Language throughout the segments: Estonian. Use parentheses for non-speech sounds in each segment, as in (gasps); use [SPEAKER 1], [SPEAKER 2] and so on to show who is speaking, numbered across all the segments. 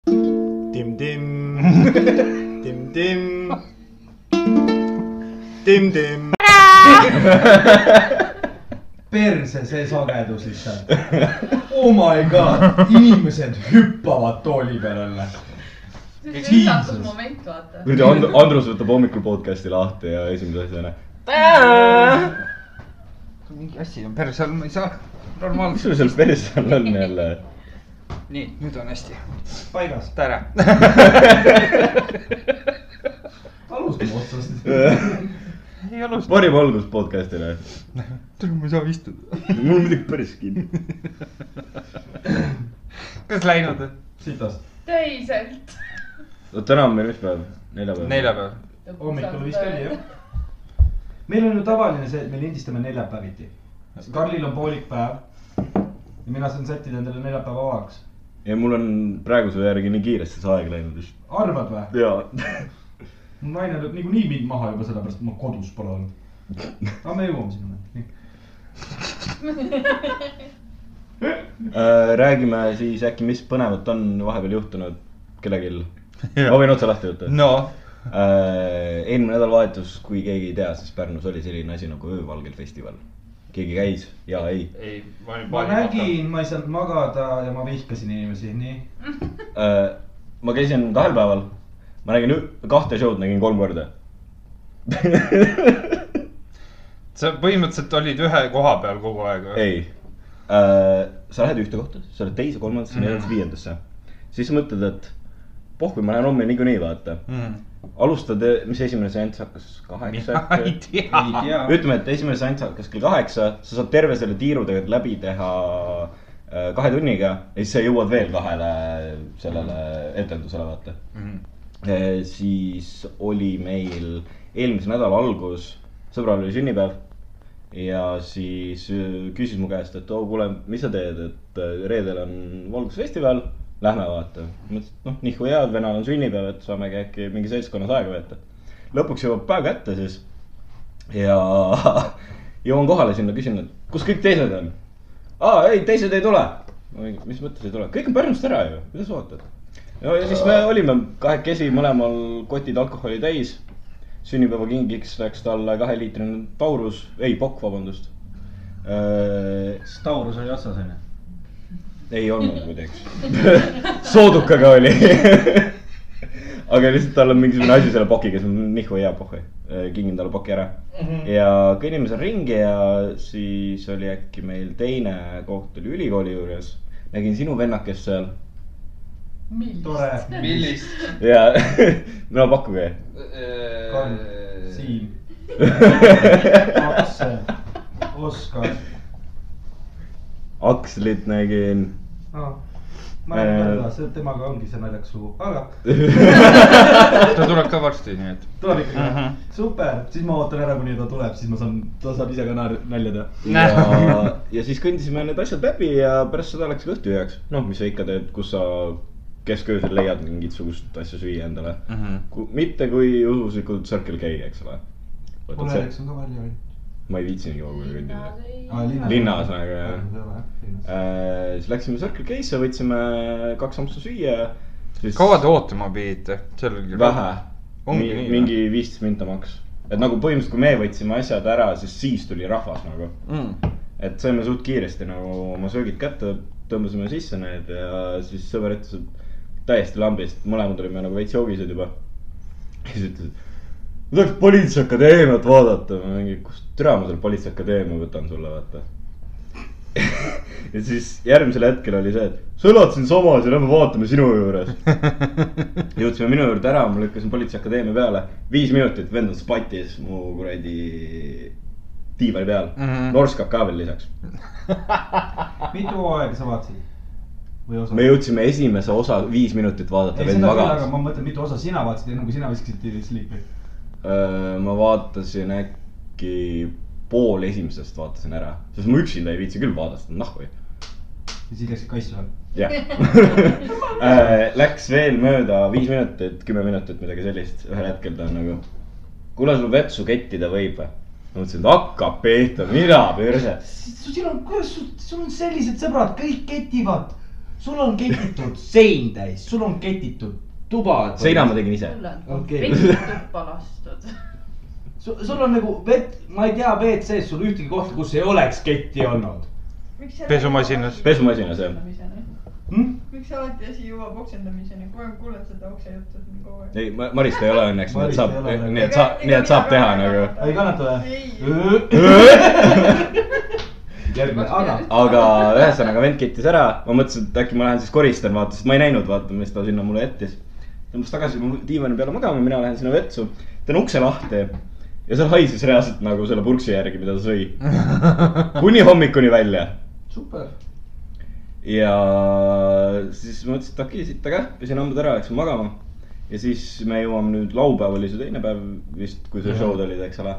[SPEAKER 1] (laughs)
[SPEAKER 2] 딤딤 딤딤 딤딤
[SPEAKER 1] perse see sagedus lihtsalt . Oh my god , inimesed hüppavad tooli peal jälle .
[SPEAKER 3] see on see
[SPEAKER 1] Jesus.
[SPEAKER 3] üllatusmoment , vaata .
[SPEAKER 4] nüüd And- Andrus võtab hommikul podcast'i lahti ja esimese asjana .
[SPEAKER 5] mingi asi on perse all , ma ei saa normaalselt .
[SPEAKER 4] mis sul seal perses all on jälle ?
[SPEAKER 5] nii , nüüd on hästi .
[SPEAKER 1] paigas ,
[SPEAKER 5] tere .
[SPEAKER 1] alustame otsast .
[SPEAKER 5] ei alusta .
[SPEAKER 4] parim algus podcast'ile .
[SPEAKER 5] tere , ma ei saa istuda .
[SPEAKER 4] mul on muidugi päris kinni .
[SPEAKER 5] kas läinud on ?
[SPEAKER 1] sitast .
[SPEAKER 3] teiselt .
[SPEAKER 4] no täna on meil mis päev ? neljapäev .
[SPEAKER 5] neljapäev .
[SPEAKER 1] hommikul vist oli jah . meil on ju tavaline see , et me lindistame neljapäeviti . Karlil on poolik päev . ja mina saan sättida endale neljapäeva vabaks .
[SPEAKER 4] ja mul on praeguse järgi nii kiiresti see aeg läinud vist .
[SPEAKER 1] arvad või ?
[SPEAKER 4] (laughs) jaa .
[SPEAKER 1] mu naine lööb niikuinii mind maha juba sellepärast , et ma kodus pole olnud . aga me jõuame sinna . nii.
[SPEAKER 4] Äh, räägime siis äkki , mis põnevat on vahepeal juhtunud kellelgi . ma võin otsa lahti võtta .
[SPEAKER 5] no ,
[SPEAKER 4] Äh, eelmine nädalavahetus , kui keegi ei tea , siis Pärnus oli selline asi nagu öövalgel festival . keegi käis ja ei
[SPEAKER 6] ei , ma olin
[SPEAKER 1] ma
[SPEAKER 6] paari .
[SPEAKER 1] nägin , ma ei saanud magada ja ma vihkasin inimesi , nii .
[SPEAKER 4] äh, . ma käisin kahel päeval , ma nägin ü- kahte show'd nägin kolm korda .
[SPEAKER 5] sa põhimõtteliselt olid ühe koha peal kogu aeg või ?
[SPEAKER 4] ei äh, , sa lähed ühte kohta , sa lähed teise , kolmandasse , neljandasse , viiendasse . siis mõtled , et pohvi , ma lähen homme niikuinii vaata .
[SPEAKER 5] mm. . (laughs)
[SPEAKER 4] alustad , mis esimene seanss hakkas , kaheksa
[SPEAKER 5] mina ei tea .
[SPEAKER 1] ei tea .
[SPEAKER 4] ütleme , et esimene seanss hakkas kell kaheksa , sa saad terve selle tiiru tegelikult läbi teha äh, kahe tunniga ja siis sa jõuad veel kahele sellele etendusele , vaata .
[SPEAKER 5] Mm.
[SPEAKER 4] siis oli meil eelmise nädala algus , sõbral oli sünnipäev ja siis äh, küsis mu käest , et oo , kuule , mis sa teed , et äh, reedel on valgusfestival , lähme vaata . mõtlesin , et noh , nihku head , venel on sünnipäev , et saamegi äkki mingi seltskonnas aega veeta . lõpuks jõuab päev kätte siis ja (laughs) jõuan kohale sinna , küsin , et kus kõik teised on . aa , ei , teised ei tule . ma mingi , mis mõttes ei tule , kõik on Pärnust ära ju , mida sa ootad ? no ja siis me olime kahekesi mõlemal kotid alkoholi täis . sünnipäevakingiks läks talle kaheliitrine Taurus , ei , Pokk , vabandust .
[SPEAKER 1] kas Taurus oli otsas onju ?
[SPEAKER 4] ei olnud muideks . (laughs) soodukaga oli . aga lihtsalt tal on mingisugune asi selle Pokiga , siis ma nihku hea Pohhi , kingin talle Poki ära
[SPEAKER 1] Mhm.
[SPEAKER 4] ja kõnnime seal ringi ja siis oli äkki meil teine koht oli ülikooli juures . nägin sinu vennakest seal
[SPEAKER 1] tore .
[SPEAKER 3] millist ?
[SPEAKER 6] millist ?
[SPEAKER 4] ja (laughs) no pakkuge .
[SPEAKER 1] Karl , (laughs) Siim . Aksel , Oskar .
[SPEAKER 4] Akslit nägin .
[SPEAKER 1] Ah, ma ei mäleta , see temaga ongi see naljakas lugu , aga
[SPEAKER 5] ta tuleb ka varsti , nii et .
[SPEAKER 1] tuleb ikka uh .
[SPEAKER 5] Mhm.
[SPEAKER 1] -huh. super , siis ma ootan ära , kuni ta tuleb , siis ma saan , ta saab ise ka naer- nalja teha .
[SPEAKER 4] ja , (laughs) ja siis kõndisime need asjad läbi ja pärast seda läks ka õhtu üheks . noh , mis sa ikka teed , kus sa kesköösel leiad mingisugust asja süüa endale . mitte kui juhuslikult Circle K , eks ole .
[SPEAKER 1] Olerex on ka välja või ?
[SPEAKER 4] ma ei viitsi nii kaua kuhugi kõndida .
[SPEAKER 1] Linnas.
[SPEAKER 4] linnas , aga jah . Äh, siis läksime Circle K-sse , võtsime kaks ampsu süüa siis... .
[SPEAKER 5] kaua te ootama pidite ?
[SPEAKER 4] vähe .
[SPEAKER 5] Ongi
[SPEAKER 4] mingi,
[SPEAKER 5] nii,
[SPEAKER 4] mingi viisteist minta maks . et nagu põhimõtteliselt , kui me võtsime asjad ära , siis siis tuli rahvas nagu . (laughs)
[SPEAKER 5] mm. . (laughs)
[SPEAKER 4] et saime suht kiiresti nagu oma söögid kätte , tõmbasime sisse need ja siis sõber ütles , et täiesti lambist , mõlemad olime nagu veits joogised juba . siis ütles , et ma tahaks Politseiakadeemiat vaadata . ma mingi , kust türa ma selle Politseiakadeemia võtan sulle , vaata (laughs) ja siis järgmisel hetkel oli see , et sa elad siinsamas ja lähme vaatame sinu juures . jõudsime minu juurde ära , ma lükkasin politseiakadeemia peale , viis minutit vend on spatis mu kuradi diivani peal mm ,
[SPEAKER 5] Mhm.
[SPEAKER 4] -hmm. norskab ka veel lisaks .
[SPEAKER 1] mitu aega sa vaatasid ? või osa ?
[SPEAKER 4] me jõudsime esimese osa viis minutit vaadata ,
[SPEAKER 1] ei ,
[SPEAKER 4] vend
[SPEAKER 1] seda küll , aga
[SPEAKER 4] magas .
[SPEAKER 1] ma mõtlen , mitu osa sina vaatasid , enne kui sina viskasid tiirid sliipi .
[SPEAKER 4] Äh, ma vaatasin äkki pool esimesest vaatasin ära , sest ma üksinda ei viitsi küll vaadata , nahhu
[SPEAKER 1] ja siis läksid kassi all .
[SPEAKER 4] jah Äh, Läks veel mööda viis minutit , kümme minutit , midagi sellist , ühel hetkel ta on nagu . kuule , sul vetsu kettida võib või ? ma mõtlesin , et hakkab pihta , mina perse .
[SPEAKER 1] sul on , kuidas sul , sul on
[SPEAKER 4] (laughs)
[SPEAKER 1] sellised sõbrad , kõik ketivad . sul on ketitud sein täis , sul on ketitud
[SPEAKER 7] tuba .
[SPEAKER 4] seina ma tegin ise .
[SPEAKER 8] mul on
[SPEAKER 1] (laughs)
[SPEAKER 7] Okei.
[SPEAKER 8] vesi tuppa lastud .
[SPEAKER 7] sul, sul on nagu vett , ma ei tea , WC-s sul ühtegi kohta , kus ei oleks ketti olnud
[SPEAKER 5] Pesumasinas.
[SPEAKER 4] Pesumasinas, jah.
[SPEAKER 7] hm? .
[SPEAKER 3] miks alati asi jõuab oksendamiseni , kogu aeg kuuled seda oksejuttu siin kogu aeg .
[SPEAKER 4] ei , Marist ei ole õnneks , nii
[SPEAKER 1] Marist
[SPEAKER 4] et saab eh,
[SPEAKER 1] ei ole, , aga-
[SPEAKER 4] nii et saab , nii et saab teha nagu .
[SPEAKER 1] ei kannata
[SPEAKER 3] ei ,
[SPEAKER 1] või ? Äh? (laughs) järgmine , aga
[SPEAKER 4] aga ühesõnaga vend kittis ära , ma mõtlesin , et äkki ma lähen siis koristan , vaata , sest ma ei näinud , vaata , mis ta sinna mulle jättis . tõmbas tagasi mu diivani peale magama , mina lähen sinna vetsu , teen ukse lahti ja seal haises reaalselt nagu selle purksi järgi , mida ta sõi . kuni hommikuni välja
[SPEAKER 1] super .
[SPEAKER 4] ja siis ma mõtlesin , et okei , siit aga , pesin hambad ära , läksin magama . ja siis me jõuame nüüd laupäev oli see teine päev vist , kui see show'd olid , eks ole .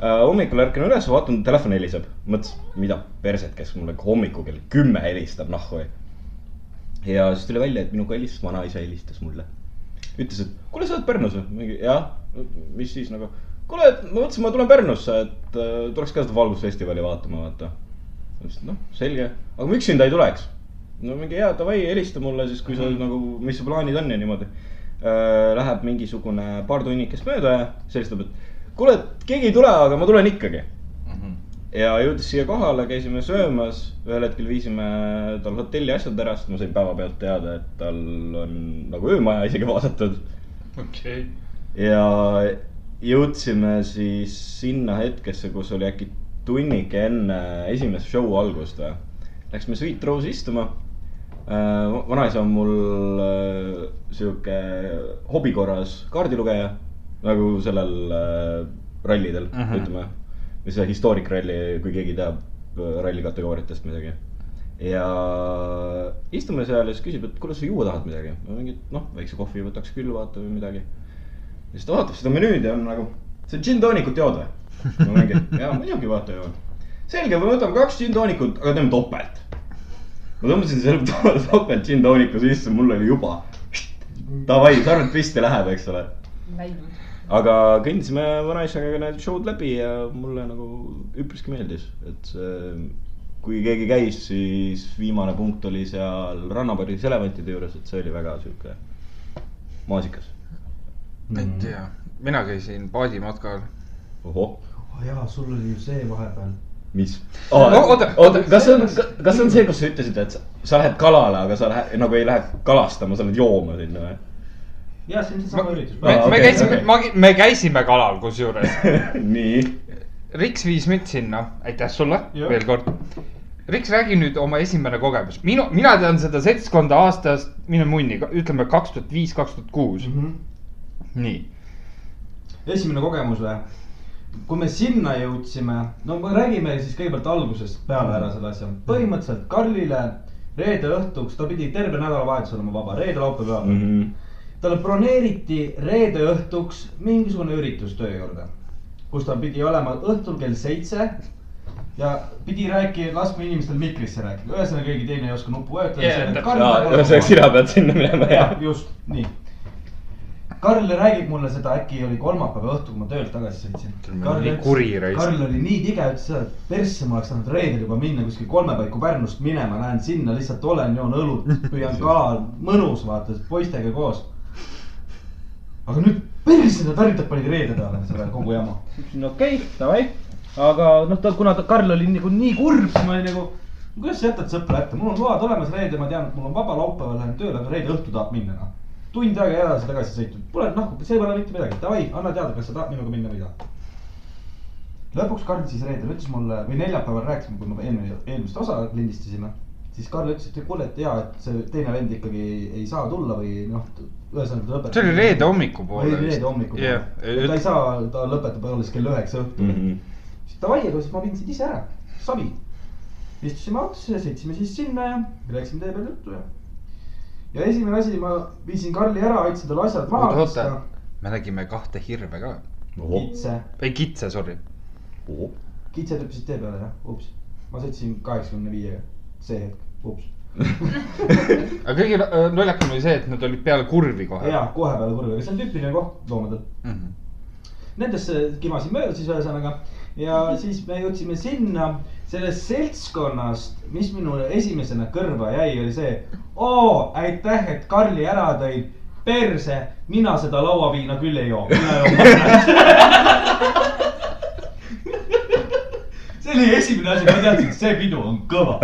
[SPEAKER 4] hommikul ärkan üles , vaatan , telefon heliseb , mõtlesin , mida perset , kes mulle hommikul kell kümme helistab , nahhu . ja siis tuli välja , et minuga helistas vanaisa helistas mulle . ütles , et kuule , sa oled Pärnus või ? jah , mis siis nagu , kuule , et ma mõtlesin , ma tulen Pärnusse , et äh, tuleks ka seda Valgusfestivali vaatama , vaata ma ütlesin , et noh , selge , aga ma üksinda ei tuleks . no mingi hea davai , helista mulle siis , kui sa nagu , mis su plaanid on ja niimoodi . Läheb mingisugune paar tunnikest mööda ja siis helistab , et kuule , et keegi ei tule , aga ma tulen ikkagi .
[SPEAKER 5] Mhm.
[SPEAKER 4] ja jõudis siia kohale , käisime söömas , ühel hetkel viisime tal hotelli asjad ära , sest ma sain päevapealt teada , et tal on nagu öömaja isegi vaasatud
[SPEAKER 5] okei .
[SPEAKER 4] ja jõudsime siis sinna hetkesse , kus oli äkki tunnik enne esimest show algust või . Läksime Sweet Rose'i istuma . vanaisa on mul äh, sihuke hobi korras kaardilugeja nagu sellel äh, rallidel uh ,
[SPEAKER 5] Mhm.
[SPEAKER 4] -huh. ütleme . või see historic ralli , kui keegi teab äh, ralli kategooriatest midagi ja istume seal ja siis küsib , et kuule , sa juua tahad midagi ? ma mingi , et noh , väikse kohvi võtaks küll , vaata või midagi . ja siis ta vaatab seda menüüd ja on nagu , see on džinntoonikut jood või ? ma mingi , jaa muidugi vaata joon . selge , me võtame kaks džinntoonikut , aga teeme topelt . ma tõmbasin selle to- topelt džinntooniku sisse , mul oli juba davai , sarved püsti läheb , eks ole .
[SPEAKER 8] läinud .
[SPEAKER 4] aga kõndisime vanaisaga need show'd läbi ja mulle nagu üpriski meeldis , et see , kui keegi käis , siis viimane punkt oli seal rannapäris elevantide juures , et see oli väga sihuke maasikas .
[SPEAKER 5] ma ei tea , mina käisin paadimatkal .
[SPEAKER 4] ohoh
[SPEAKER 1] oh, . jaa , sul oli ju see vahepeal .
[SPEAKER 4] mis
[SPEAKER 5] No, oota,
[SPEAKER 4] oota , kas see on , kas see on see , kus sa ütlesid , et sa- sa lähed kalale , aga sa lähed nagu ei lähe kalastama , sa lähed jooma sinna või ? (laughs)
[SPEAKER 1] jaa , see on seesama üritus .
[SPEAKER 5] me,
[SPEAKER 4] Aa,
[SPEAKER 5] me
[SPEAKER 4] okei,
[SPEAKER 5] käisime
[SPEAKER 4] okei. ,
[SPEAKER 5] me käisime kalal kusjuures .
[SPEAKER 4] nii ,
[SPEAKER 5] Riks viis mind sinna , aitäh sulle ja.
[SPEAKER 1] Jah.
[SPEAKER 5] veel kord . Riks , räägi nüüd oma esimene kogemus , minu , mina tean seda seltskonda aastast , mine munni , ütleme kaks tuhat viis , kaks tuhat kuus ,
[SPEAKER 1] Mhm.
[SPEAKER 5] nii .
[SPEAKER 1] esimene kogemus või ? kui me sinna jõudsime , no me räägime siis kõigepealt algusest peale ära selle asja . põhimõtteliselt Karlile reede õhtuks , ta pidi terve nädalavahetus olema vaba , reede , laupäev , pühapäev .
[SPEAKER 4] Mhm.
[SPEAKER 1] talle broneeriti reede õhtuks mingisugune üritus töö juurde , kus ta pidi olema õhtul kell seitse ja pidi rääkima , laskma inimestel mikrisse rääkida , ühesõnaga keegi teine ei oska nuppu
[SPEAKER 5] Jaa, täpselt.
[SPEAKER 4] ühesõnaga
[SPEAKER 1] vajutada .
[SPEAKER 4] sina pead sinna minema ja
[SPEAKER 1] jah , just nii . Karl räägib mulle seda , äkki oli kolmapäeva õhtul , kui ma töölt tagasi sõitsin .
[SPEAKER 5] Ütleme, nii kuri raisk.
[SPEAKER 1] Karl oli nii tige , ütles seda , et persse ma oleks saanud reedel juba minna kuskil kolme paiku Pärnust minema , lähen sinna lihtsalt olen , joon õlut , püüan kala , mõnus vaata , poistega koos . aga nüüd persse ta tarvitab , pani reede peale selle kogu jama .
[SPEAKER 7] ütlesin okei okay, , davai , aga noh , ta , kuna ta , Karl oli nagu nii kurb , siis ma olin nagu ,
[SPEAKER 1] kuidas sa jätad sõpra ette , mul on load olemas reede , ma tean , et mul on vaba laupäeval lähen tööle , aga reede õhtu tahab minna noh . tund aega edasi-tagasi sõitnud , pole nahku , see pole mitte midagi , davai , anna teada , kas sa tahad minuga minna või ei taha . lõpuks Karl siis reedel ütles mulle või neljapäeval rääkisime , kui me eelmine , eelmist osa lindistasime , siis Karl ütles , et kuule , et jaa , et see teine vend ikkagi ei, ei saa tulla või noh , ühesõnaga ta lõpetab .
[SPEAKER 5] see oli reede hommikupoole
[SPEAKER 1] oli reede hommikul
[SPEAKER 5] jah ,
[SPEAKER 1] ta ei saa , ta lõpetab alles kell üheksa õhtul
[SPEAKER 4] mm . -hmm.
[SPEAKER 1] siis davai , aga siis ma vintsin ise ära , savi . istusime autosse ja sõitsime siis sinna ja rääkisime tee peal juttu ja . ja esimene asi , ma viisin Karli ära , aitasin tal asjad maha
[SPEAKER 5] oota , oota , me nägime kahte hirve ka ,
[SPEAKER 1] kitse ,
[SPEAKER 5] ei kitse , sorry .
[SPEAKER 1] kitsed hüppasid tee peale jah , ups . ma sõitsin kaheksakümne viiega , see hetk , ups .
[SPEAKER 5] aga kõige äh, naljakam oli see , et nad olid peale kurvi kohe .
[SPEAKER 1] ja kohe peale kurvi , aga see on tüüpiline koht loomadel .
[SPEAKER 5] Mhm.
[SPEAKER 1] Nendesse kimasin mööda siis ühesõnaga ja siis me jõudsime sinna , sellest seltskonnast , mis minule esimesena kõrva jäi , oli see , oo , aitäh , et Karli ära tõid . perse , mina seda lauaviina küll ei joo , mina joon magnetit . see oli esimene asi , ma teadsin , et see pidu on kõva .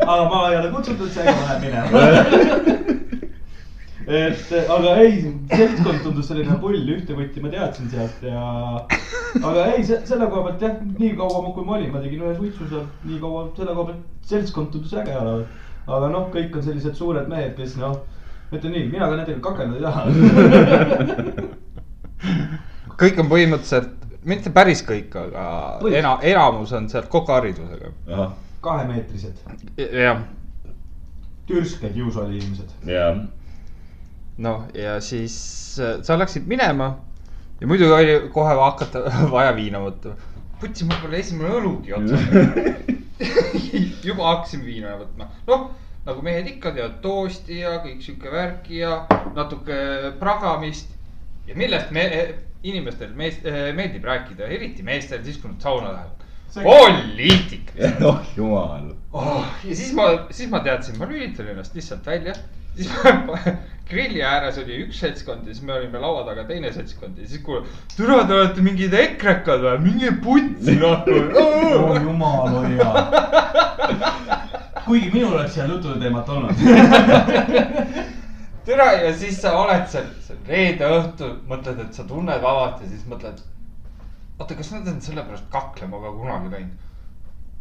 [SPEAKER 1] aga ma ei ole kutsutud , seega ma lähen minema . et aga ei , seltskond tundus selline pull , ühte kotti ma teadsin sealt ja , aga ei , selle koha pealt jah , nii kaua , kui ma olin , ma tegin ühe suitsu seal , nii kaua selle koha pealt , seltskond tundus äge olevat . aga noh , kõik on sellised suured mehed , kes noh , ütleme nii , mina ka nendega kakelda ei taha . (laughs)
[SPEAKER 5] kõik on põhimõtteliselt , mitte päris kõik , aga
[SPEAKER 1] Põhimõtteliselt.
[SPEAKER 5] ena- , enamus on sealt kokaharidusega .
[SPEAKER 4] ahah ,
[SPEAKER 1] kahemeetrised ,
[SPEAKER 5] jah ,
[SPEAKER 1] türsked juusooli inimesed .
[SPEAKER 4] jaa . (laughs)
[SPEAKER 5] noh , ja siis äh, sa läksid minema ja muidugi oli kohe va- hakata (laughs) vaja viina võtta . võtsin võib-olla esimene õlugi otsa . juba hakkasin viina võtma , noh nagu mehed ikka teevad toosti ja kõik sihuke värki ja natuke pragamist ja millest me , inimestel mees, meeldib rääkida , eriti meestel siis , kui nad sauna lähevad . poliitika .
[SPEAKER 4] oh jumal .
[SPEAKER 5] oh, . ja siis ma , siis ma teadsin , ma lülitan ennast lihtsalt välja . siis ma (laughs) grilli ääres oli üks seltskond ja siis me olime laua taga teine seltskond ja siis kuule , türa , te olete mingid ekrekad või , minge putsi noh."
[SPEAKER 1] oh (laughs)
[SPEAKER 5] nahku .
[SPEAKER 1] jumal , oi hea . kuigi minul oleks seal jutule teemat olnud . (laughs)
[SPEAKER 5] türa ja siis sa oled seal , seal reede õhtul , mõtled , et sa tunned vabalt ja siis mõtled . oota , kas nad on sellepärast kaklema ka kunagi läinud ?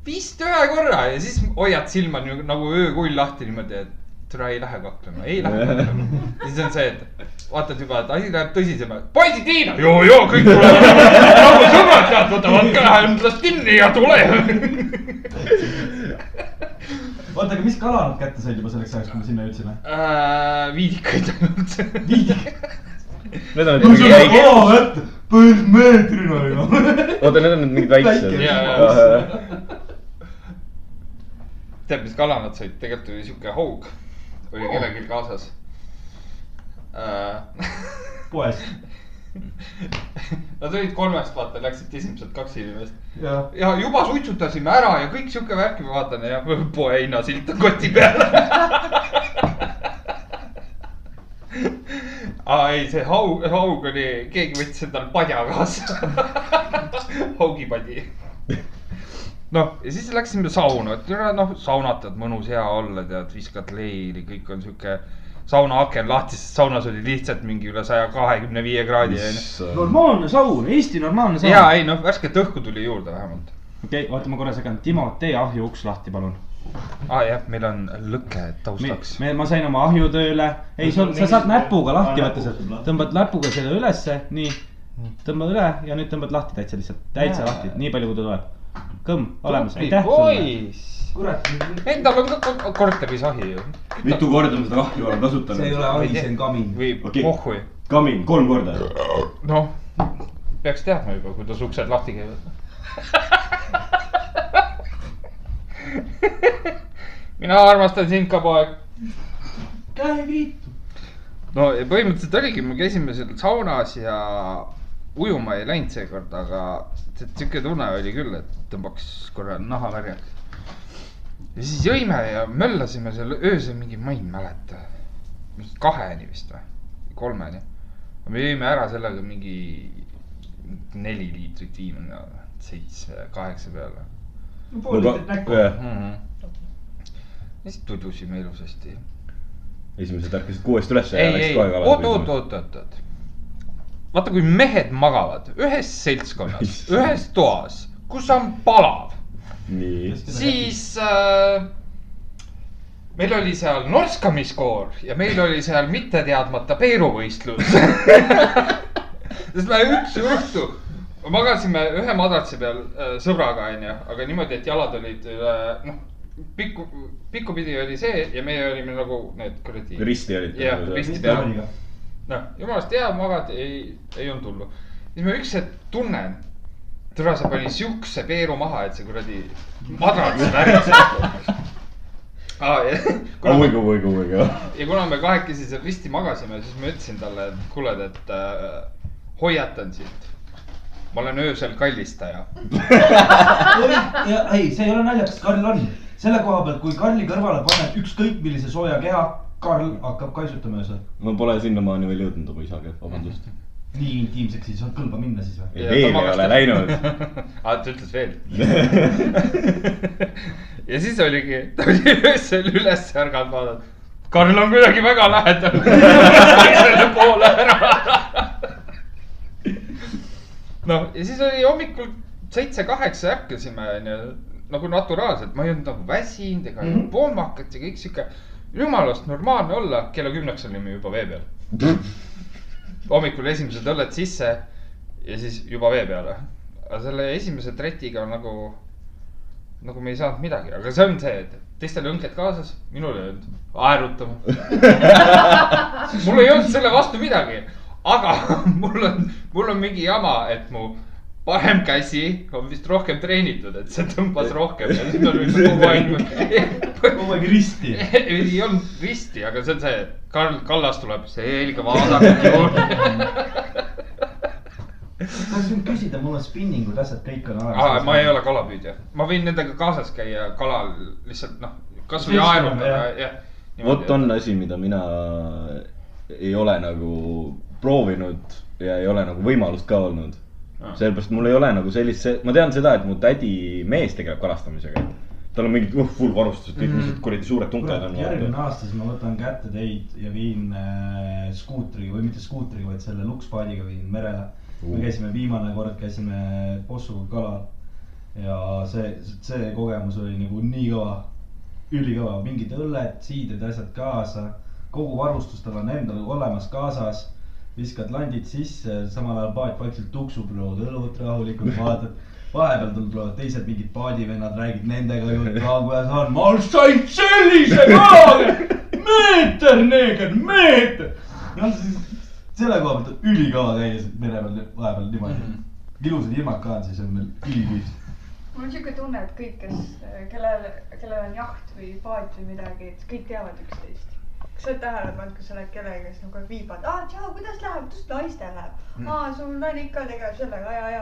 [SPEAKER 5] vist ühe korra ja siis hoiad silma nii- nagu öökull lahti niimoodi , et türa ei lähe kaklema , ei lähe kaklema . ja siis on see , et vaatad juba , et asi läheb tõsisemalt . poisid viina , joo , joo , kõik tulevad , nagu sõbrad sealt võtavad ka endast kinni ja tule .
[SPEAKER 1] oota , aga mis kala nad kätte said juba selleks ajaks , kui me sinna jõudsime ?
[SPEAKER 5] Äh, viidikaid ainult .
[SPEAKER 4] Need
[SPEAKER 1] no
[SPEAKER 4] on
[SPEAKER 1] see on
[SPEAKER 4] need
[SPEAKER 5] nagu-
[SPEAKER 4] mingid ,
[SPEAKER 1] kala kätte , põldmeetrina ju .
[SPEAKER 4] oota , need on need mingid väiksed .
[SPEAKER 5] Jaa, jaa.
[SPEAKER 4] ahah ,
[SPEAKER 5] tead , mis kala nad said , tegelikult oli sihuke haug , oli kellelgi kaasas . Äh,
[SPEAKER 1] poes .
[SPEAKER 5] (laughs) Nad olid kolmest , vaata , läksid esimesed kaks inimest
[SPEAKER 1] jah ,
[SPEAKER 5] ja juba suitsutasime ära ja kõik sihuke värk , ma vaatan ja poe hinnasilt on koti peal (laughs) aa ei , see haug , haug oli , keegi võttis endale padja kaasa . (laughs) haugipadi . noh , ja siis läksime sauna , et üle noh , saunatad , mõnus hea olla , tead , viskad leili , kõik on sihuke . sauna aken lahti , sest saunas oli lihtsalt mingi üle saja kahekümne viie kraadi onju .
[SPEAKER 4] issand .
[SPEAKER 1] normaalne saun , Eesti normaalne saun .
[SPEAKER 5] ja ei noh , värsket õhku tuli juurde vähemalt .
[SPEAKER 1] okei okay, , oota , ma korra segan , Timo , tee ahju uks lahti , palun .
[SPEAKER 5] aa ah, jah , meil on lõke taustaks .
[SPEAKER 1] me , ma sain oma ahju tööle , ei , sa , sa saad näpuga lahti võtta sealt , tõmbad näpuga selle ülesse , nii . tõmbad üle ja nüüd tõmbad lahti täitsa lihtsalt , täitsa
[SPEAKER 5] Näe.
[SPEAKER 1] lahti , nii palju , kui ta tuleb . kõmm , olemas , aitäh .
[SPEAKER 5] poiss ,
[SPEAKER 1] kurat ,
[SPEAKER 5] endal on ka ko- korteris ahi ju .
[SPEAKER 4] mitu korda ma seda ahju olen kasutanud ?
[SPEAKER 1] see ei ole ahi , see on kamin .
[SPEAKER 5] või
[SPEAKER 4] Okei.
[SPEAKER 5] okay. pohhui .
[SPEAKER 4] kamin , kolm korda .
[SPEAKER 5] noh , peaks teadma juba , kuidas uksed lahti käivad . (laughs) mina armastan sind ka , poeg .
[SPEAKER 1] käe viitu .
[SPEAKER 5] no ja põhimõtteliselt oligi , me käisime seal saunas ja ujuma ei läinud seekord , aga tead, sihuke tunne oli küll , et tõmbaks korra naha värjaks . ja siis jõime ja möllasime seal öösel mingi , ma ei mäleta , kaheni vist või , kolmeni . me jõime ära sellega mingi neli liitrit viina , seitse-kaheksa peale
[SPEAKER 9] no pool liitrit näkku .
[SPEAKER 5] mm . -hmm. ja siis tudusime ilusasti .
[SPEAKER 4] esimesed ärkasid kuuest ülesse ja
[SPEAKER 5] ei ,
[SPEAKER 4] läksid
[SPEAKER 5] ei ,
[SPEAKER 4] kohe
[SPEAKER 5] oot , oot ,. oot , oot , oot . vaata , kui mehed magavad ühes seltskonnas , ühes toas , kus on palav ,
[SPEAKER 4] nii .
[SPEAKER 5] siis äh, . meil oli seal norskamiskoor ja meil oli seal mitte teadmata peeruvõistlus . sest me üks õhtu magasime ühe madratsi peal äh, sõbraga , onju , aga niimoodi , et jalad olid üle , noh , pikku , pikkupidi oli see ja meie olime nagu need kuradi .
[SPEAKER 4] risti olid .
[SPEAKER 5] jah , risti peal . noh , jumalast hea , magad , ei , ei olnud hullu . siis ma üks hetk tunnen , türa , sa panid siukse peeru maha , et see kuradi madrats (laughs) värises . Ah, ja, kuna
[SPEAKER 4] oi
[SPEAKER 5] me,
[SPEAKER 4] kui , oi kui , oi kui .
[SPEAKER 5] ja kuna me kahekesi seal risti magasime , siis ma ütlesin talle , et kuule , et äh, hoiatan sind . ma olen öösel kallistaja .
[SPEAKER 1] ei , see ei ole naljakas , Karl on . selle koha pealt , kui Karli kõrvale paned ükskõik millise sooja keha , Karl hakkab kaisutama ja sa
[SPEAKER 4] ma pole sinnamaani veel jõudnud oma isaga ,
[SPEAKER 1] (laughs)
[SPEAKER 4] vabandust .
[SPEAKER 1] nii intiimseks ei saa kõlba minna siis või ?
[SPEAKER 5] Ja ta
[SPEAKER 4] veel ei
[SPEAKER 5] magas
[SPEAKER 4] ole
[SPEAKER 5] tõ-
[SPEAKER 4] läinud .
[SPEAKER 5] (laughs) aa , ta ütles veel
[SPEAKER 4] (laughs)
[SPEAKER 5] (laughs) ja siis oligi , ta oli öösel üles ärganud , vaadanud . Karl on kuidagi väga lähedal . selle poole ära . noh , ja siis oli hommikul seitse-kaheksa ärkasime onju , nagu naturaalselt , ma ei olnud nagu väsinud ega mm -hmm. pohmakat ja kõik sihuke . jumalast normaalne olla , kella kümneks olime juba vee peal . hommikul esimesed õlled sisse ja siis juba vee peale . aga selle esimese tretiga on nagu , nagu me ei saanud midagi , aga see on see , et teistel õnked kaasas , minul ei olnud , aerutama . mul ei olnud selle vastu midagi , aga (laughs) mul on , mul on mingi jama , et mu parem käsi on vist rohkem treenitud , et see tõmbas rohkem ja siis on võib-olla kogu aeg .
[SPEAKER 1] kogu aeg risti .
[SPEAKER 5] (laughs) ei olnud risti , aga see on see , Karl Kallas tuleb selga vaadake juurde .
[SPEAKER 1] tahtsin küsida , mul on spinningud , asjad kõik on
[SPEAKER 5] Ah,
[SPEAKER 1] olemas .
[SPEAKER 5] ma ei ole kalapüüdja , ma võin nendega kaasas käia kalal lihtsalt noh , kasvõi
[SPEAKER 1] Seisma,
[SPEAKER 5] aerutada
[SPEAKER 1] jah.
[SPEAKER 5] ja .
[SPEAKER 4] vot on asi , mida mina ei ole nagu proovinud ja ei ole nagu võimalust ka olnud .
[SPEAKER 1] Ah.
[SPEAKER 4] sellepärast mul ei ole nagu sellist , ma tean seda , et mu tädi mees tegeleb kalastamisega . tal on mingid uh, full varustused , kõik mingid kuradi suured tunkad
[SPEAKER 1] Mm. kurat ,
[SPEAKER 4] on .
[SPEAKER 1] järgmine aasta siis ma võtan kätte teid ja viin äh, skuutriga või mitte skuutriga , vaid selle lukspaadiga viin merele . me
[SPEAKER 4] Uh.
[SPEAKER 1] käisime viimane kord , käisime Possuga kalal ja see , see kogemus oli nagu nii kõva , ülikõva , mingid õlled , siidrid , asjad kaasa , kogu varustus tal on endal olemas kaasas viskad landid sisse , samal ajal paat vaikselt tuksub , lood õlut rahulikult , vaatad , vahepeal tul- tulevad teised mingid paadivennad , räägid nendega juttu , kuidas on , ma sain sellise kaalu , meeter , neeger , meeter . noh , selle koha pealt on ülikõva käia siin mere peal vahepeal niimoodi . ilusad ilmad ka on , siis on meil üliküüs .
[SPEAKER 3] mul on siuke tunne , et kõik , kes , kellel , kellel on jaht või paat või midagi , et kõik teavad üksteist . kas sa oled tähele pannud , kui sa oled kellegagi , kes nagu viibad , aa tšau , kuidas läheb , kuidas naistel
[SPEAKER 1] Mm.
[SPEAKER 3] läheb ? aa , sul naine ikka tegeleb sellega , ja , ja .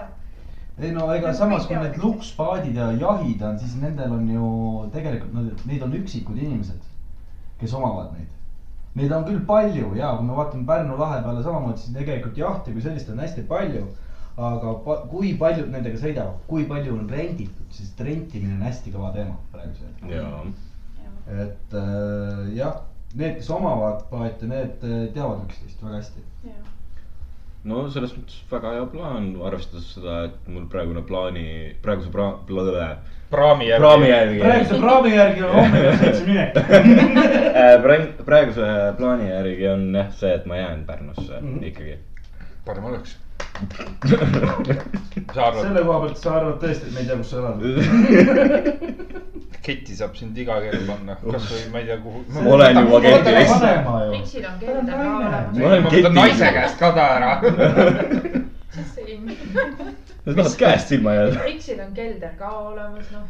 [SPEAKER 1] ei no ega samas , kui need lukspaadid ja jahid on , siis nendel on ju tegelikult nad , neid on üksikud inimesed , kes omavad neid . Neid on küll palju ja kui me vaatame Pärnu lahe peale samamoodi , siis tegelikult jahti kui sellist on hästi palju . aga pa, kui paljud nendega sõidavad , kui palju on renditud , sest rentimine on hästi kõva teema praegusel hetkel .
[SPEAKER 4] jaa ,
[SPEAKER 1] et äh, jah , need , kes omavad paate , need äh, teavad üksteist väga hästi .
[SPEAKER 4] no selles mõttes väga hea plaan , arvestades seda , et mul praegune plaani , praeguse pra- ,
[SPEAKER 5] praami järgi .
[SPEAKER 4] praami . järgi .
[SPEAKER 1] praeguse praami järgi on homme kell seitse minek . (laughs)
[SPEAKER 4] Pra- , Äh, praeguse plaani järgi on jah see , et ma jään Pärnusse mm
[SPEAKER 1] Mhm.
[SPEAKER 4] -hmm. ikkagi .
[SPEAKER 5] parem
[SPEAKER 4] (laughs)
[SPEAKER 5] oleks . mis sa arvad ,
[SPEAKER 1] selle koha pealt sa arvad tõesti , et me ei tea , kus sa elad ?
[SPEAKER 5] ketti saab sind iga kell panna , kasvõi ma ei tea kuhu .
[SPEAKER 4] Ma olen juba ketti
[SPEAKER 1] Ei,
[SPEAKER 4] eest .
[SPEAKER 1] vanema ju .
[SPEAKER 10] Miksil on
[SPEAKER 1] Tal on
[SPEAKER 10] keelde ka
[SPEAKER 1] naine.
[SPEAKER 10] olemas .
[SPEAKER 4] Ma olen
[SPEAKER 5] ma
[SPEAKER 4] keti-
[SPEAKER 5] võtan naise käest ka
[SPEAKER 4] (laughs)
[SPEAKER 5] ta ära .
[SPEAKER 4] Nad tahavad käest silma jääda .
[SPEAKER 10] Miksil on kelder ka olemas , noh ,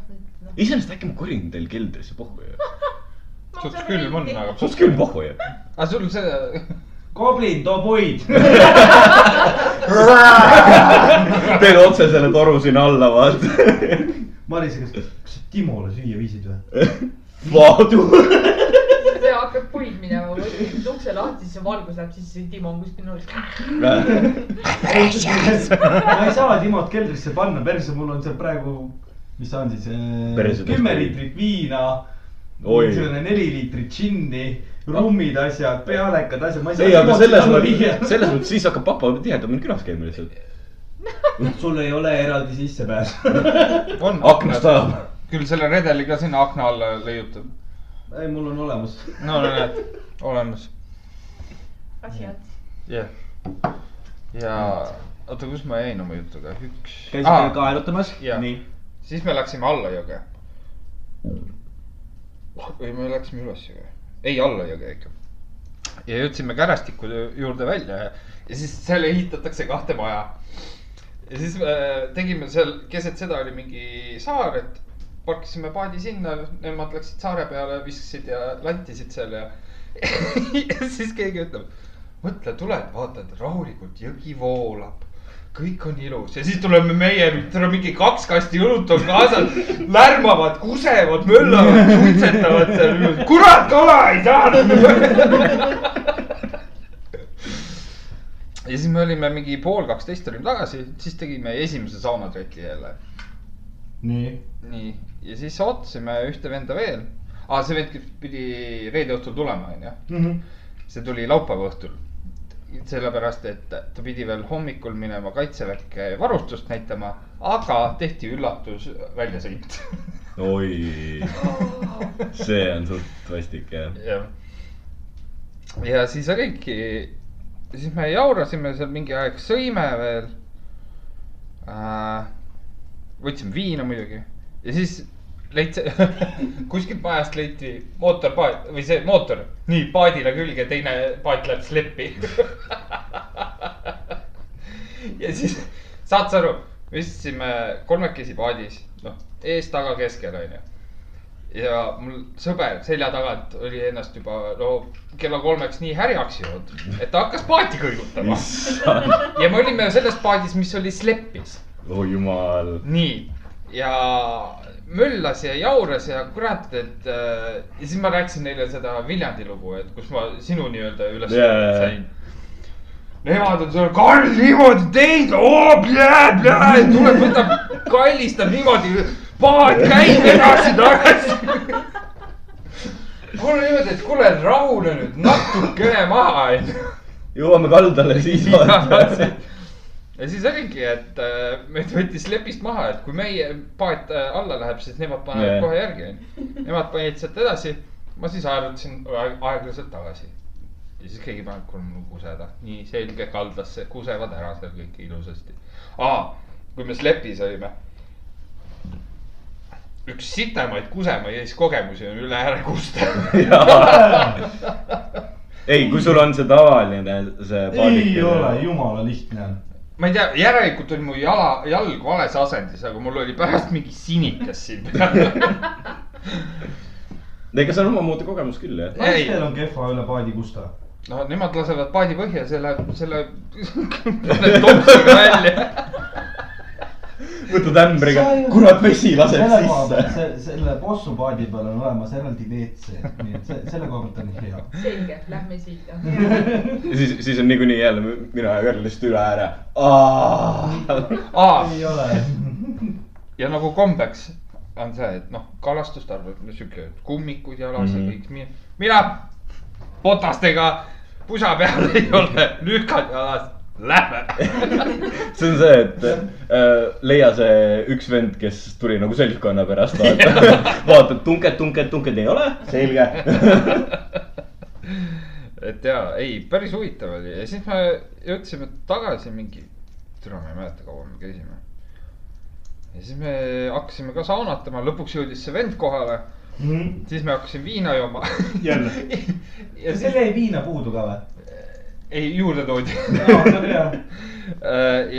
[SPEAKER 10] noh .
[SPEAKER 4] iseenesest äkki ma korin teil keldrisse pohhu ju .
[SPEAKER 5] suht külm on , aga .
[SPEAKER 4] sul oleks küll pohhu ju .
[SPEAKER 5] aga sul see ,
[SPEAKER 1] koblin toob puid . (laughs)
[SPEAKER 4] teed otse selle toru sinna alla , vaata .
[SPEAKER 1] Marise , kas , kas sa Timole süüa viisid
[SPEAKER 4] (laughs)
[SPEAKER 1] või ?
[SPEAKER 4] Vaadu .
[SPEAKER 10] see hakkab puid minema , ma
[SPEAKER 3] nagu
[SPEAKER 10] võtan ukse lahti , siis see valgus läheb sisse , Timo on kuskil nurgas .
[SPEAKER 1] ma ei saa Timot keldrisse panna , perse , mul on seal praegu , mis ta on siis äh,
[SPEAKER 4] Perse ,
[SPEAKER 1] kümme
[SPEAKER 4] tõesti.
[SPEAKER 1] liitrit viina .
[SPEAKER 4] Oi.
[SPEAKER 1] selline neli liitrit džinni , rummid , asjad , pealekad , asjad , ma ei saa .
[SPEAKER 4] ei , aga selles mõttes , selles mõttes siis hakkab papa tihedamini külas käima lihtsalt .
[SPEAKER 1] mõttes . (laughs) sul ei ole eraldi sissepääsu . (laughs)
[SPEAKER 5] on
[SPEAKER 4] aknast ajab .
[SPEAKER 5] küll selle redeli ka sinna akna alla leiutab .
[SPEAKER 1] ei , mul on olemas .
[SPEAKER 5] no näed , olemas .
[SPEAKER 3] asjad .
[SPEAKER 5] jah . ja oota , kus ma jäin oma jutuga , üks .
[SPEAKER 11] käisime kaelutamas .
[SPEAKER 5] Jaa.
[SPEAKER 11] nii .
[SPEAKER 5] siis me läksime alla jõge . või me läksime üles jõge , ei alla jõge ikka . ja jõudsime Kärastiku juurde välja ja, ja siis seal ehitatakse kahte maja . ja siis me tegime seal , keset seda oli mingi saar , et parkisime paadi sinna , nemad läksid saare peale , viskasid ja lantisid seal ja (laughs) ja siis keegi ütleb , mõtle , tuled , vaatad rahulikult jõgi voolab kõik on ilus ja siis tuleme meie , seal on mingi kaks kasti õlut on kaasas , lärmavad , kusevad , möllavad , suitsetavad seal . kurat , kala ei saanud . (laughs) ja siis me olime mingi pool kaksteist olime tagasi , siis tegime esimese saunatreki jälle .
[SPEAKER 6] nii ,
[SPEAKER 5] nii , ja siis ootasime ühte venda veel . aa , see vend kes pidi reede õhtul tulema , onju .
[SPEAKER 1] Mhm.
[SPEAKER 4] (laughs)
[SPEAKER 1] (laughs)
[SPEAKER 5] see tuli laupäeva õhtul . sellepärast , et ta pidi veel hommikul minema kaitseväkke varustust näitama , aga tehti üllatus väljasõit .
[SPEAKER 4] oi ,
[SPEAKER 5] (laughs)
[SPEAKER 4] see on suht vastik jah .
[SPEAKER 5] jah . ja siis oligi , siis me jaurasime seal mingi aeg , sõime veel äh, . võtsime viina muidugi ja siis leidsi , (laughs) kuskilt majast leiti mootorpaat või see mootor , nii paadile külge , teine paat läheb sleppi . (laughs) ja siis saad sa aru , me istusime kolmekesi paadis , noh ees , taga , keskel onju ja mul sõber selja tagant oli ennast juba no kella kolmeks nii härjaks joonud , et ta hakkas paati kõigutama
[SPEAKER 4] issand ,
[SPEAKER 5] ja me olime selles paadis , mis oli slepis .
[SPEAKER 4] oh jumal .
[SPEAKER 5] nii ja möllas ja jauras ja kurat , et äh, ja siis ma rääkisin neile seda Viljandi lugu , et kus ma sinu nii-öelda üles
[SPEAKER 4] Jajah.
[SPEAKER 5] yeah. sain . Nemad on seal , Karl niimoodi teinud , oo , tuleb , võtab , kallistab niimoodi , paat käib edasi-tagasi . mul oli niimoodi , et kuule , rahune nüüd natukene maha , onju
[SPEAKER 4] jõuame kaldale , siis vaatame .
[SPEAKER 5] (laughs) ja siis oligi , et äh, meid võttis lepist maha , et kui meie paat äh, alla läheb , siis nemad panevad
[SPEAKER 4] Jajah.
[SPEAKER 5] yeah. kohe järgi , onju . Nemad panid sealt edasi , ma siis aerutasin aeg- aeglaselt tagasi . ja siis keegi paneb kolm kuseda , nii selge kaldasse , kusevad ära seal kõik ilusasti . aa , kui me slepis olime , üks sitemaid kusemaid kogemusi on üle ääre (laughs) kusta .
[SPEAKER 4] (laughs) ei , kui sul on see tavaline , see paadik .
[SPEAKER 6] ei ole jumala lihtne .
[SPEAKER 5] ma ei tea , järelikult oli mu jala , jalg vales asendis , aga mul oli pärast mingi sinikas siin peal .
[SPEAKER 4] ega see on omamoodi kogemus küll jah .
[SPEAKER 5] Ei.
[SPEAKER 6] naistel on kehva üle paadi kusta .
[SPEAKER 5] no nemad lasevad paadi põhja selle , selle (laughs) topsiga välja .
[SPEAKER 4] võtad ämbriga , kurat vesi laseb
[SPEAKER 6] selle koha
[SPEAKER 4] sisse .
[SPEAKER 6] pealt , selle possu paadi peal on olemas eraldi WC , nii et se- selle koha pealt on hea .
[SPEAKER 7] selge , lähme
[SPEAKER 3] (laughs)
[SPEAKER 7] siit .
[SPEAKER 4] ja siis , siis on niikuinii jälle mi- mina ja Karl lihtsalt üle ääre .
[SPEAKER 5] aa ,
[SPEAKER 6] ei ole .
[SPEAKER 5] ja nagu kombeks on see , et noh , kalastustarve , sihuke kummikud jalas ja
[SPEAKER 4] Mhm.
[SPEAKER 5] kõik nii . mina botastega pusa peal (laughs) ei ole , lükad jalas , lähme .
[SPEAKER 4] (laughs) see on see , et äh, leia see üks vend , kes tuli nagu seltskonna pärast , vaatad , (laughs) vaatad tunked , tunked , tunked ei ole , (laughs) selge .
[SPEAKER 5] et ja ei , päris huvitav oli ja siis me jõudsime tagasi mingi , täna ma ei mäleta , kaua me käisime . ja siis me hakkasime ka saunatama , lõpuks jõudis see vend kohale , siis me hakkasime viina jooma . (laughs)
[SPEAKER 6] jälle .
[SPEAKER 5] ja
[SPEAKER 6] seal
[SPEAKER 5] siis
[SPEAKER 6] jäi viina puudu ka
[SPEAKER 5] (laughs)
[SPEAKER 6] või ?
[SPEAKER 5] ei juurde toodi . (laughs)
[SPEAKER 6] jaa , see on hea .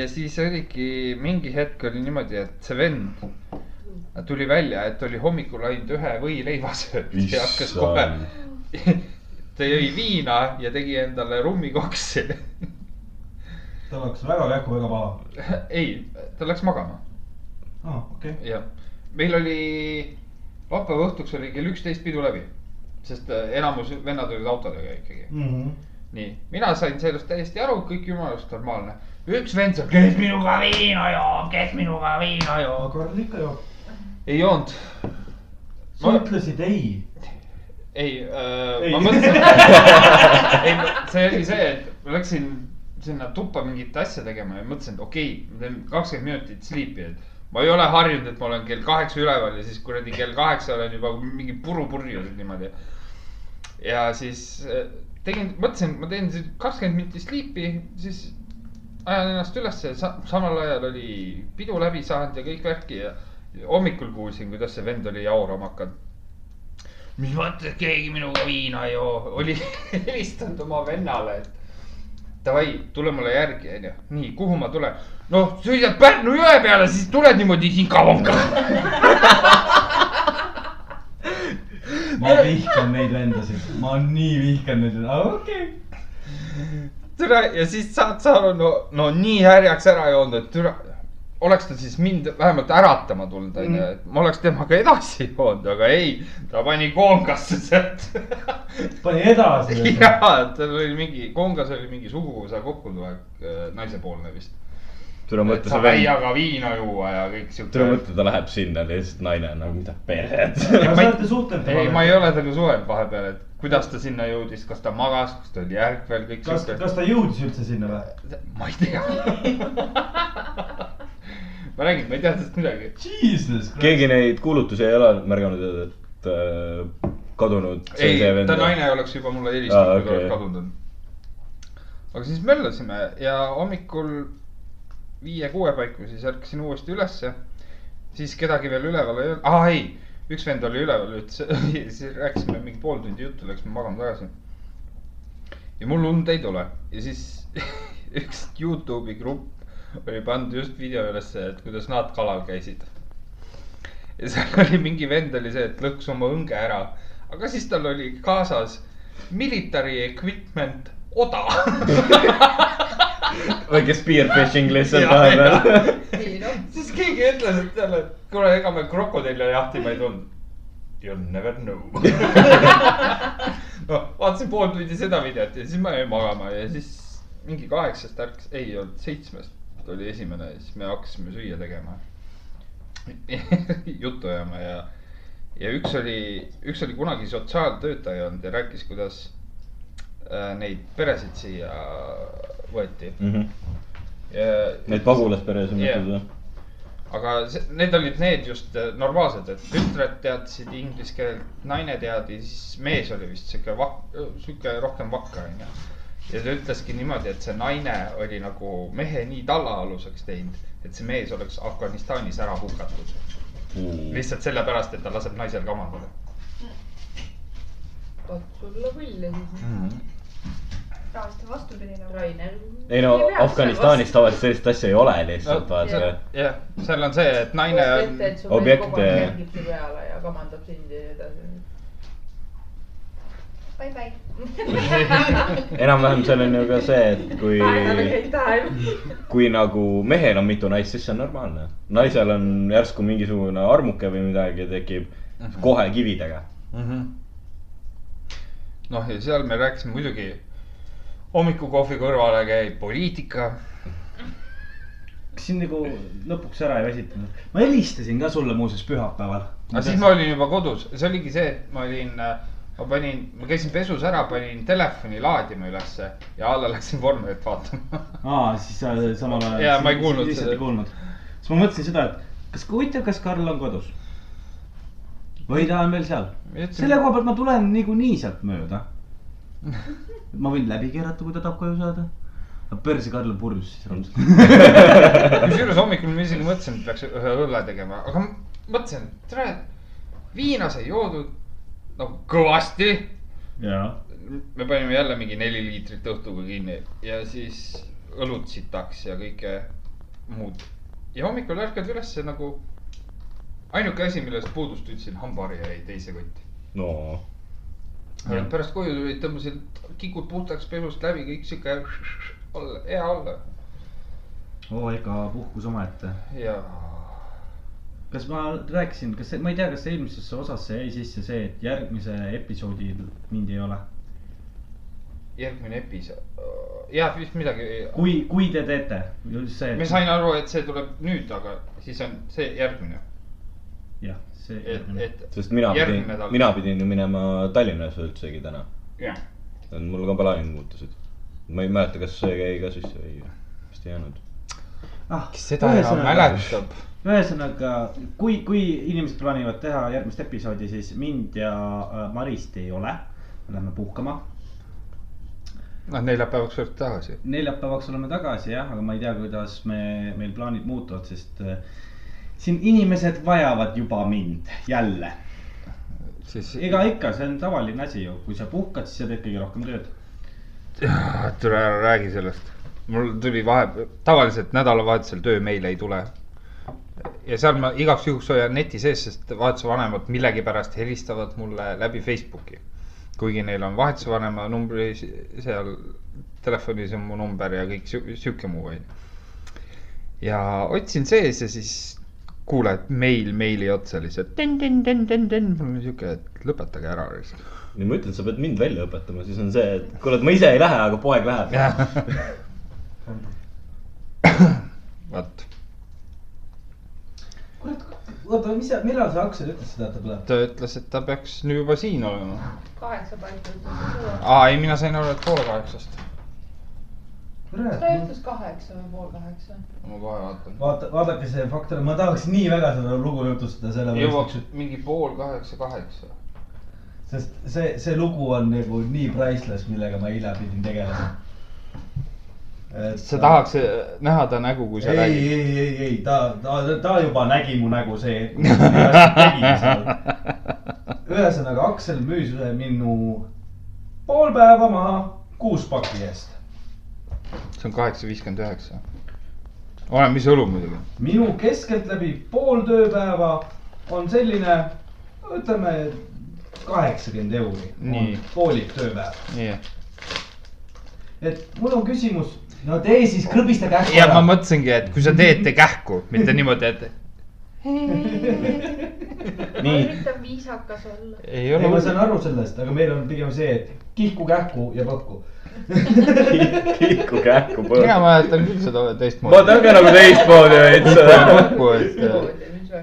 [SPEAKER 5] ja siis oligi mingi hetk oli niimoodi , et see vend tuli välja , et oli hommikul ainult ühe võileiva söönud ja hakkas kohe , (laughs) ta jõi viina ja tegi endale (laughs) rummikoksi .
[SPEAKER 6] tal hakkas väga kähku , väga paha .
[SPEAKER 5] (laughs) ei , ta läks magama ,
[SPEAKER 6] aa , okei okay. .
[SPEAKER 5] jah . meil oli , laupäeva õhtuks oli kell üksteist pidu läbi , sest äh, enamus vennad olid autodega ikkagi .
[SPEAKER 6] Mm -hmm.
[SPEAKER 5] nii , mina sain sellest täiesti aru , kõik jumalast normaalne . üks vend seal , kes minuga viina joob , kes minuga viina
[SPEAKER 6] aga
[SPEAKER 5] joob .
[SPEAKER 6] Karl ikka joob .
[SPEAKER 5] ei joonud ,
[SPEAKER 6] sa
[SPEAKER 5] Ma-
[SPEAKER 6] ütlesid ei .
[SPEAKER 5] ei
[SPEAKER 6] Ei.
[SPEAKER 5] äh, , ma mõtlesin , ei , see oli see , et ma läksin sinna tuppa mingit asja tegema ja mõtlesin , et okei okay, , ma teen kakskümmend minutit sleep'i , et ma ei ole harjunud , et ma olen kell kaheksa üleval ja siis kuradi kell kaheksa olen juba mingi puru purjus niimoodi . ja siis äh, tegin , mõtlesin , ma teen kakskümmend minutit sleep'i , siis ajan ennast ülesse , samal ajal oli pidu läbi saanud ja kõik värki ja hommikul kuulsin , kuidas see vend oli jaurama hakanud . mis mõttes keegi minuga viina ei joo , oli (laughs) helistanud oma vennale , et davai , tule mulle järgi , onju . nii , kuhu ma tulen ? noh , sõidad Pärnu jõe peale , siis tuled niimoodi sinka-vonka . (laughs)
[SPEAKER 6] ma vihkan neid vendasid , ma nii vihkan neid , aga okei okay. .
[SPEAKER 5] see türa ja siis saad sa aru , no , no nii härjaks ära joonud , et türa , oleks ta siis mind vähemalt äratama tulnud , onju , et ma oleks temaga edasi joonud , aga ei , ta pani koongasse sealt .
[SPEAKER 1] pani
[SPEAKER 5] (laughs)
[SPEAKER 1] edasi .
[SPEAKER 5] ja tal oli mingi , koongas oli mingi suguvõsa kokkutulek , naisepoolne vist .
[SPEAKER 4] tule
[SPEAKER 5] et
[SPEAKER 4] mõtle ,
[SPEAKER 5] sa
[SPEAKER 4] see vend ,
[SPEAKER 5] väiaga viina juua ja kõik
[SPEAKER 4] tule
[SPEAKER 5] siuke .
[SPEAKER 4] mõtle , ta läheb sinna , lihtsalt naine on nagu , mida perset .
[SPEAKER 1] kas te olete suhtelnud
[SPEAKER 5] ei , ma
[SPEAKER 1] temaga ?
[SPEAKER 5] ei ole temaga suhelnud vahepeal , et kuidas ta sinna jõudis , kas ta magas , kas ta oli ärkvel , kõik
[SPEAKER 1] kas ,
[SPEAKER 5] siuke .
[SPEAKER 1] kas ta jõudis üldse sinna või ?
[SPEAKER 5] ma ei tea . ma räägin , ma ei tea sellest midagi .
[SPEAKER 1] Jesus Christ .
[SPEAKER 4] keegi neid kuulutusi ei ole märganud , et äh, kadunud .
[SPEAKER 5] ei , ta naine oleks juba mulle helistanud ,
[SPEAKER 4] Aa,
[SPEAKER 5] kui ta
[SPEAKER 4] okei.
[SPEAKER 5] oleks kadunud . aga siis möllasime ja hommikul viie-kuue paiku siis ärkasin uuesti ülesse . siis kedagi veel üleval ei olnud , aa ei , üks vend (laughs) oli üleval , ütles , rääkisime mingi pool tundi juttu , läksime magama tagasi . ja mul und ei tule ja siis (laughs) üks Youtube'i grupp oli pannud just video ülesse , et kuidas nad kalal käisid . (laughs) ja seal oli mingi vend oli see , et lõks oma õnge ära , aga siis tal oli kaasas military equipment oda . (laughs)
[SPEAKER 4] väike spear fishing lihtsalt
[SPEAKER 5] Ja, ja.
[SPEAKER 4] vahepeal .
[SPEAKER 7] ei noh ,
[SPEAKER 5] siis keegi ütles , et talle , et kuule , ega me krokodille jahtima ei tulnud . You never know . noh , vaatasin pool tundi seda videot ja siis ma jäin magama ja siis mingi kaheksast ärkas , ei olnud seitsmest oli esimene ja siis me hakkasime süüa tegema . (laughs) juttu ajama ja , ja üks oli , üks oli kunagi sotsiaaltöötaja olnud ja rääkis , kuidas äh, neid peresid siia võeti .
[SPEAKER 4] Mhm. Neid pagulasperes on
[SPEAKER 5] Jah.
[SPEAKER 4] mitu seda .
[SPEAKER 5] aga see, need olid need just eh, normaalsed , et tütred teadsid inglise keelt , naine teadis , mees oli vist sihuke vak- , sihuke rohkem vakka onju . ja ta ütleski niimoodi , et see naine oli nagu mehe nii tallaaluseks teinud , et see mees oleks Afganistanis ära hukatud . lihtsalt sellepärast , et ta laseb naisel kamandada
[SPEAKER 7] vot sulle võlle siis .
[SPEAKER 5] mm . -hmm.
[SPEAKER 3] tavaliselt on vastupidi nagu .
[SPEAKER 7] Rainer .
[SPEAKER 4] ei no Afganistanis . tavaliselt sellist asja ei ole lihtsalt
[SPEAKER 5] No,
[SPEAKER 4] vaata .
[SPEAKER 5] jah , seal on see , et naine on ,
[SPEAKER 4] objekte-
[SPEAKER 5] äh,
[SPEAKER 7] jälgib su peale ja kamandab sind ja nii edasi .
[SPEAKER 3] Bye-bye .
[SPEAKER 4] enam-vähem seal on ju ka see , et
[SPEAKER 7] (laughs)
[SPEAKER 4] kui ,
[SPEAKER 7] Bye,
[SPEAKER 5] Mm.
[SPEAKER 7] time .
[SPEAKER 4] kui nagu mehel on mitu naist , siis see on normaalne . naisel on järsku mingisugune armuke või midagi tekib kohe kividega .
[SPEAKER 5] Mhm. noh , ja seal me rääkisime muidugi , hommikukohvi kõrvale käib poliitika .
[SPEAKER 1] kas sind nagu lõpuks ära ei väsitanud ? ma helistasin ka sulle muuseas pühapäeval .
[SPEAKER 5] aga siis ma olin juba kodus , see oligi see , et ma olin , ma panin , ma käisin pesus ära , panin telefoni laadima ülesse ja alla läksin vormelit vaatama . (laughs)
[SPEAKER 1] aa , siis sa samal ajal .
[SPEAKER 5] Jaa, ma ei kuulnud
[SPEAKER 1] lihtsalt
[SPEAKER 5] seda.
[SPEAKER 1] ei kuulnud . siis ma mõtlesin seda , et kas , huvitav , kas Karl on kodus või ta on veel seal . selle koha pealt ma tulen niikuinii sealt mööda .
[SPEAKER 5] (laughs)
[SPEAKER 1] ma võin läbi keerata , kui ta tahab koju saada . aga perse Karl on purjus siis raudselt .
[SPEAKER 5] kusjuures hommikul ma isegi mõtlesin , et peaks ühe õlle tegema , aga ma mõtlesin , et tere , viina sai joodud nagu kõvasti .
[SPEAKER 1] jaa .
[SPEAKER 5] me panime jälle mingi neli liitrit õhtuga kinni ja siis õlut sitaks ja kõike muud . ja hommikul ärkad ülesse nagu , ainuke asi , millest puudust tundsin , hambahari jäi teise kotti .
[SPEAKER 4] no
[SPEAKER 5] Ja pärast koju tulid , tõmbasid kikud puhtaks pesust läbi , kõik sihuke olla , hea olla
[SPEAKER 1] oo , ega puhkus omaette .
[SPEAKER 5] ja .
[SPEAKER 1] kas ma rääkisin , kas see , ma ei tea , kas eelmisesse osasse jäi sisse see , et järgmise episoodi mind ei ole ?
[SPEAKER 5] järgmine episood , jah , vist midagi .
[SPEAKER 1] kui , kui te teete , just see .
[SPEAKER 5] ma sain aru , et see tuleb nüüd , aga siis on see järgmine ,
[SPEAKER 1] jah , see .
[SPEAKER 5] et , et
[SPEAKER 4] sest mina
[SPEAKER 5] Järgmine
[SPEAKER 4] pidin
[SPEAKER 5] nädal. ,
[SPEAKER 4] mina pidin ju minema Tallinnas üldsegi täna .
[SPEAKER 5] jah ,
[SPEAKER 4] mul ka plaanid muutusid . ma ei mäleta , kas see jäi ka sisse või vist ei jäänud .
[SPEAKER 1] ah,
[SPEAKER 5] kes seda enam . mäletab .
[SPEAKER 1] ühesõnaga , kui , kui inimesed plaanivad teha järgmist episoodi , siis mind ja äh, Marist ei ole . me läheme puhkama ,
[SPEAKER 5] noh , neljapäevaks võib tagasi .
[SPEAKER 1] neljapäevaks oleme tagasi jah , aga ma ei tea , kuidas me , meil plaanid muutuvad , sest äh, siin inimesed vajavad juba mind jälle .
[SPEAKER 5] siis
[SPEAKER 1] ega ikka , see on tavaline asi ju , kui sa puhkad , siis sa teed kõige rohkem tööd .
[SPEAKER 5] Ah, tule ära räägi sellest . mul tuli vahe , tavaliselt nädalavahetusel töömeile ei tule . ja seal ma igaks juhuks hoian neti sees , sest vahetuse vanemad millegipärast helistavad mulle läbi Facebooki . kuigi neil on vahetusvanema numbri s- seal telefonis on mu number ja kõik sihu- sihuke muu onju . ja otsin sees ja siis kuuled meil meili otsa lihtsalt ten-ten-ten-ten-ten , mul on siuke , et lõpetage ära lihtsalt .
[SPEAKER 4] ja ma ütlen , sa pead mind välja õpetama , siis on see , et kuule , et ma ise ei lähe , aga poeg läheb .
[SPEAKER 5] vot ,
[SPEAKER 12] kurat , oota , mis sa , millal sa hakkasid , ütlesid seda , et ta tuleb ?
[SPEAKER 5] ta ütles , et ta peaks nüüd juba siin olema .
[SPEAKER 7] kaheksa paiku ütles , et tuleb .
[SPEAKER 5] aa , ei , mina sain aru , et poole kaheksast .
[SPEAKER 7] kas ta
[SPEAKER 12] kurat ,
[SPEAKER 7] ütles kaheksa või pool kaheksa ?
[SPEAKER 5] ma kohe vaatan .
[SPEAKER 12] vaata , vaadake see faktor , ma tahaks nii väga seda lugu jutustada ,
[SPEAKER 5] jõuaks
[SPEAKER 12] sellepärast
[SPEAKER 5] mingi pool kaheksa , kaheksa .
[SPEAKER 12] sest see , see lugu on nagu nii priceless , millega ma eile pidin tegelema .
[SPEAKER 5] sa tahaks eh, näha ta nägu , kui sa
[SPEAKER 12] ei ,
[SPEAKER 5] räägid ?
[SPEAKER 12] ei , ei , ei , ta , ta , ta juba nägi mu nägu see .
[SPEAKER 5] (laughs)
[SPEAKER 12] ühesõnaga , Aksel müüs ühe minu pool päeva maha kuus paki eest .
[SPEAKER 5] see on kaheksa , viiskümmend üheksa . oleneb , mis õlu muidugi .
[SPEAKER 12] minu keskeltläbi pool tööpäeva on selline , ütleme kaheksakümmend euri .
[SPEAKER 5] Nii.
[SPEAKER 12] poolik tööpäev ,
[SPEAKER 5] nii .
[SPEAKER 12] et mul on küsimus , no tee siis krõbista kähku
[SPEAKER 5] ja ma mõtlesingi , et kui sa teed , tee kähku , mitte niimoodi , et
[SPEAKER 7] ma
[SPEAKER 4] nii ,
[SPEAKER 7] üritan viisakas olla .
[SPEAKER 5] ei
[SPEAKER 12] ei ,
[SPEAKER 5] ole
[SPEAKER 12] ma saan
[SPEAKER 5] hullu .
[SPEAKER 12] aru sellest , aga meil on pigem see , et kihku kähku ja põhku .
[SPEAKER 4] kiku kähku
[SPEAKER 5] mina
[SPEAKER 4] põõsa .
[SPEAKER 5] mäletan küll seda
[SPEAKER 4] vaata ,
[SPEAKER 5] teistmoodi .
[SPEAKER 4] ärge nagu teistmoodi veits .
[SPEAKER 5] kokku , et äh,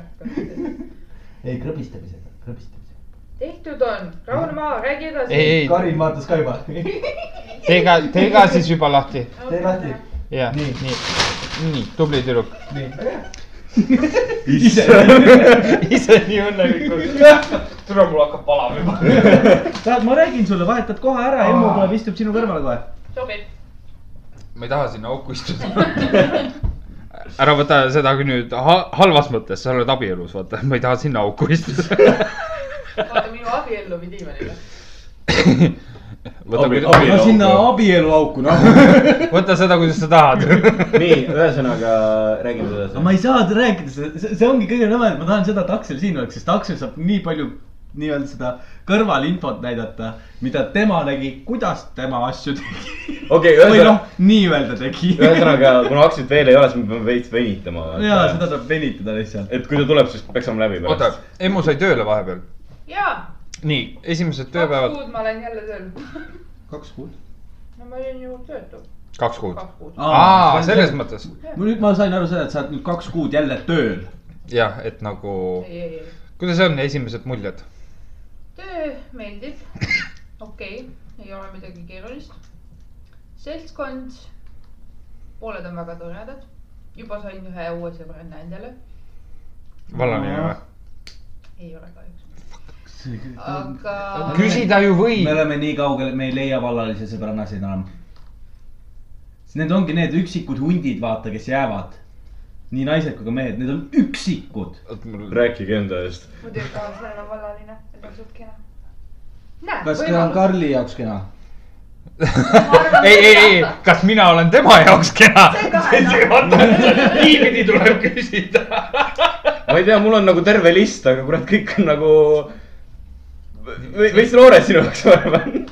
[SPEAKER 12] ei , krõbistamisega , krõbistamisega .
[SPEAKER 7] tehtud on , rahune maha , räägi edasi .
[SPEAKER 5] ei , ei ,
[SPEAKER 12] Karin vaatas ka juba . (laughs)
[SPEAKER 5] tee ka , tee ka siis juba lahti .
[SPEAKER 12] tee lahti .
[SPEAKER 5] ja , nii
[SPEAKER 12] Nii. ,
[SPEAKER 5] nii , nii , tubli tüdruk .
[SPEAKER 12] nii ,
[SPEAKER 5] (laughs) ise nii (laughs) õnnelikult . tule , mul hakkab palav juba .
[SPEAKER 12] tead , ma räägin sulle , vahetad kohe ära , Emmu tuleb , istub sinu kõrval kohe .
[SPEAKER 7] sobib .
[SPEAKER 5] ma ei taha sinna auku istuda . (laughs) ära võta seda ka nüüd ha halvas mõttes , sa oled abielus , vaata , ma ei taha sinna auku istuda .
[SPEAKER 7] vaata minu abiellu või diivaniga .
[SPEAKER 5] võta ,
[SPEAKER 4] Abi-
[SPEAKER 5] kuidas
[SPEAKER 4] abi- No sinna
[SPEAKER 12] abieluauku ,
[SPEAKER 1] (laughs)
[SPEAKER 12] noh .
[SPEAKER 5] võta seda , kuidas sa tahad .
[SPEAKER 4] nii , ühesõnaga räägime edasi .
[SPEAKER 1] aga ma ei saa rääkida seda , see ongi kõige nõmedam , ma tahan seda , et Aksel siin oleks , sest Aksel saab nii palju nii-öelda seda kõrvalinfot näidata , mida tema nägi , kuidas tema asju tegi .
[SPEAKER 4] okei ,
[SPEAKER 1] või
[SPEAKER 4] ühesõnaga
[SPEAKER 1] noh , nii-öelda tegi . (laughs)
[SPEAKER 4] ühesõnaga , kuna aktsiat veel ei ole , siis me peame veits venitama .
[SPEAKER 1] ja seda saab venitada lihtsalt .
[SPEAKER 4] et kui ta tuleb , siis peksame läbi
[SPEAKER 5] oota
[SPEAKER 4] pärast .,
[SPEAKER 5] Emmu sai tööle vahepeal .
[SPEAKER 7] jaa ,
[SPEAKER 5] nii , esimesed
[SPEAKER 7] kaks
[SPEAKER 5] tööpäevad ,
[SPEAKER 7] kuud ma olen jälle tööl .
[SPEAKER 1] kaks kuud .
[SPEAKER 7] no ma olin ju töötu ,
[SPEAKER 5] kaks kuud .
[SPEAKER 7] kaks kuud .
[SPEAKER 5] aa , selles . mõttes
[SPEAKER 1] nüüd ma sain aru seda , et sa oled nüüd kaks kuud jälle tööl .
[SPEAKER 5] jah , et nagu ,
[SPEAKER 7] ei , ei , ei ,
[SPEAKER 5] kuidas on esimesed muljed ?
[SPEAKER 7] töö meeldib , okei okay. , ei ole midagi keerulist . seltskond , pooled on väga toredad , juba sain ühe uue sõbranna endale ,
[SPEAKER 5] vallanime või ?
[SPEAKER 7] ei ole kahjuks , aga .
[SPEAKER 5] küsida ju võib
[SPEAKER 1] me . oleme nii kaugel , et me ei leia vallalisi sõbrannasid enam . Need ongi need üksikud hundid , vaata , kes jäävad . nii naised kui ka mehed , need on üksikud .
[SPEAKER 4] rääkige enda eest .
[SPEAKER 3] muidugi Karlsel on vallaline , ta on suht
[SPEAKER 7] (laughs)
[SPEAKER 3] kena .
[SPEAKER 7] näed ,
[SPEAKER 1] kas see on
[SPEAKER 7] võimalus ,
[SPEAKER 1] Karli jaoks kena ?
[SPEAKER 5] ei , ei , ei , kas mina olen tema jaoks kena ? (laughs) niipidi tuleb küsida .
[SPEAKER 4] ma ei tea , mul on nagu terve list , aga kurat , kõik on nagu ve- veits noored sinu jaoks , ma arvan .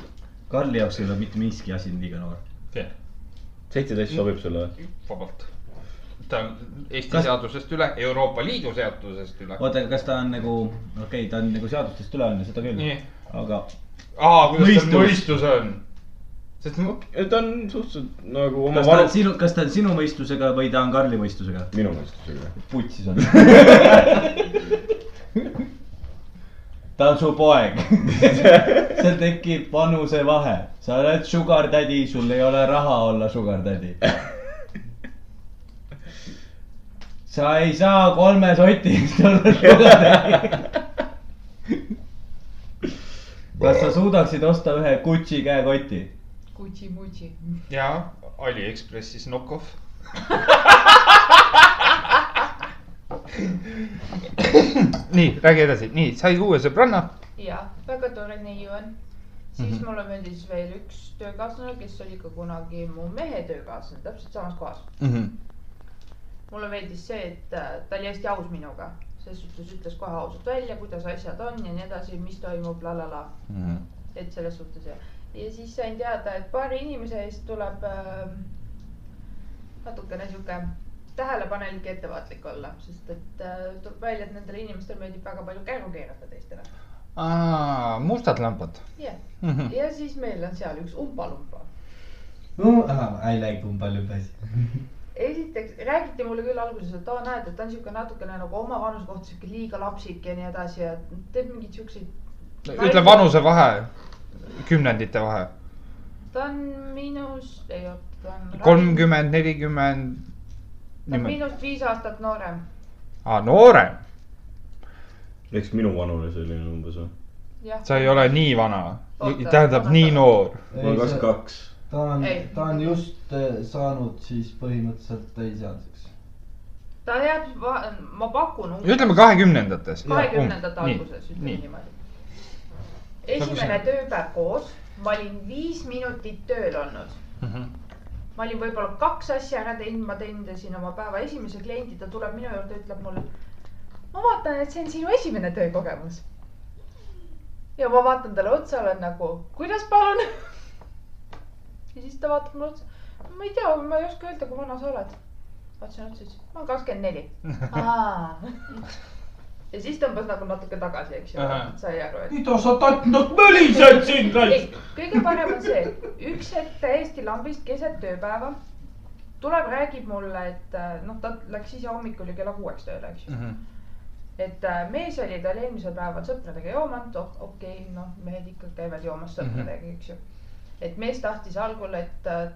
[SPEAKER 1] Karli jaoks ei ole mitte miski asi liiga noor .
[SPEAKER 4] seitseteist sobib sulle või ?
[SPEAKER 5] vabalt . ta on Eesti seadusest üle , Euroopa Liidu seadusest üle .
[SPEAKER 1] oota , kas ta on nagu , okei okay, , ta on nagu seadustest üle , on ju , seda küll
[SPEAKER 5] nii .,
[SPEAKER 1] aga
[SPEAKER 5] aa , kuidas
[SPEAKER 1] Mõistus.
[SPEAKER 5] tal mõistus on ? sest mu-
[SPEAKER 4] ta on suhteliselt nagu oma
[SPEAKER 1] kas ta on
[SPEAKER 4] vanu ,
[SPEAKER 1] sinu , kas ta on sinu mõistusega või ta on Karli mõistusega ?
[SPEAKER 4] minu mõistusega .
[SPEAKER 1] putsis
[SPEAKER 13] (laughs)
[SPEAKER 1] on . ta on su
[SPEAKER 13] (laughs)
[SPEAKER 1] poeg . seal tekib vanusevahe , sa oled sugar daddy , sul ei ole raha olla sugar
[SPEAKER 13] (laughs)
[SPEAKER 1] daddy . sa ei saa kolme soti eest olla sugar daddy . kas sa suudaksid osta ühe Gucci käekoti ?
[SPEAKER 7] kutsi-mutsi .
[SPEAKER 5] jaa , Aliekspressis knock-off . nii , räägi edasi , nii , said uue sõbranna .
[SPEAKER 7] jah , väga tore neiu on . siis
[SPEAKER 5] Mhm.
[SPEAKER 7] mulle meeldis veel üks töökaaslane , kes oli ka kunagi mu mehe töökaaslane , täpselt samas kohas .
[SPEAKER 1] Mhm.
[SPEAKER 7] mulle meeldis see , et äh, ta oli hästi aus minuga , selles suhtes ütles kohe ausalt välja , kuidas asjad on ja nii edasi , mis toimub , la la la . et selles suhtes ja , ja siis sain teada , et paari inimese eest tuleb äh, natukene sihuke tähelepanelik ja ettevaatlik olla , sest et äh, tuleb välja , et nendele inimestele meeldib väga palju käru keerata teistele .
[SPEAKER 5] mustad lambad .
[SPEAKER 7] jah ,
[SPEAKER 1] Mhm.
[SPEAKER 5] Hm.
[SPEAKER 7] ja siis meil on seal üks umbalumba .
[SPEAKER 13] ah, I like umbalümbasi .
[SPEAKER 7] esiteks räägiti mulle küll alguses , et aa , näed , et ta on sihuke natukene nagu oma vanuse kohta sihuke liiga lapsik ja nii edasi ja teeb mingeid siukseid .
[SPEAKER 5] ütle vanusevahe , kümnendite vahe ,
[SPEAKER 7] ta on miinus , ei oota , ta on .
[SPEAKER 5] kolmkümmend , nelikümmend .
[SPEAKER 7] ta on minust viis aastat noorem .
[SPEAKER 5] aa , noorem ,
[SPEAKER 4] eks minuvanune selline umbes või ?
[SPEAKER 7] jah ,
[SPEAKER 5] sa ei ole nii vana ,
[SPEAKER 7] Oota,
[SPEAKER 5] tähendab
[SPEAKER 7] oota.
[SPEAKER 5] nii noor .
[SPEAKER 4] ma olen kakskümmend kaks .
[SPEAKER 13] ta on
[SPEAKER 7] Ei. ,
[SPEAKER 13] ta on just eh, saanud siis põhimõtteliselt täisealiseks .
[SPEAKER 7] ta jääb , ma pakun .
[SPEAKER 5] ütleme . kahekümnendates .
[SPEAKER 7] kahekümnendate alguses , ütleme niimoodi . esimene
[SPEAKER 5] Nagu
[SPEAKER 7] tööpäev koos , ma olin viis minutit tööl olnud .
[SPEAKER 5] Mhm,
[SPEAKER 7] ma olin võib-olla kaks asja ära teinud , ma teenindasin oma päeva esimese kliendi , ta tuleb minu juurde , ütleb mulle . ma vaatan , et see on sinu esimene töökogemus . ja ma vaatan talle otsa , olen nagu , kuidas palun ? ja siis ta vaatab mulle otsa . ma ei tea , ma ei oska öelda , kui vana sa oled . vaatasin otsa , ütles , ma olen kakskümmend neli . ja siis tõmbas nagu natuke tagasi , eks ju
[SPEAKER 5] Ahah. ,
[SPEAKER 7] sai aru , et .
[SPEAKER 6] mida sa tatnud mölised siin
[SPEAKER 7] ei
[SPEAKER 6] raisk ?
[SPEAKER 7] kõige parem on see , üks hetk täiesti lambist keset tööpäeva tuleb , räägib mulle , et äh, noh , ta läks ise hommikul ju kella kuueks tööle , eks
[SPEAKER 5] Mm. mhm,
[SPEAKER 7] ju . et äh, mees oli tal eelmisel päeval sõpradega joomanud , okei okay, , noh , mehed ikka käivad joomas sõpradega , eks ju . et mees tahtis algul , et äh,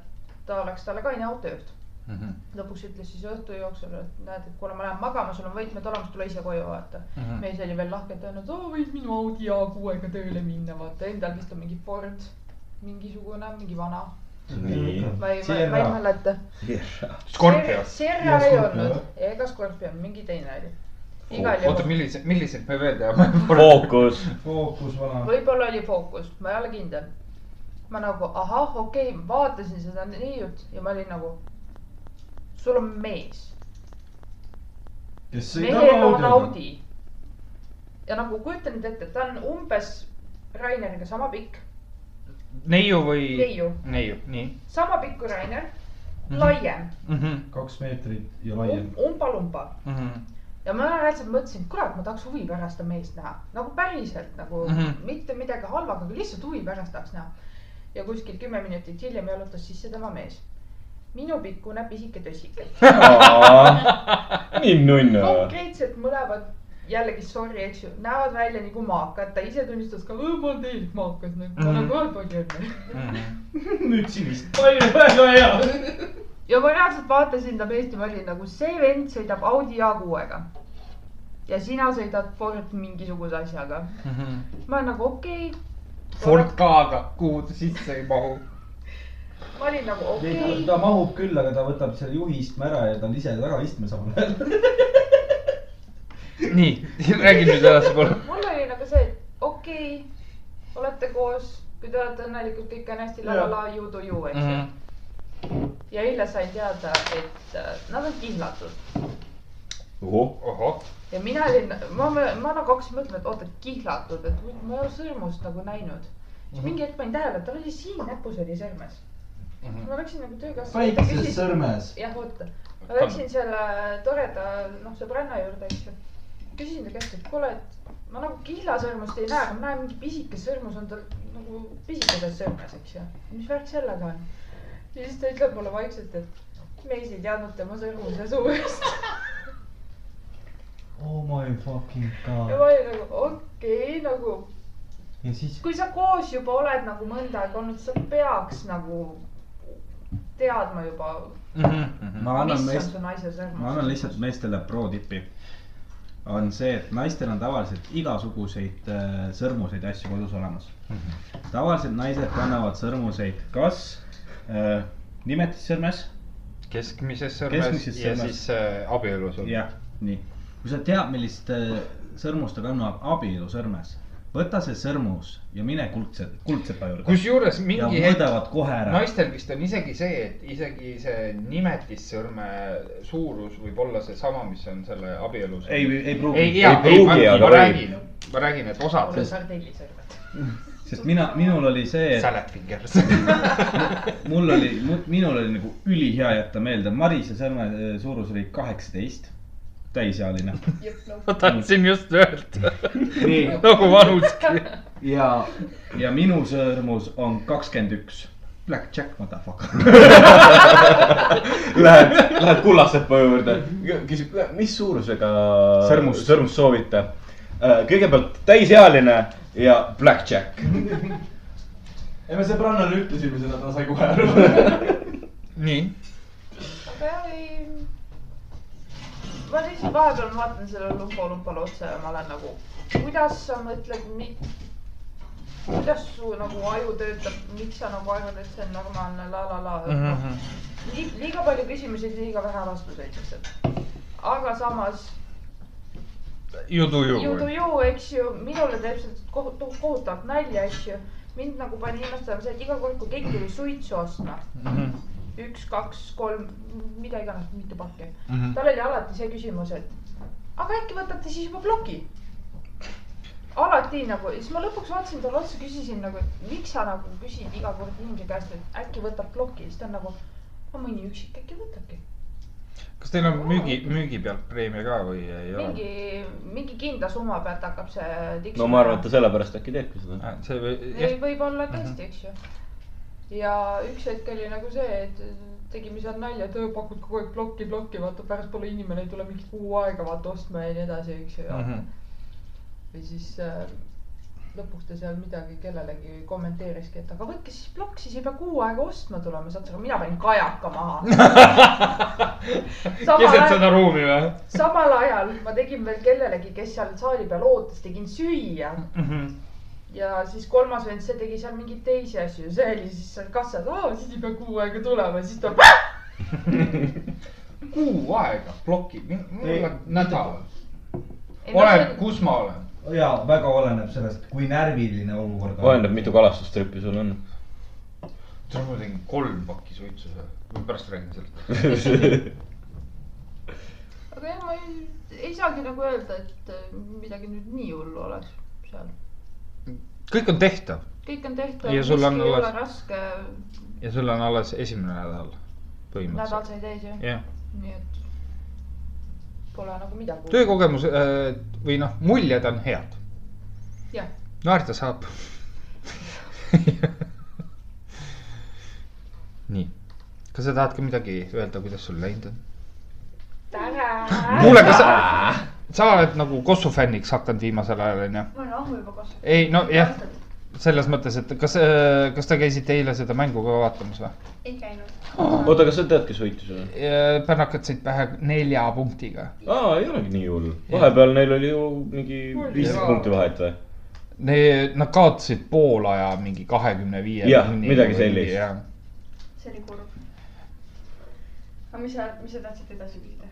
[SPEAKER 7] ta oleks talle kaine autojuht .
[SPEAKER 5] mhm,
[SPEAKER 7] lõpuks ütles siis õhtu jooksul , et näed , et kuule , ma lähen magama , sul on võtmed olemas , tule ise koju , vaata .
[SPEAKER 5] mhm.
[SPEAKER 7] mees oli veel lahkelt öelnud , oo võid minu Audi A6-ga tööle minna , vaata endal vist on mingi Ford , mingisugune , mingi vana .
[SPEAKER 4] nii .
[SPEAKER 7] ma ei , ma ei ma ei mäleta .
[SPEAKER 5] Scorpio .
[SPEAKER 7] Serra ei olnud ega Scorpion , mingi teine oli . igal
[SPEAKER 5] oota ,
[SPEAKER 7] juhul ,
[SPEAKER 5] millised , millised me veel teame ? (laughs)
[SPEAKER 4] fookus .
[SPEAKER 13] fookus vana .
[SPEAKER 7] võib-olla oli fookus , ma ei ole kindel . ma nagu ahah , okei okay, , vaatasin seda neiut ja ma olin nagu , sul on mees
[SPEAKER 6] kes
[SPEAKER 7] mehel on
[SPEAKER 13] (laughs)
[SPEAKER 7] Audi . ja nagu kujuta nüüd ette , ta on umbes Raineriga sama pikk ,
[SPEAKER 5] neiu või ?
[SPEAKER 7] Neiu.
[SPEAKER 5] neiu , nii .
[SPEAKER 7] sama pikk kui Rainer ,
[SPEAKER 5] Mhm.
[SPEAKER 7] laiem ,
[SPEAKER 13] kaks meetrit ja laiem .
[SPEAKER 7] umbalumba
[SPEAKER 5] mhm,
[SPEAKER 7] ja ma reaalselt mõtlesin , et kurat , ma tahaks huvi pärast seda meest näha , nagu päriselt nagu mm
[SPEAKER 5] Mhm.
[SPEAKER 7] -hmm. mitte midagi halba , aga lihtsalt huvi pärast tahaks näha . ja kuskil kümme minutit hiljem jalutas sisse tema mees , minupikkune pisike tössike ,
[SPEAKER 4] nii nunnu .
[SPEAKER 7] konkreetselt mõlemad jällegi sorry , eks ju , näevad välja nagu maakad , ta ise tunnistas ka , ma olen täielik maakas , ma olen
[SPEAKER 5] Mhm.
[SPEAKER 7] kohe palju .
[SPEAKER 6] nüüd sinist palju , väga hea .
[SPEAKER 7] ja ma reaalselt vaatasin ta meest ja ma olin nagu see vend sõidab Audi A6-ga . ja sina sõidad Ford mingisuguse asjaga . ma olen nagu okei okay. .
[SPEAKER 5] Ford K-ga , kuhu ta sisse ei mahu .
[SPEAKER 7] ma olin nagu okei
[SPEAKER 13] ei , ta
[SPEAKER 7] okay. ,
[SPEAKER 13] ta mahub küll , aga ta võtab selle juhi istme ära ja ta on ise taga istme samal ajal .
[SPEAKER 5] nii , (laughs) räägi nüüd edasi palun .
[SPEAKER 7] mul oli nagu see , et okei okay, , olete koos , kui te olete õnnelikud , kõik on hästi , la la la , you do you , eks
[SPEAKER 5] Mhm.
[SPEAKER 7] ju . ja eile sain teada , et äh, nad on kihlatud
[SPEAKER 4] ohoh ,
[SPEAKER 5] ohoh ,
[SPEAKER 7] ja mina olin , ma , ma nagu hakkasin mõtlema , et oota , kihlatud , et ma ei ole sõrmust nagu näinud . siis mingi hetk panin tähele , et tal oli siin näpus oli sõrmes .
[SPEAKER 5] Mhm.
[SPEAKER 7] ma läksin nagu
[SPEAKER 13] väikses
[SPEAKER 7] töökaaslase .
[SPEAKER 13] sõrmes .
[SPEAKER 7] jah , oota , ma läksin selle toreda noh , sõbranna juurde , eks ju . küsisin ta käest , et kuule , et ma nagu kihlasõrmust ei näe , aga ma näen mingi pisike sõrmus on tal nagu pisikeses sõrmes , eks ju . mis värk sellega on ? ja siis ta ütleb mulle vaikselt , et mees ei teadnud tema sõrmuse suurust .
[SPEAKER 13] Oh my fucking
[SPEAKER 7] ja
[SPEAKER 13] god .
[SPEAKER 7] ma olin nagu okei okay, , nagu
[SPEAKER 13] ja siis
[SPEAKER 7] kui sa koos juba oled nagu mõnda aega olnud , sa peaks nagu teadma juba ,
[SPEAKER 5] Mhm,
[SPEAKER 1] ma annan
[SPEAKER 7] mis on
[SPEAKER 1] meest-
[SPEAKER 7] su naise
[SPEAKER 1] ma annan
[SPEAKER 7] sõrmus .
[SPEAKER 1] lihtsalt meestele pro-tipi . on see , et naistel on tavaliselt igasuguseid äh, sõrmuseid ja asju kodus olemas .
[SPEAKER 5] Mhm.
[SPEAKER 1] tavaliselt naised kannavad sõrmuseid kas äh, nimetissõrmes ,
[SPEAKER 5] keskmises sõrmes
[SPEAKER 1] Keskmises
[SPEAKER 5] ja
[SPEAKER 1] sõrmes.
[SPEAKER 5] siis äh, abielus on .
[SPEAKER 1] jah , nii . kui sa tead , millist äh, sõrmust ta kannab abielu sõrmes , võta see sõrmus ja mine kuldse , kuldsepa juurde .
[SPEAKER 5] kusjuures
[SPEAKER 1] ja
[SPEAKER 5] mingi hetk
[SPEAKER 1] mõõdavad kohe ära .
[SPEAKER 5] naistel vist on isegi see , et isegi see nimetissõrme suurus võib olla seesama , mis on selle abielus .
[SPEAKER 1] ei , ei
[SPEAKER 5] ei ,
[SPEAKER 1] pruugi .
[SPEAKER 5] ei ,
[SPEAKER 4] Ei
[SPEAKER 5] ei , ma,
[SPEAKER 4] pruugi,
[SPEAKER 5] ma
[SPEAKER 4] aga võib.
[SPEAKER 5] räägin , ma räägin , et osad
[SPEAKER 7] mul on sardellisõrmed .
[SPEAKER 1] sest mina , minul oli see , et
[SPEAKER 5] Salad (laughs) fingers .
[SPEAKER 1] mul oli , minul oli nagu ülihea jätta meelde , Marise sõrme eh, suurus oli kaheksateist ,
[SPEAKER 6] (laughs)
[SPEAKER 1] täisealine .
[SPEAKER 5] ma
[SPEAKER 3] noh.
[SPEAKER 5] tahtsin just öelda ,
[SPEAKER 1] nii ,
[SPEAKER 5] (laughs) nagu vanuski .
[SPEAKER 1] ja , ja minu sõrmus on kakskümmend üks . Blackjack , motherfucker .
[SPEAKER 6] (laughs)
[SPEAKER 4] Lähed , lähed kullasepa juurde , küsib , mis suurusega
[SPEAKER 1] Sõrmust.
[SPEAKER 4] sõrmust soovite . kõigepealt täisealine ja blackjack .
[SPEAKER 6] ei , me sõbrannale ütlesime seda , ta sai kohe
[SPEAKER 1] (laughs)
[SPEAKER 6] aru .
[SPEAKER 5] nii ,
[SPEAKER 7] aga jah , ei . ma lihtsalt vahepeal vaatan sellele lumpa-lumpale otsa ja ma olen nagu , kuidas sa mõtled , kuidas su nagu aju töötab , miks sa nagu arvad , et see on normaalne la la la mm .
[SPEAKER 5] Mhm.
[SPEAKER 7] -hmm. liiga palju küsimusi , liiga vähe vastuseid lihtsalt . aga samas
[SPEAKER 5] you do you .
[SPEAKER 7] you do you , eks ju , minule teeb see kohut- kohutavalt nalja , eks ju . mind nagu pani imestama see , et iga kord , kui keegi tuli suitsu ostma ,
[SPEAKER 5] Mhm.
[SPEAKER 7] üks , kaks , kolm , mida iganes , mitu pakki mm ,
[SPEAKER 5] Mhm.
[SPEAKER 7] -hmm. tal oli alati see küsimus , et aga äkki võtate siis juba ploki . alati nagu , siis ma lõpuks vaatasin talle otsa , küsisin nagu , et miks sa nagu küsid iga kord inimese käest , et äkki võtab ploki , siis ta on nagu , no mõni üksik äkki võtabki .
[SPEAKER 5] kas teil on müügi , müügi pealt preemia ka või ei ole ?
[SPEAKER 7] mingi , mingi kindla summa pealt hakkab see tiksuma .
[SPEAKER 4] no ma arvan , et ta Mhm. sellepärast äkki teebki seda .
[SPEAKER 5] Ah, see või ,
[SPEAKER 7] ei
[SPEAKER 5] jah ,,
[SPEAKER 7] võib-olla tõesti , eks ju . ja üks hetk oli nagu see , et tegime seal nalja , et öö, pakud kogu aeg plokki , plokki , vaata pärast pole inimene , ei tule mingi kuu aega vaata ostma ja nii edasi , eks ju mm .
[SPEAKER 5] Mhm.
[SPEAKER 7] -hmm. või siis äh, lõpuks ta seal midagi kellelegi kommenteeriski , et aga võtke siis plokk , siis ei pea kuu aega ostma tulema , saad sa , mina panin kajaka maha .
[SPEAKER 5] (laughs) keset seda ruumi või ?
[SPEAKER 7] samal ajal ma tegin veel kellelegi , kes seal saali peal ootas , tegin süüa mm . -hmm.
[SPEAKER 5] Mhm.
[SPEAKER 7] ja siis kolmas vend , see tegi seal mingeid teisi asju , see oli siis seal kassas , aa siis ei pea kuu aega tulema , siis tuleb .
[SPEAKER 5] kuu aega ploki , mul
[SPEAKER 6] Ei,
[SPEAKER 5] on nädal . oleneb , kus ma olen .
[SPEAKER 13] ja väga oleneb sellest , kui närviline olukord
[SPEAKER 4] oleneb , mitu kalastustrippi sul on .
[SPEAKER 5] tead , ma tegin kolm pakki suitsu seal , ma pärast räägin sellest .
[SPEAKER 7] aga jah , ma ei, ei saagi nagu öelda , et äh, midagi nüüd nii hullu oleks seal .
[SPEAKER 5] kõik on tehtav
[SPEAKER 7] kõik on tehtud ,
[SPEAKER 5] Ja sul
[SPEAKER 7] miski
[SPEAKER 5] on
[SPEAKER 7] ei ole
[SPEAKER 5] alles-
[SPEAKER 7] raske ,
[SPEAKER 5] ja sul on alles esimene nädal
[SPEAKER 7] nädal
[SPEAKER 5] põhimõtteliselt .
[SPEAKER 7] sai täis ju ,
[SPEAKER 5] jah ,
[SPEAKER 7] nii et pole nagu midagi .
[SPEAKER 5] töökogemus äh, või noh , muljed on head ,
[SPEAKER 7] jah ,
[SPEAKER 5] naerda saab (laughs) nii , kas sa tahad ka midagi öelda , kuidas sul läinud on ?
[SPEAKER 7] Äh.
[SPEAKER 5] kuule , kas sa , sa oled nagu Kossu fänniks hakanud viimasel ajal onju ?
[SPEAKER 3] ma olen ammu juba kasvanud .
[SPEAKER 5] ei no jah , selles mõttes , et kas äh, , kas te käisite eile seda mängu ka vaatamas või ?
[SPEAKER 3] ei käinud .
[SPEAKER 4] oota , kas sa tead , kes võitis või ?
[SPEAKER 5] pännakad said pähe nelja punktiga ,
[SPEAKER 4] aa , ei olegi nii hull . vahepeal neil oli ju mingi viisteist punkti vahet või ?
[SPEAKER 5] nad kaotasid pool aja mingi kahekümne viie .
[SPEAKER 4] Jah, midagi sellist. .
[SPEAKER 3] see oli kurb . aga mis sa , mis sa tahtsid edasi küsida ?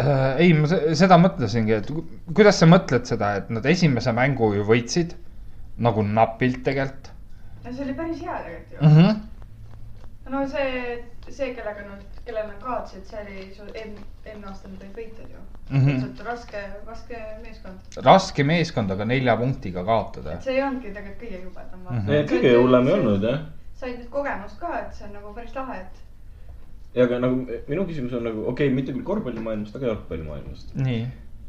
[SPEAKER 5] Äh, ei , ma se- seda mõtlesingi , et ku- kuidas sa mõtled seda , et nad esimese mängu ju võitsid nagu napilt tegelikult
[SPEAKER 3] no see oli päris hea tegelikult ju
[SPEAKER 5] mm . -hmm.
[SPEAKER 3] no see , see , kellega nad , kellele nad kaotasid , see oli su eelmine , eelmine aasta nad olid võitjad ju mm .
[SPEAKER 5] Mhm.
[SPEAKER 3] -hmm. raske , raske meeskond .
[SPEAKER 5] raske meeskond , aga nelja punktiga kaotada .
[SPEAKER 3] see ei olnudki tegelikult kõige jubedam
[SPEAKER 5] Mhm.
[SPEAKER 3] mm .
[SPEAKER 4] kõige hullem ei olnud jah .
[SPEAKER 3] said nüüd kogemust ka , et see on nagu päris lahe , et
[SPEAKER 4] ja aga nagu minu küsimus on nagu okei okay, , mitte küll korvpallimaailmast , aga jalgpallimaailmast .
[SPEAKER 5] nii ,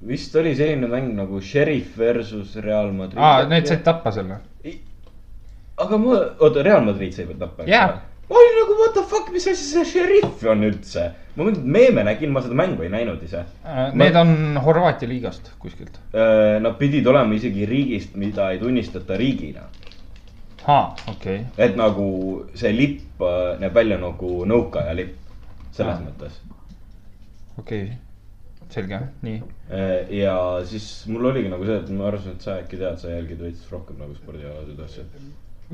[SPEAKER 4] vist oli selline mäng nagu Sheriff versus Real Madrid .
[SPEAKER 5] aa , Ah, need said tappa selle .
[SPEAKER 4] aga ma , oota , Real Madrid sai veel tappa .
[SPEAKER 5] Jaa. .
[SPEAKER 4] ma olin nagu what the fuck , mis asi see šerif on üldse ? ma mõtlen , et meeme nägin , ma seda mängu ei näinud ise .
[SPEAKER 5] Äh, Need on Horvaatia liigast kuskilt .
[SPEAKER 4] Nad pidid olema isegi riigist , mida ei tunnistata riigina .
[SPEAKER 5] aa , okei okay. ,
[SPEAKER 4] et nagu see lipp äh, näeb välja nagu nõukaaja lipp , selles
[SPEAKER 5] Aa.
[SPEAKER 4] mõttes .
[SPEAKER 5] okei okay. , selge , nii .
[SPEAKER 4] ja siis mul oligi nagu see , et ma arvasin , et sa äkki tead , sa jälgid veits rohkem nagu spordialaseid asju .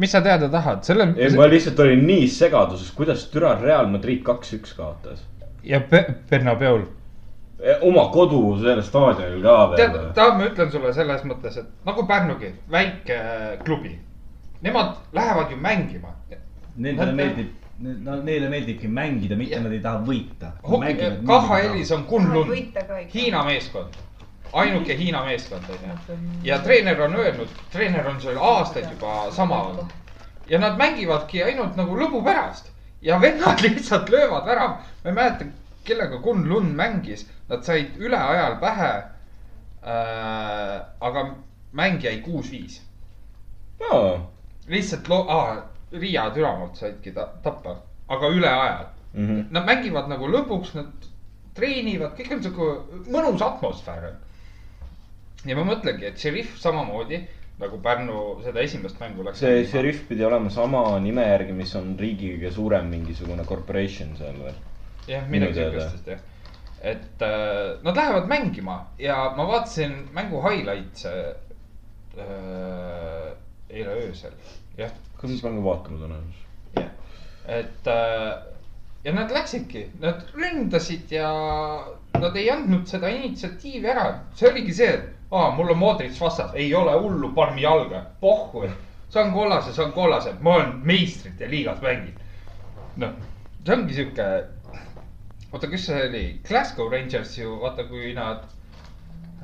[SPEAKER 5] mis sa teada tahad , selle
[SPEAKER 4] ei , ma lihtsalt olin nii segaduses , kuidas türa Real Madrid kaks-üks kaotas .
[SPEAKER 5] ja Pe- Bernabeul
[SPEAKER 4] oma kodu sellel staadionil ka veel
[SPEAKER 5] tead , tead , ma ütlen sulle selles mõttes , et nagu Pärnugi , väike äh, klubi . Nemad lähevad ju mängima .
[SPEAKER 1] Nendele meeldib , no neile meeldibki mängida , mitte nad ei taha võita .
[SPEAKER 5] KHL-is on Kunlun ,
[SPEAKER 3] võita ka ikka .
[SPEAKER 5] Hiina meeskond . ainuke Hiina meeskond onju . ja treener on öelnud , treener on seal aastaid juba sama olnud . ja nad mängivadki ainult nagu lõbu pärast ja vennad (laughs) lihtsalt löövad ära . ma ei mäleta , kellega Kunlun mängis , nad said üleajal pähe äh, . aga mäng jäi kuus-viis ,
[SPEAKER 4] jaa ,
[SPEAKER 5] lihtsalt loo- ah, , Riia Dünamolt saidki ta tappa , aga üleajal .
[SPEAKER 4] mhmh ,
[SPEAKER 5] Nad mängivad nagu lõpuks , nad treenivad , kõik on sihuke mõnus atmosfäär on . ja ma mõtlengi , et Šerif samamoodi nagu Pärnu seda esimest mängu läks .
[SPEAKER 4] see šerif pidi olema sama nime järgi , mis on riigi kõige suurem mingisugune corporation seal või ?
[SPEAKER 5] jah ,
[SPEAKER 4] Minu
[SPEAKER 5] midagi
[SPEAKER 4] teada.
[SPEAKER 5] sihukestest jah . et äh, nad lähevad mängima ja ma vaatasin mängu highlights'e äh, eile öösel , jah ,
[SPEAKER 4] kas me peame vaatama tõenäoliselt ?
[SPEAKER 5] jah . et äh, ja nad läksidki , nad ründasid ja nad ei andnud seda initsiatiivi ära , see oligi see , et aa , mul on moodrits vastas , ei ole hullu , paneme jalga , pohhu , saan kollase , saan kollase , ma olen meistrite liigas mänginud . noh , see ongi sihuke , oota , kes see oli , Glasgow Rangers ju , vaata , kui nad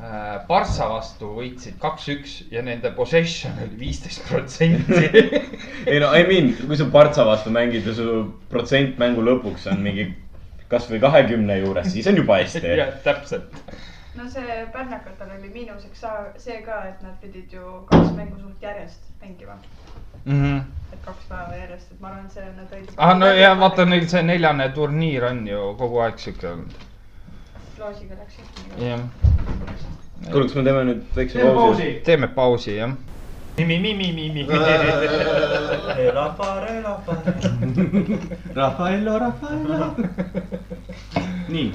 [SPEAKER 5] äh, Barca vastu võitsid kaks-üks ja nende possession oli viisteist protsenti .
[SPEAKER 4] ei no I mean , kui sa Partsa vastu mängid ja su protsent mängu lõpuks on mingi kasvõi kahekümne juures , siis on juba
[SPEAKER 5] (laughs)
[SPEAKER 4] hästi .
[SPEAKER 5] jah , täpselt .
[SPEAKER 3] no see pärnakatel oli miinuseks saa- see ka , et nad pidid ju kaks mängu suht järjest mängima , et kaks päeva järjest , et ma arvan , see nad olid .
[SPEAKER 5] ah Mhm. no ja vaata neil see neljane turniir on ju kogu aeg siuke olnud .
[SPEAKER 3] loosiga läks juhtuma .
[SPEAKER 5] jah ,
[SPEAKER 4] kuule , kas me teeme nüüd väikse
[SPEAKER 14] teeme
[SPEAKER 4] pausi ?
[SPEAKER 14] pausi .
[SPEAKER 5] teeme pausi jah . mi-mi-mi-mi-mi .
[SPEAKER 14] Rafael , Rafael .
[SPEAKER 1] Rafaello ,
[SPEAKER 6] (laughs)
[SPEAKER 1] Rafaello . nii ,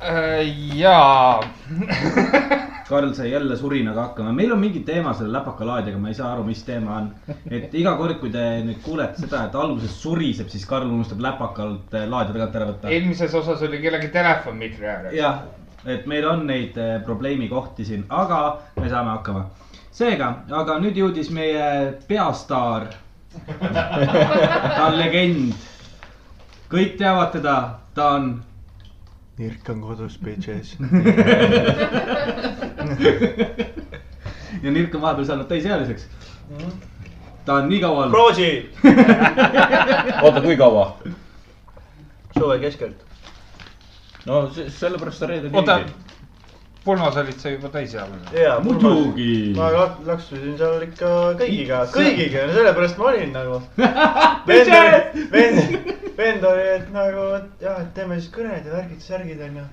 [SPEAKER 5] Äh, jaa ,
[SPEAKER 1] Karl sai jälle surinaga hakkama , meil on mingi teema selle läpakalaadiga , ma ei saa aru , mis teema on . et iga kord , kui te nüüd kuulete seda , et alguses suriseb , siis Karl unustab läpakalt eh, laadio tagant ära võtta .
[SPEAKER 5] eelmises osas oli kellegi telefon mikri ääres .
[SPEAKER 1] jah , et meil on neid eh, probleemi kohti siin , aga me saame hakkama . seega , aga nüüd jõudis meie peastaar . ta on legend . kõik teavad teda , ta on
[SPEAKER 15] Nirk on kodus , bitches .
[SPEAKER 1] (laughs) ja Nirk on vahepeal saanud täisealiseks . ta on nii kaua olnud .
[SPEAKER 14] Proosi .
[SPEAKER 4] oota , kui kaua ?
[SPEAKER 14] suve keskelt .
[SPEAKER 4] no se- sellepärast ta reedel
[SPEAKER 5] oota
[SPEAKER 4] mängib. ,
[SPEAKER 5] Pulmas olid sa juba täisealine .
[SPEAKER 14] jaa ,
[SPEAKER 1] muidugi .
[SPEAKER 14] ma lak- laksusin seal ikka kõigiga , kõigiga , sellepärast ma olin nagu .
[SPEAKER 1] Bitches!
[SPEAKER 14] vend , vend , vend oli , et nagu , et jah , et teeme siis kõned ja värgid , särgid onju .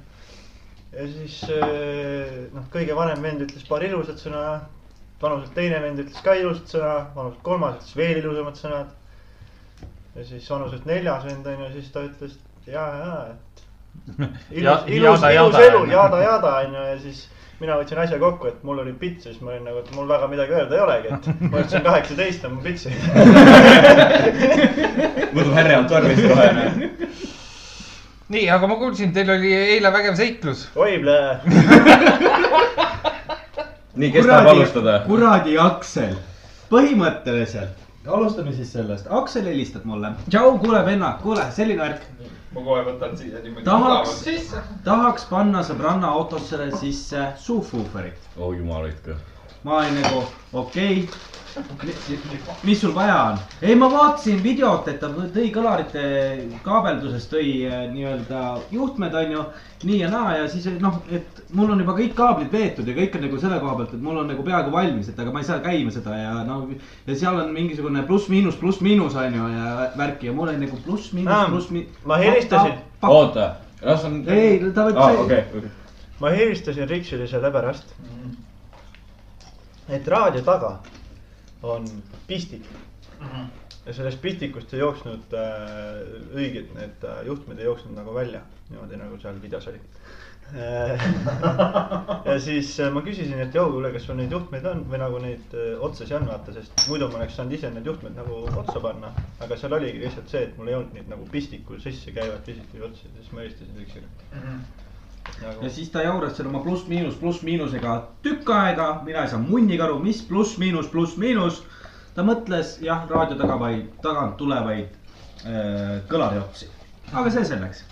[SPEAKER 14] ja siis eh, noh , kõige vanem vend ütles paar ilusat sõna , vanuselt teine vend ütles ka ilusat sõna , vanuselt kolmas ütles veel ilusamad sõnad . ja siis vanuselt neljas vend onju , siis ta ütles , et ja , ja , et
[SPEAKER 5] Ja- (laughs)
[SPEAKER 14] ilus , ilus ,
[SPEAKER 5] jada,
[SPEAKER 14] ilus
[SPEAKER 5] jada,
[SPEAKER 14] elu ,
[SPEAKER 5] onju.
[SPEAKER 14] jada , jada onju ja siis mina võtsin asja kokku , et mul oli pits ja siis ma olin nagu , et mul väga midagi öelda ei olegi , et ma ütlesin kaheksateist on mu pits . (laughs)
[SPEAKER 4] võtab härra on tormis
[SPEAKER 1] (laughs)
[SPEAKER 4] kohe .
[SPEAKER 5] nii , aga ma kuulsin , teil oli eile vägev seiklus .
[SPEAKER 14] oi plee
[SPEAKER 4] nii , kes tahab alustada ?
[SPEAKER 1] kuradi Aksel , põhimõtteliselt alustame siis sellest , Aksel helistab mulle . tšau , kuule vennad , kuule selline värk ,
[SPEAKER 5] ma kohe võtan siia niimoodi
[SPEAKER 1] Tahaks- tahaks panna sõbranna autosse sisse suufuuferit .
[SPEAKER 4] oh jumal hoidku .
[SPEAKER 1] ma olin nagu okei okay. . mis sul vaja on ? ei , ma vaatasin videot , et ta tõi kõlarite kaabelduses tõi eh, nii-öelda juhtmed , onju , nii ja naa ja siis noh , et mul on juba kõik kaablid veetud ja kõik on nagu selle koha pealt , et mul on nagu peaaegu valmis , et aga ma ei saa käima seda ja no ja seal on mingisugune pluss-miinus , pluss-miinus onju ja värki ja mul oli nagu pluss-miinus ,
[SPEAKER 14] Aa,
[SPEAKER 1] pluss-miinus .
[SPEAKER 14] ma helistasin. .
[SPEAKER 4] oota , las on .
[SPEAKER 1] ei , ta võib
[SPEAKER 4] aa , okei .
[SPEAKER 14] ma helistasin Riksile sellepärast , et raadio taga on pistik . ja sellest pistikust ei jooksnud äh, õiged need äh, juhtmed ei jooksnud nagu välja , niimoodi nagu seal videos oli . (laughs) ja siis äh, ma küsisin , et joo , kuule , kas sul neid juhtmeid on või nagu neid äh, otsasi on vaata , sest muidu ma oleks saanud ise need juhtmed nagu otsa panna . aga seal oligi lihtsalt see , et mul ei olnud neid nagu pistikul sisse käivad pisikuid otsi , siis ma helistasin Riksile nagu...
[SPEAKER 1] ja . siis ta jauras seal oma pluss-miinus , pluss-miinusega tükk aega , mina ei saa munnigi aru , mis pluss-miinus , pluss-miinus . ta mõtles jah , raadio taga vaid , tagant tulevaid äh, kõlariotsi , aga see selleks .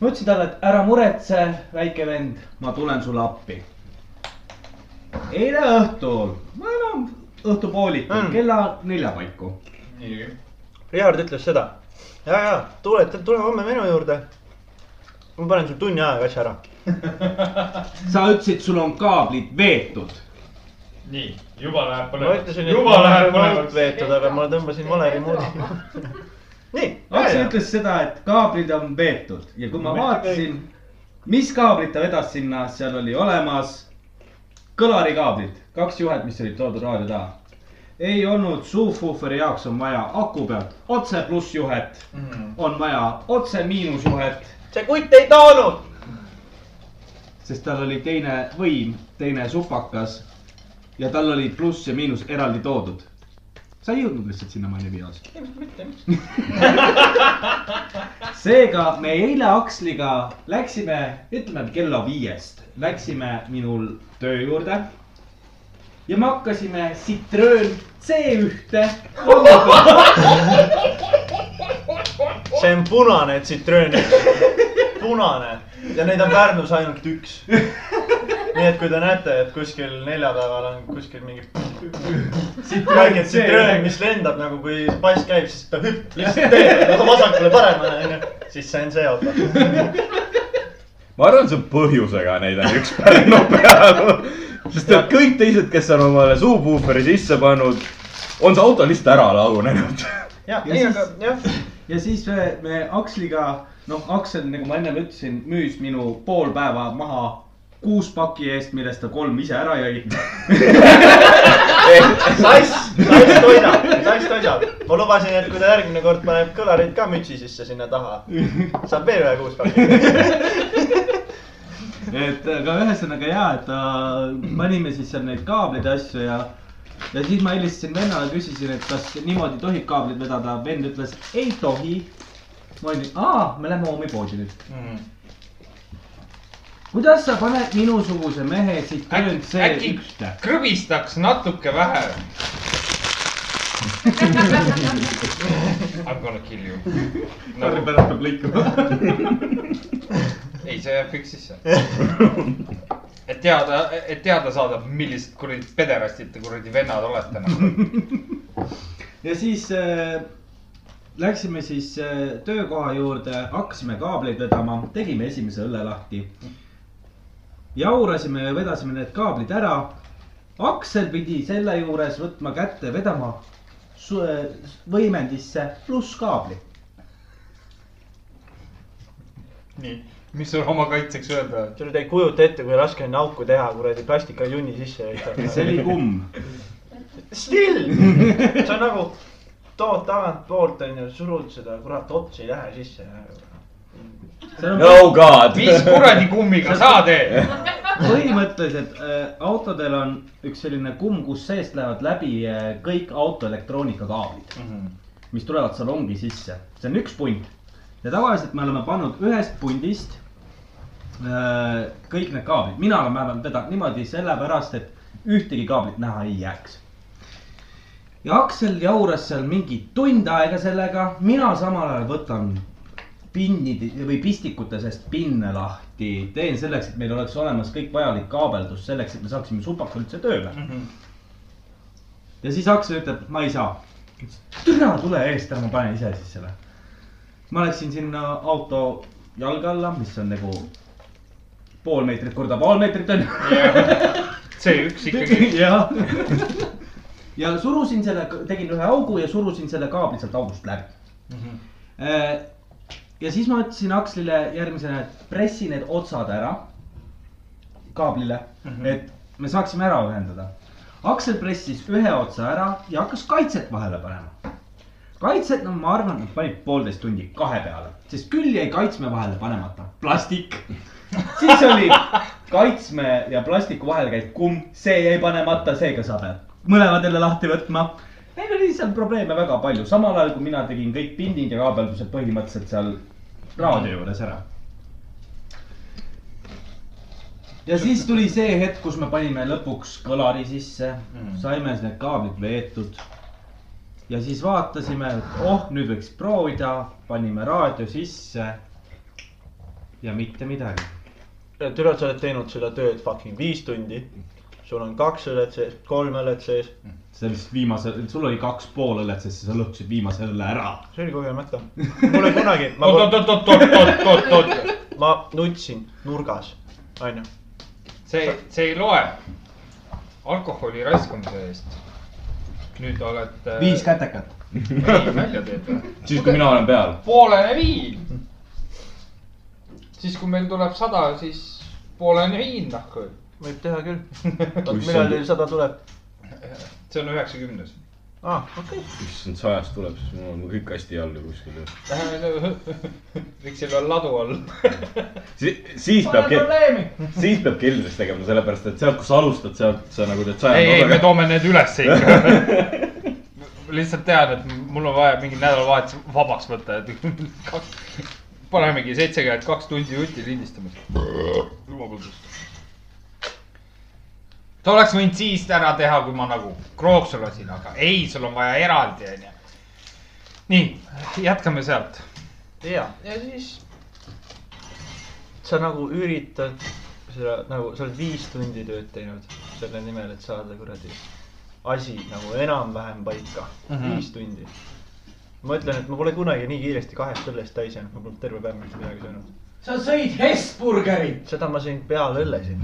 [SPEAKER 1] ma ütlesin talle , et ära muretse , väike vend , ma tulen sulle appi . eile õhtul , ma enam õhtupoolikul
[SPEAKER 14] Mm.
[SPEAKER 1] mm. kella nelja paiku .
[SPEAKER 6] nii ,
[SPEAKER 14] Richard ütles seda . ja , ja tule , tule homme minu juurde . ma panen sul tunni ajaga asja ära .
[SPEAKER 1] sa ütlesid , sul on kaablid veetud .
[SPEAKER 6] nii juba läheb
[SPEAKER 14] ma
[SPEAKER 6] põnevaks
[SPEAKER 14] ütlesin , et .
[SPEAKER 6] juba läheb
[SPEAKER 14] mul on
[SPEAKER 6] põnevaks .
[SPEAKER 14] veetud , aga ma tõmbasin vale remoodi . (laughs) nii ,
[SPEAKER 1] Aksi ütles seda , et kaablid on veetud ja kui ma vaatasin , mis kaablit ta vedas sinna , seal oli olemas kõlarikaablid , kaks juhet , mis olid toodud raadio taha . ei olnud suupuhveri jaoks on vaja aku pealt otse plussjuhet , on vaja otse miinusjuhet ,
[SPEAKER 14] see kutt ei toonud .
[SPEAKER 1] sest tal oli teine võim , teine supakas ja tal oli pluss ja miinus eraldi toodud . sa ei jõudnud lihtsalt sinnamaani videos . (laughs) seega me eile Aksliga läksime , ütleme kella viiest , läksime minul töö juurde . ja me hakkasime Citroen C1-te .
[SPEAKER 14] see on punane tsitröön , punane ja neid on Pärnus ainult üks . nii et kui te näete , et kuskil neljapäeval on kuskil mingi väike tsitröön , mis lendab nagu , kui pass käib , siis ta hüpp lihtsalt teeb , nagu vasakule-paremale onju , siis see on see auto .
[SPEAKER 4] ma arvan , see on põhjusega neid on üks
[SPEAKER 5] (laughs)
[SPEAKER 4] Pärnu peal . sest et kõik teised , kes on omale suupuuferi sisse pannud , on see auto lihtsalt ära lagunenud .
[SPEAKER 14] ja ,
[SPEAKER 1] Ja
[SPEAKER 14] ei ,
[SPEAKER 1] siis-
[SPEAKER 14] aga (laughs) jah ,
[SPEAKER 1] ja siis me, me Aksliga , noh , Aksel , nagu ma ennem ütlesin , müüs minu pool päeva maha kuus paki eest , millest ta kolm ise ära jõi .
[SPEAKER 14] sass , sass toidab , sass toidab . ma lubasin , et kui ta järgmine kord paneb kõlarid ka mütsi sisse sinna taha , saab veel ühe kuuspaki .
[SPEAKER 1] et aga ühesõnaga ja , et äh, panime siis seal neid kaableid ja asju ja , ja siis ma helistasin vennale , küsisin , et kas niimoodi tohib kaableid vedada . vend ütles , ei tohi . ma olin , aa , me lähme Oomi poodi nüüd .
[SPEAKER 5] Mhm.
[SPEAKER 1] kuidas sa paned minusuguse mehe siit
[SPEAKER 5] Äkki-
[SPEAKER 1] töönt see
[SPEAKER 5] äkki-
[SPEAKER 1] ükste ?
[SPEAKER 5] krõbistaks natuke vähe . (laughs) I m gonna kill you (laughs) no, .
[SPEAKER 1] pärast peab lõikama .
[SPEAKER 5] ei , see jääb kõik (laughs) sisse . et teada , et teada saada , millised kuradi pederastid te kuradi vennad olete nagu .
[SPEAKER 1] ja siis äh, läksime siis äh, töökoha juurde , hakkasime kaableid vedama , tegime esimese õlle lahti . jaurasime ja vedasime need kaablid ära . aktsel pidi selle juures võtma kätte , vedama su- äh, võimendisse pluss kaabli .
[SPEAKER 5] nii , mis sul oma kaitseks öelda ?
[SPEAKER 14] Te nüüd ei kujuta ette , kui raske on auku teha kuradi plastikajunni sisse
[SPEAKER 1] (laughs) see oli . kumm .
[SPEAKER 14] Still , see on nagu tood tagantpoolt onju , surud seda kurat ots ei lähe sisse .
[SPEAKER 5] Oh
[SPEAKER 4] no Oh god .
[SPEAKER 5] mis kuradi kummiga eh? sa teed ?
[SPEAKER 1] põhimõtteliselt äh, autodel on üks selline kumm , kus seest lähevad läbi äh, kõik auto elektroonikakaablid mm , -hmm. mis tulevad salongi sisse . see on üks punt ja tavaliselt me oleme pannud ühest pundist äh, kõik need kaablid , mina olen määranud teda niimoodi sellepärast , et ühtegi kaablit näha ei jääks ja Aksel jauras seal mingi tund aega sellega , mina samal ajal võtan pinnid või pistikute seest pinne lahti , teen selleks , et meil oleks olemas kõik vajalik kaabeldus selleks , et me saaksime supaka üldse tööle mm . -hmm. ja siis Aksel ütleb , ma ei saa . türa tule eest ära , ma panen ise siis selle . ma läksin sinna auto jalge alla , mis on nagu pool meetrit korda pool meetrit on ju
[SPEAKER 5] (laughs) see üks (laughs) ikkagi .
[SPEAKER 1] jah . (laughs) ja surusin selle , tegin ühe augu ja surusin selle kaabli sealt august läbi
[SPEAKER 5] Mhm.
[SPEAKER 1] mm . -hmm. ja siis ma ütlesin Akslile järgmisena , et pressi need otsad ära kaablile mm ,
[SPEAKER 5] Mhm.
[SPEAKER 1] -hmm. et me saaksime ära ühendada . Aksel pressis ühe otsa ära ja hakkas kaitset vahele panema . kaitset , no ma arvan , nad panid poolteist tundi kahe peale , sest küll jäi kaitsme vahele panemata , plastik siis oli kaitsme ja plastiku vahel käib kumm , see jäi panemata , seega sa pead mõlemad jälle lahti võtma . meil oli seal probleeme väga palju , samal ajal kui mina tegin kõik pindid ja kaabeldused põhimõtteliselt seal raadio juures ära . ja siis tuli see hetk , kus me panime lõpuks kõlari sisse , saime need kaablid veetud ja siis vaatasime , et oh , nüüd võiks proovida , panime raadio sisse ja mitte midagi .
[SPEAKER 14] türa , sa oled teinud seda tööd fucking viis tundi . sul on kaks õlet sees , kolm õlet sees ,
[SPEAKER 1] see vist viimase , sul oli kaks pool õllet , sest sa lõhkusid viimase õlle ära .
[SPEAKER 14] see oli kogemata . mul ei kunagi , ma ,
[SPEAKER 5] oot , oot , oot , oot , oot , oot , oot .
[SPEAKER 14] ma nutsin nurgas , onju .
[SPEAKER 5] see , see ei loe . alkoholi raiskamise eest . nüüd olete .
[SPEAKER 1] viis . kätekat .
[SPEAKER 5] välja teed või ?
[SPEAKER 4] siis , kui mina olen peal .
[SPEAKER 5] poolene viin . siis , kui meil tuleb sada , siis poolene viin noh, nahku .
[SPEAKER 14] võib teha (laughs) küll . oot ,
[SPEAKER 4] Issand.
[SPEAKER 14] millal teil sada tuleb ?
[SPEAKER 5] see on üheksakümnes .
[SPEAKER 14] aa , Ah, okei okay. .
[SPEAKER 4] issand , sajast tuleb , siis mul on kõik hästi all ju kuskil ju .
[SPEAKER 5] Läheme , (laughs) võiks seal olla (laughs) ladu all .
[SPEAKER 4] siis peab , siis peab keldris tegema , sellepärast et sealt , kus sa alustad , sealt sa nagu teed saja .
[SPEAKER 5] ei , ei , me toome need ülesse ikka . lihtsalt tean , et mul on vaja mingi nädalavahetus vabaks võtta , et kaks , panemegi seitsekümmend kaks tundi jutti lindistamas . vabandust . sa oleks võinud siis ära teha , kui ma nagu krooksu lasin , aga ei , sul on vaja eraldi , onju . nii , jätkame sealt .
[SPEAKER 14] ja , ja siis sa nagu üritad seda nagu , sa oled viis tundi tööd teinud selle nimel , et saada kuradi asi nagu enam-vähem paika mm , -hmm. viis tundi . ma ütlen , et ma pole kunagi nii kiiresti kahest õllest täis jäänud , ma polnud terve päev mitte midagi söönud .
[SPEAKER 13] sa sõid Hesburgerit .
[SPEAKER 14] seda ma sõin peale õllesid .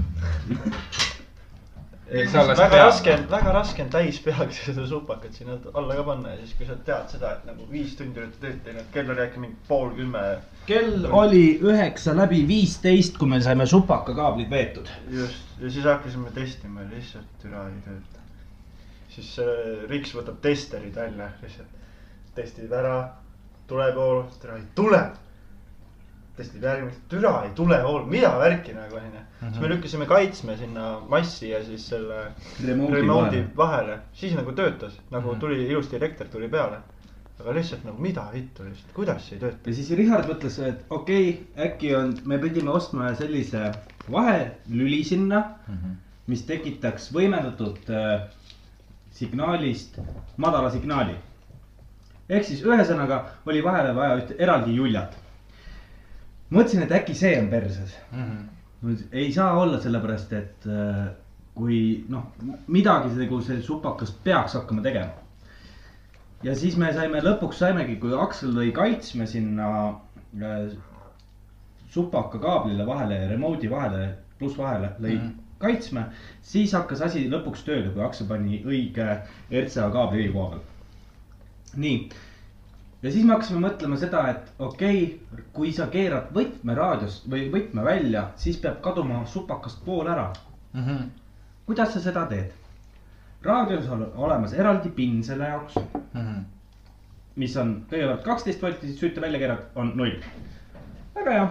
[SPEAKER 5] Miks sa alles
[SPEAKER 14] väga
[SPEAKER 5] peale?
[SPEAKER 14] raske on , väga raske on täis peaga (laughs) seda supakat sinna alla ka panna ja siis , kui sa tead seda , et nagu viis tundi oled tööd teinud , kell oli äkki mingi pool kümme
[SPEAKER 13] kell oli üheksa läbi viisteist , kui me saime supakakaablid veetud .
[SPEAKER 14] just , ja siis hakkasime testima , lihtsalt türa ei tööta . siis äh, Riks võtab testerid välja , lihtsalt testib ära , tule pool , türa ei tule . testib järgmist , türa ei tule pool , mida värki nagu onju . siis me lükkasime kaitsme sinna massi ja siis selle remote'i vahele , siis nagu töötas , nagu tuli ilusti elekter tuli peale . aga lihtsalt nagu mida vittu lihtsalt , kuidas see ei tööta ?
[SPEAKER 1] ja siis Richard mõtles , et okei okay, , äkki on , me pidime ostma sellise vahelüli sinna mm , -hmm. mis tekitaks võimendatud äh, signaalist madala signaali . ehk siis ühesõnaga oli vahele vaja üht eraldi juljat . mõtlesin , et äkki see on perses mm . -hmm. ei saa olla , sellepärast et äh, kui noh , midagi nagu see supakas peaks hakkama tegema ja siis me saime , lõpuks saimegi , kui Aksel lõi kaitsme sinna äh, supaka kaablile vahele ja remote'i vahele , pluss vahele lõi mm. kaitsme , siis hakkas asi lõpuks tööle , kui Aksel pani õige RCA kaabli õige koha peal . nii , ja siis me hakkasime mõtlema seda , et okei okay, , kui sa keerad võtme raadiost või võtme välja , siis peab kaduma supakast pool ära
[SPEAKER 5] Mm
[SPEAKER 14] Mhm,
[SPEAKER 5] -hmm.
[SPEAKER 1] kuidas sa seda teed ? raadios on olemas eraldi pinn selle jaoks mm ,
[SPEAKER 14] mhm.
[SPEAKER 1] -hmm. mis on kõigepealt kaksteist volti , siis sütte välja keerad , on null . väga hea .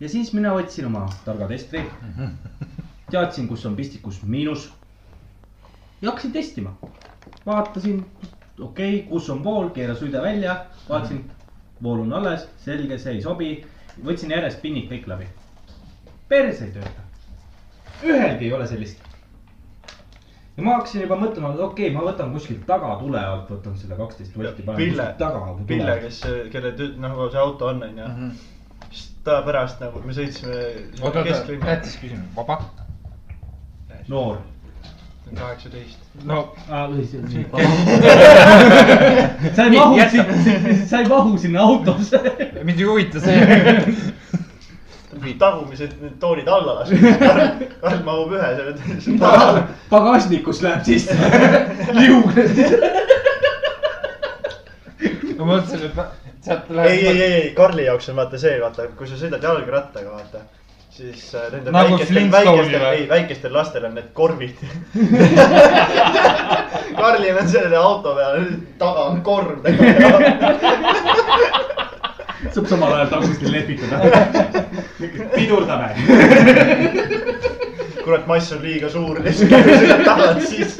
[SPEAKER 1] ja siis mina otsin oma targa testri . teadsin , kus on pistikus miinus . ja hakkasin testima . vaatasin , okei okay, , kus on vool , keeras süde välja , vaatasin , vool on alles , selge , see ei sobi . võtsin järjest pinnid kõik läbi . perse ei tööta ühelgi ei ole sellist . ja ma hakkasin juba mõtlema , et okei okay, , ma võtan kuskilt tagatule alt , võtan selle kaksteist volti .
[SPEAKER 14] Pille , Pille ,. kes , kelle tü- , nagu see auto on onju .
[SPEAKER 5] Mhm.
[SPEAKER 14] siis ta pärast nagu , me sõitsime
[SPEAKER 5] oota , oota ,
[SPEAKER 14] kesklinna ,
[SPEAKER 5] tähtis küsimus , vaba ?
[SPEAKER 1] noor .
[SPEAKER 14] kaheksateist .
[SPEAKER 5] no
[SPEAKER 1] Ah, (laughs) sa ei mahu sinna , sa ei mahu sinna autosse .
[SPEAKER 5] mind ei huvita
[SPEAKER 14] (laughs)
[SPEAKER 5] see .
[SPEAKER 14] tagumised need toolid alla
[SPEAKER 5] (laughs)
[SPEAKER 14] lasknud . Karl mahub ühe selle , siis ta
[SPEAKER 1] pagasnikus läheb (laughs) sisse , liugnes .
[SPEAKER 5] ma mõtlesin , et ma- sealt
[SPEAKER 14] ei , ei ,
[SPEAKER 5] läheb .
[SPEAKER 14] ei , ei , Karli jaoks on vaata see , vaata , kui sa sõidad jalgrattaga , vaata , siis äh, nendel
[SPEAKER 5] Nagu
[SPEAKER 14] väikestel ,
[SPEAKER 5] Flintstone'i
[SPEAKER 14] väikestel ,
[SPEAKER 5] või?
[SPEAKER 14] ei , väikestel lastel on need
[SPEAKER 5] (laughs)
[SPEAKER 14] korvid . Karlil on selle auto peal , taga on korv .
[SPEAKER 1] saab samal ajal tagumistel lepitada . pidurdame .
[SPEAKER 14] kurat , mass on liiga suur ,
[SPEAKER 5] (laughs)
[SPEAKER 14] lihtsalt tahad siis .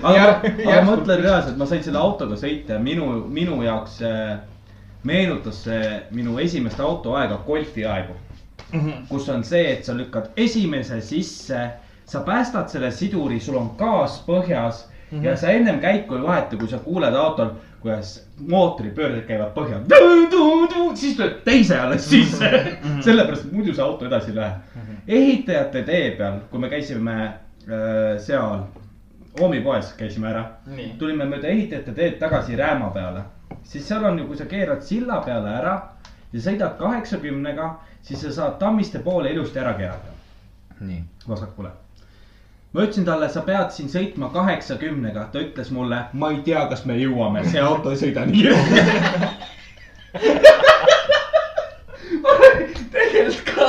[SPEAKER 1] aga
[SPEAKER 5] Jär- ,
[SPEAKER 1] aga
[SPEAKER 5] järsku-
[SPEAKER 1] mõtle reaalselt , ma sain selle autoga sõita ja minu , minu jaoks äh, meenutas see minu esimest autoaega golfi aegu kus on see , et sa lükkad esimese sisse , sa päästad selle siduri , sul on gaas põhjas mm -hmm. ja sa ennem käiku ei vaheta , kui sa kuuled autol . kuidas mootoripöörded käivad põhja , siis tuleb teise alles sisse , sellepärast muidu see auto edasi ei lähe . ehitajate tee peal , kui me käisime äh, seal Oomi poes käisime ära ,
[SPEAKER 14] Nii.
[SPEAKER 1] tulime mööda ehitajate teed tagasi Rääma peale , siis seal on ju , kui sa keerad silla peale ära ja sõidad kaheksakümnega , siis sa saad Tammiste poole ilusti ära keerata
[SPEAKER 5] nii .
[SPEAKER 1] vasakule . ma ütlesin talle , sa pead siin sõitma kaheksakümnega , ta ütles mulle , ma ei tea , kas me jõuame , see auto ei sõida nii kiiresti . tegelikult ka .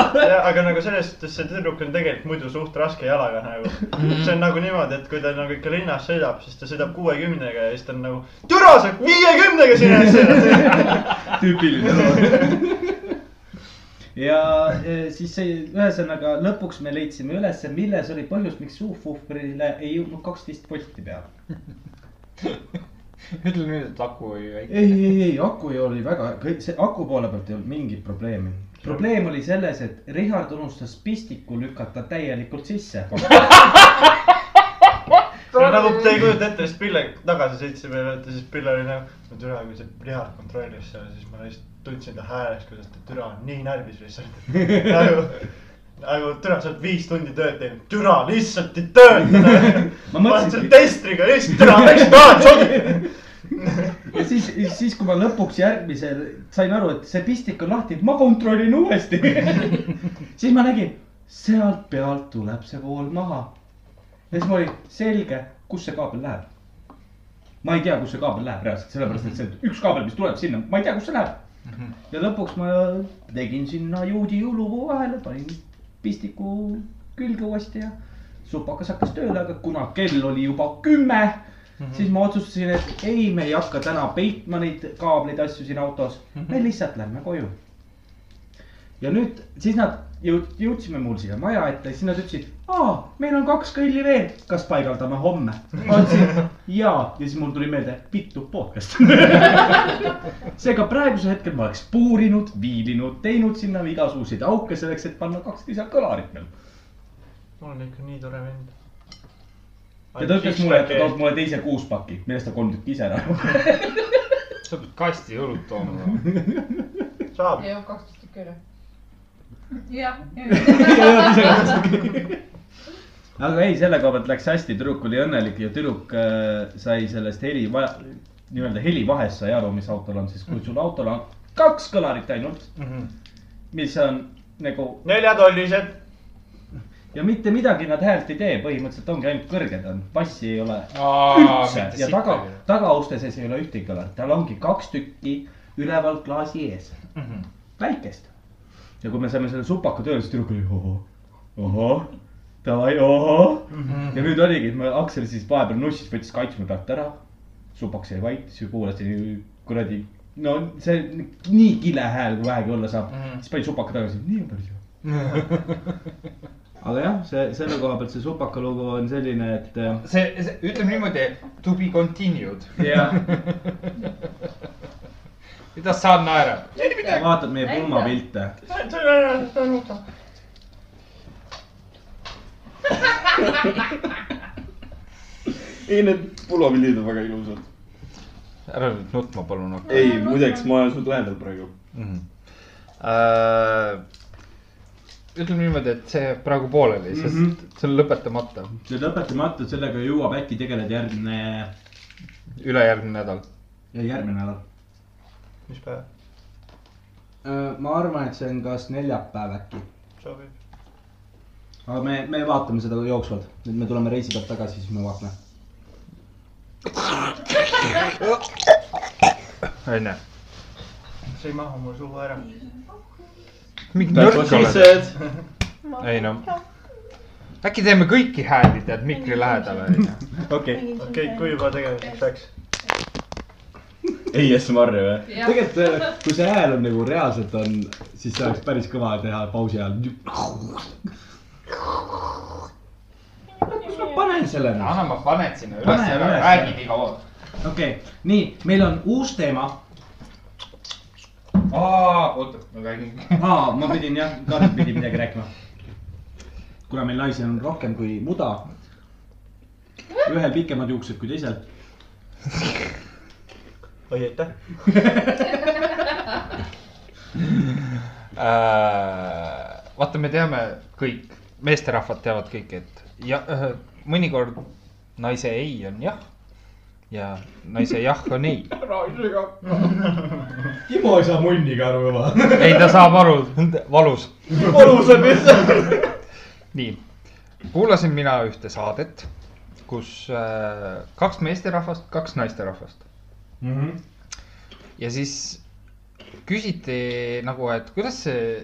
[SPEAKER 14] aga nagu selles suhtes see tüdruk on tegelikult muidu suht raske jalaga nagu .
[SPEAKER 5] Mhm.
[SPEAKER 14] see on nagu niimoodi , et kui ta nagu ikka linnas sõidab , siis ta sõidab kuuekümnega ja siis ta on nagu , türa sa viiekümnega sinna sõidad . (laughs)
[SPEAKER 1] tüüpiline . ja eh, siis see , ühesõnaga lõpuks me leidsime üles , milles oli põhjus , miks suupuhvrile ei jõudnud kaksteist volti peale .
[SPEAKER 5] ütle nüüd , et aku oli väike .
[SPEAKER 1] ei , ei , ei aku ju oli väga , kõik see aku poole pealt ei olnud mingit probleemi . probleem oli selles , et Richard unustas pistiku lükata täielikult sisse .
[SPEAKER 14] nagu te ei kujuta ette , siis Pille tagasi sõitsime ja siis Pille oli nagu , no türa , kui see Richard kontrollis seal , siis ma lihtsalt tundsin ta häälest , kuidas ta türa on nii närvis (laughs) lihtsalt . nagu , nagu türa , sa oled viis tundi tööd teinud , türa lihtsalt ei (laughs) tööta . ma olen selle testriga lihtsalt , türa , miks ma olen sobiv .
[SPEAKER 1] ja siis , siis kui ma lõpuks järgmisel sain aru , et see pistik on lahti , ma kontrollin uuesti . siis ma nägin , sealt pealt tuleb see vool maha . ja siis ma olin , selge , kus see kaabel läheb . ma ei tea , kus see kaabel läheb reaalselt , sellepärast et see üks kaabel , mis tuleb sinna , ma ei tea , kus see läheb . ja lõpuks ma tegin sinna juudi jõulupuu vahele , panin pistiku külge uuesti ja supakas hakkas tööle , aga kuna kell oli juba kümme Mm -hmm. siis ma otsustasin , et ei , me ei hakka täna peitma neid kaableid , asju siin autos mm , -hmm. me lihtsalt lähme koju . ja nüüd siis nad jõud- , jõudsime mul siia maja ette , siis nad ütlesid , aa , meil on kaks kõlli veel , kas paigaldame homme ? ma ütlesin jaa , ja siis mul tuli meelde pitu podcast . (laughs) seega praegusel hetkel ma oleks puurinud , viilinud , teinud sinna igasuguseid auke selleks , et panna kaks lisakõlarit veel .
[SPEAKER 14] mul on ikka nii tore vend .
[SPEAKER 1] ja ta ütles mulle , et ta toob mulle teise kuuspaki , millest ta kolm tükki ise ära (laughs)
[SPEAKER 5] sa pead kasti õlut tooma .
[SPEAKER 14] saab ,
[SPEAKER 7] ja kaksteist tükki üle .
[SPEAKER 3] jah ,
[SPEAKER 1] aga ei , selle koha pealt läks hästi , tüdruk oli õnnelik ja tüdruk äh, sai sellest heli , nii-öelda heli vahest sai aru , mis autol on , sest kui sul autol on kaks kõlarit ainult , mis on nagu
[SPEAKER 14] Mhm. neljatollised .
[SPEAKER 1] ja mitte midagi nad häält ei tee , põhimõtteliselt ongi ainult kõrged on , bassi ei ole üldse ja taga , tagauste sees ei ole ühtegi kõlarit , tal ongi kaks tükki üleval klaasi ees , väikest . ja kui me saime selle supaka tööle , siis tüdruk oli ohoh , ohoh , davai , ohoh ja nüüd oligi , et ma Aksel siis vahepeal nussis , võttis kaitsme pealt ära , supaks jäi vait , siis kuulasin kuradi , no see on nii kile hääl , kui vähegi olla saab mm , -hmm. siis pani supaka tagasi , nii on päris hea . aga jah , see selle koha pealt see supaka lugu on selline , et äh,
[SPEAKER 5] see, see , ütleme niimoodi , to be continued .
[SPEAKER 1] jah ,
[SPEAKER 5] mida sa naerad ?
[SPEAKER 1] vaatad meie pulmapilte .
[SPEAKER 4] ei , need pulmapildid on väga ilusad .
[SPEAKER 5] ära nüüd nutma palun hakka
[SPEAKER 4] ei , muideks ma olen suht lähedal praegu .
[SPEAKER 5] mm. . Uh, ütleme niimoodi , et see praegu pooleli , sest
[SPEAKER 1] Mhm.
[SPEAKER 5] mm -hmm. see on lõpetamata ,
[SPEAKER 1] see lõpetamatu , sellega jõuab äkki tegeleda järgmine ,
[SPEAKER 5] ülejärgmine nädal .
[SPEAKER 1] järgmine nädal .
[SPEAKER 14] mis päev
[SPEAKER 13] ma arvan , et see on kas neljapäev äkki ,
[SPEAKER 14] sobib ?
[SPEAKER 13] aga me , me vaatame seda jooksvalt , nüüd me tuleme reisi pealt tagasi , siis me vaatame .
[SPEAKER 5] onju .
[SPEAKER 14] see ei mahu mul suhu ära .
[SPEAKER 5] mingi nõrk oled . ei noh , äkki teeme kõiki hääli tead mikri lähedale , onju .
[SPEAKER 1] okei ,
[SPEAKER 14] okei , kui juba tegelikult läks .
[SPEAKER 4] ASMR-i või ?
[SPEAKER 13] tegelikult , kui see hääl on nagu reaalselt on , siis see oleks päris kõva teha pausi ajal . kus ma panen selle nüüd ?
[SPEAKER 5] anna , ma panen sinna
[SPEAKER 1] Pane
[SPEAKER 5] üles ,
[SPEAKER 1] üles.
[SPEAKER 5] räägi nii kaua .
[SPEAKER 1] okei , nii , meil on uus teema .
[SPEAKER 5] oota , ma räägin .
[SPEAKER 1] aa , ma pidin jah , Karl pidi midagi rääkima . kuna meil naisi on rohkem kui muda . ühel pikemad juuksed kui teisel .
[SPEAKER 14] oi , aitäh .
[SPEAKER 5] Äh, vaata , me teame kõik , meesterahvad teavad kõik , et ja äh, mõnikord naise ei on jah ja naise jah on ei .
[SPEAKER 6] Timo ei saa munniga aru juba .
[SPEAKER 5] ei , ta saab aru , valus .
[SPEAKER 14] valusam lihtsalt .
[SPEAKER 5] nii , kuulasin mina ühte saadet , kus äh, kaks meesterahvast , kaks naisterahvast
[SPEAKER 1] Mhm.
[SPEAKER 5] ja siis küsiti nagu , et kuidas see ,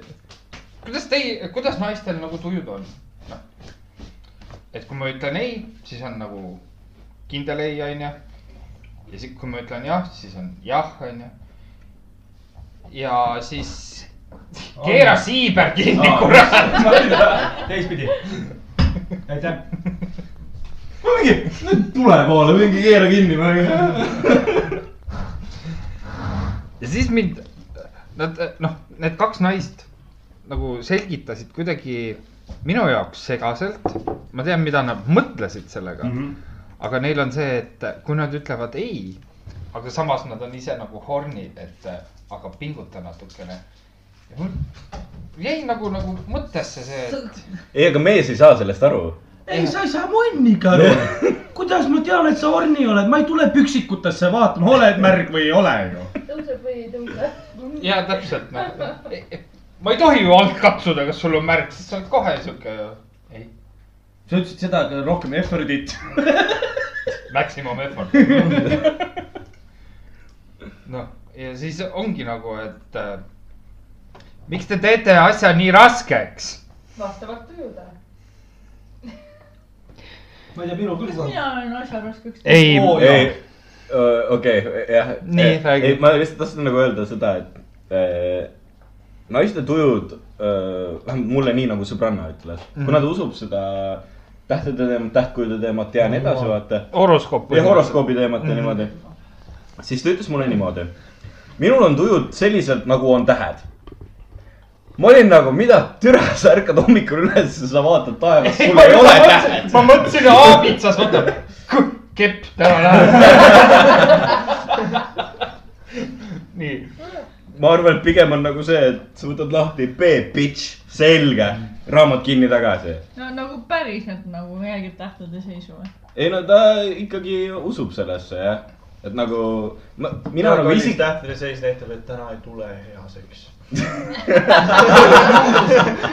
[SPEAKER 5] kuidas teie , kuidas naistel nagu tujud on ? noh , et kui ma ütlen ei , siis on nagu kindel ei , onju . ja siis , kui ma ütlen jah , siis on jah , onju . ja siis keera siiber kinni , kurat .
[SPEAKER 6] teistpidi . aitäh . mingi , nüüd tule poole , mingi keera kinni või .
[SPEAKER 5] ja siis mind , nad noh , need kaks naist nagu selgitasid kuidagi minu jaoks segaselt . ma tean , mida nad mõtlesid sellega mm .
[SPEAKER 1] Mhm.
[SPEAKER 5] -hmm. aga neil on see , et kui nad ütlevad ei , aga samas nad on ise nagu hornid , et äh, aga pinguta natukene . jäi nagu , nagu mõttesse see , et
[SPEAKER 4] ei , aga mees ei saa sellest aru .
[SPEAKER 1] ei , sa ei saa munniga aru . kuidas ma tean , et sa orni oled , ma ei tule püksikutesse vaatama , oled märg või ei ole noh. ju .
[SPEAKER 3] tõuseb või ei tõuse ?
[SPEAKER 5] ja täpselt noh , ma ei tohi ju alt katsuda , kas sul on märk , sest sa oled kohe sihuke , ei ,
[SPEAKER 1] sa ütlesid seda , et rohkem effort'it .
[SPEAKER 5] maximum (laughs) effort . noh , ja siis ongi nagu , et äh, miks te teete asja nii raskeks ?
[SPEAKER 7] vastavalt tujudele .
[SPEAKER 6] ma ei tea , minu küll
[SPEAKER 7] kas
[SPEAKER 6] saab .
[SPEAKER 7] mina olen asja raskeks ?
[SPEAKER 5] ei
[SPEAKER 6] Oo, jaa.
[SPEAKER 4] ei , okei , jah .
[SPEAKER 5] Nii, räägi.
[SPEAKER 4] ei , ma lihtsalt tahtsin nagu öelda seda , et äh, naiste tujud , vähemalt mulle nii nagu sõbranna ütles mm , -hmm. kuna ta usub seda tähtede teemat , tähtkujude teemat ja nii edasi , vaata .
[SPEAKER 5] horoskoop .
[SPEAKER 4] ja horoskoobi teemat ja niimoodi . siis ta ütles mulle niimoodi . minul on tujud selliselt , nagu on tähed . ma olin nagu , mida türa , sa ärkad hommikul üles ja sa vaatad taevast , sul ei ole tähed .
[SPEAKER 5] ma mõtlesin aabitsas , vaata , kepp täna (laughs) läheb . nii ,
[SPEAKER 4] ma arvan , et pigem on nagu see , et sa võtad lahti B bitch , selge , raamat kinni tagasi .
[SPEAKER 16] no nagu päriselt nagu jälgib tähtede seisu või ?
[SPEAKER 4] ei no ta ikkagi usub sellesse jah , et nagu ma, mina nagu isik- ,
[SPEAKER 14] tähtede seis näitab , et täna ei tule hea seks .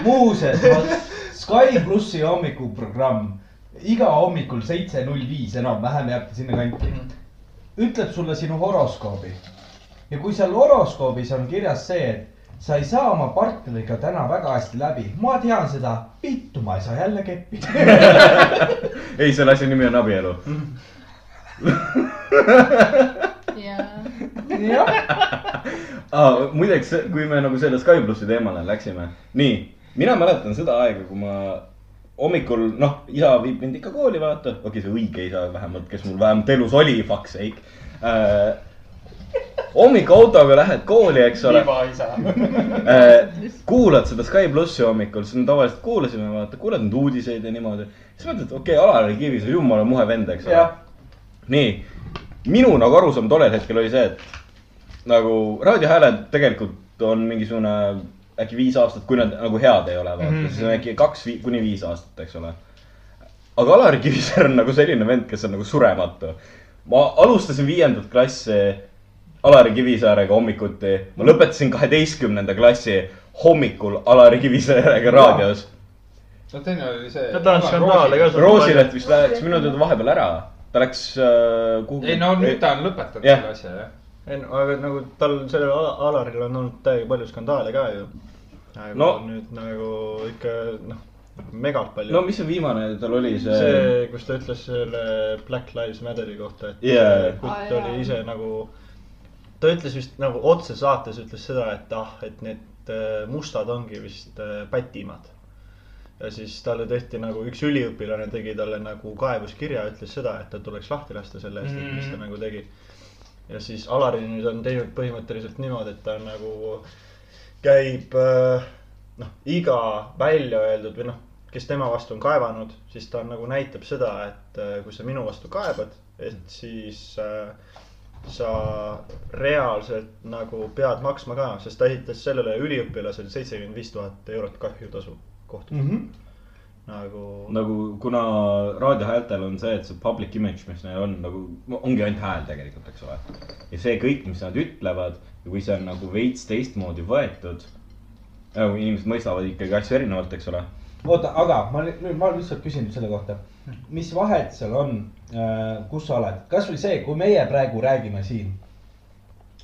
[SPEAKER 6] muuseas , Sky plussi hommikuprogramm , iga hommikul seitse null viis enam-vähem jääb ta sinna kanti .
[SPEAKER 1] Mhm.
[SPEAKER 6] ütleb sulle sinu horoskoobi ja kui seal horoskoobis on kirjas see , et sa ei saa oma partneriga täna väga hästi läbi , ma tean seda , vittu , ma ei saa jälle keppi . (laughs)
[SPEAKER 4] ei selle asja nimi on abielu .
[SPEAKER 16] jaa .
[SPEAKER 6] jah ,
[SPEAKER 4] ah, . muideks , kui me nagu selle Sky plussi teemale läksime , nii , mina mäletan seda aega , kui ma hommikul , noh , isa viib mind ikka kooli , vaata , okei , see õige isa vähemalt , kes mul vähemalt elus oli , fuck sake äh, . hommikuautoga lähed kooli , eks ole .
[SPEAKER 5] libaisa .
[SPEAKER 4] Äh, kuulad seda Sky plussi hommikul , siis me tavaliselt kuulasime , vaata , kuulad neid uudiseid ja niimoodi . siis mõtled , okei okay, , Alari Kivisäär , jumala muhe vend , eks ole
[SPEAKER 6] Jah. .
[SPEAKER 4] nii , minu nagu arusaam tollel hetkel oli see , et nagu raadiohääled tegelikult on mingisugune äkki viis aastat , kui nad nagu head ei ole , vaata mm ,
[SPEAKER 5] Mhm.
[SPEAKER 4] -hmm. siis on äkki kaks vi kuni viis aastat , eks ole . aga Alari Kivisäär on nagu selline vend , kes on nagu surematu . ma alustasin viiendat klassi Alari Kivisäärega hommikuti , ma lõpetasin kaheteistkümnenda klassi hommikul Alari Kivisäärega raadios .
[SPEAKER 5] no teine oli see .
[SPEAKER 14] no ta on skandaale ka .
[SPEAKER 4] Roosilet vist läks minu teada vahepeal ära , ta läks äh, kuhugi .
[SPEAKER 5] ei no nüüd ta on lõpetanud
[SPEAKER 4] Jah.
[SPEAKER 5] selle asja jah .
[SPEAKER 14] ei no aga nagu tal , sellel Ala- Alaril on olnud täiega palju skandaale ka ju . aga no.
[SPEAKER 4] No.
[SPEAKER 14] nüüd nagu ikka noh , megalt palju
[SPEAKER 4] no . mis see viimane tal oli , see, see... ?
[SPEAKER 14] see , kus ta ütles selle Black Lives Matteri kohta , et
[SPEAKER 4] Jaa.
[SPEAKER 14] kutt
[SPEAKER 7] Aa,
[SPEAKER 14] oli
[SPEAKER 7] jaa.
[SPEAKER 14] ise nagu , ta ütles vist nagu otsesaates ütles seda , et ah , et need äh, mustad ongi vist äh, pätimad . ja siis talle tehti nagu üks üliõpilane tegi talle nagu kaebuskirja , ütles seda , et ta tuleks lahti lasta selle eest , et mis ta nagu tegi . ja siis Alari nüüd on teinud põhimõtteliselt niimoodi , et ta on nagu käib äh, noh , iga välja öeldud või noh , kes tema vastu on kaevanud , siis ta on nagu näitab seda , et äh, kui sa minu vastu kaebad , et siis äh, sa reaalselt nagu pead maksma ka , sest ta esitas sellele üliõpilasele seitsekümmend viis tuhat eurot kahjutasu kohtus mm .
[SPEAKER 13] Mhm.
[SPEAKER 14] -hmm. nagu
[SPEAKER 4] nagu kuna raadiohäältel on see , et see public image , mis neil on nagu , ongi ainult hääl tegelikult , eks ole . ja see kõik , mis nad ütlevad ja kui see on nagu veits teistmoodi võetud . nagu inimesed mõistavad ikkagi asju erinevalt , eks ole .
[SPEAKER 13] oota , aga ma li- nüüd , ma lihtsalt küsin selle kohta . mis vahet seal on , kus sa oled , kasvõi see , kui meie praegu räägime siin .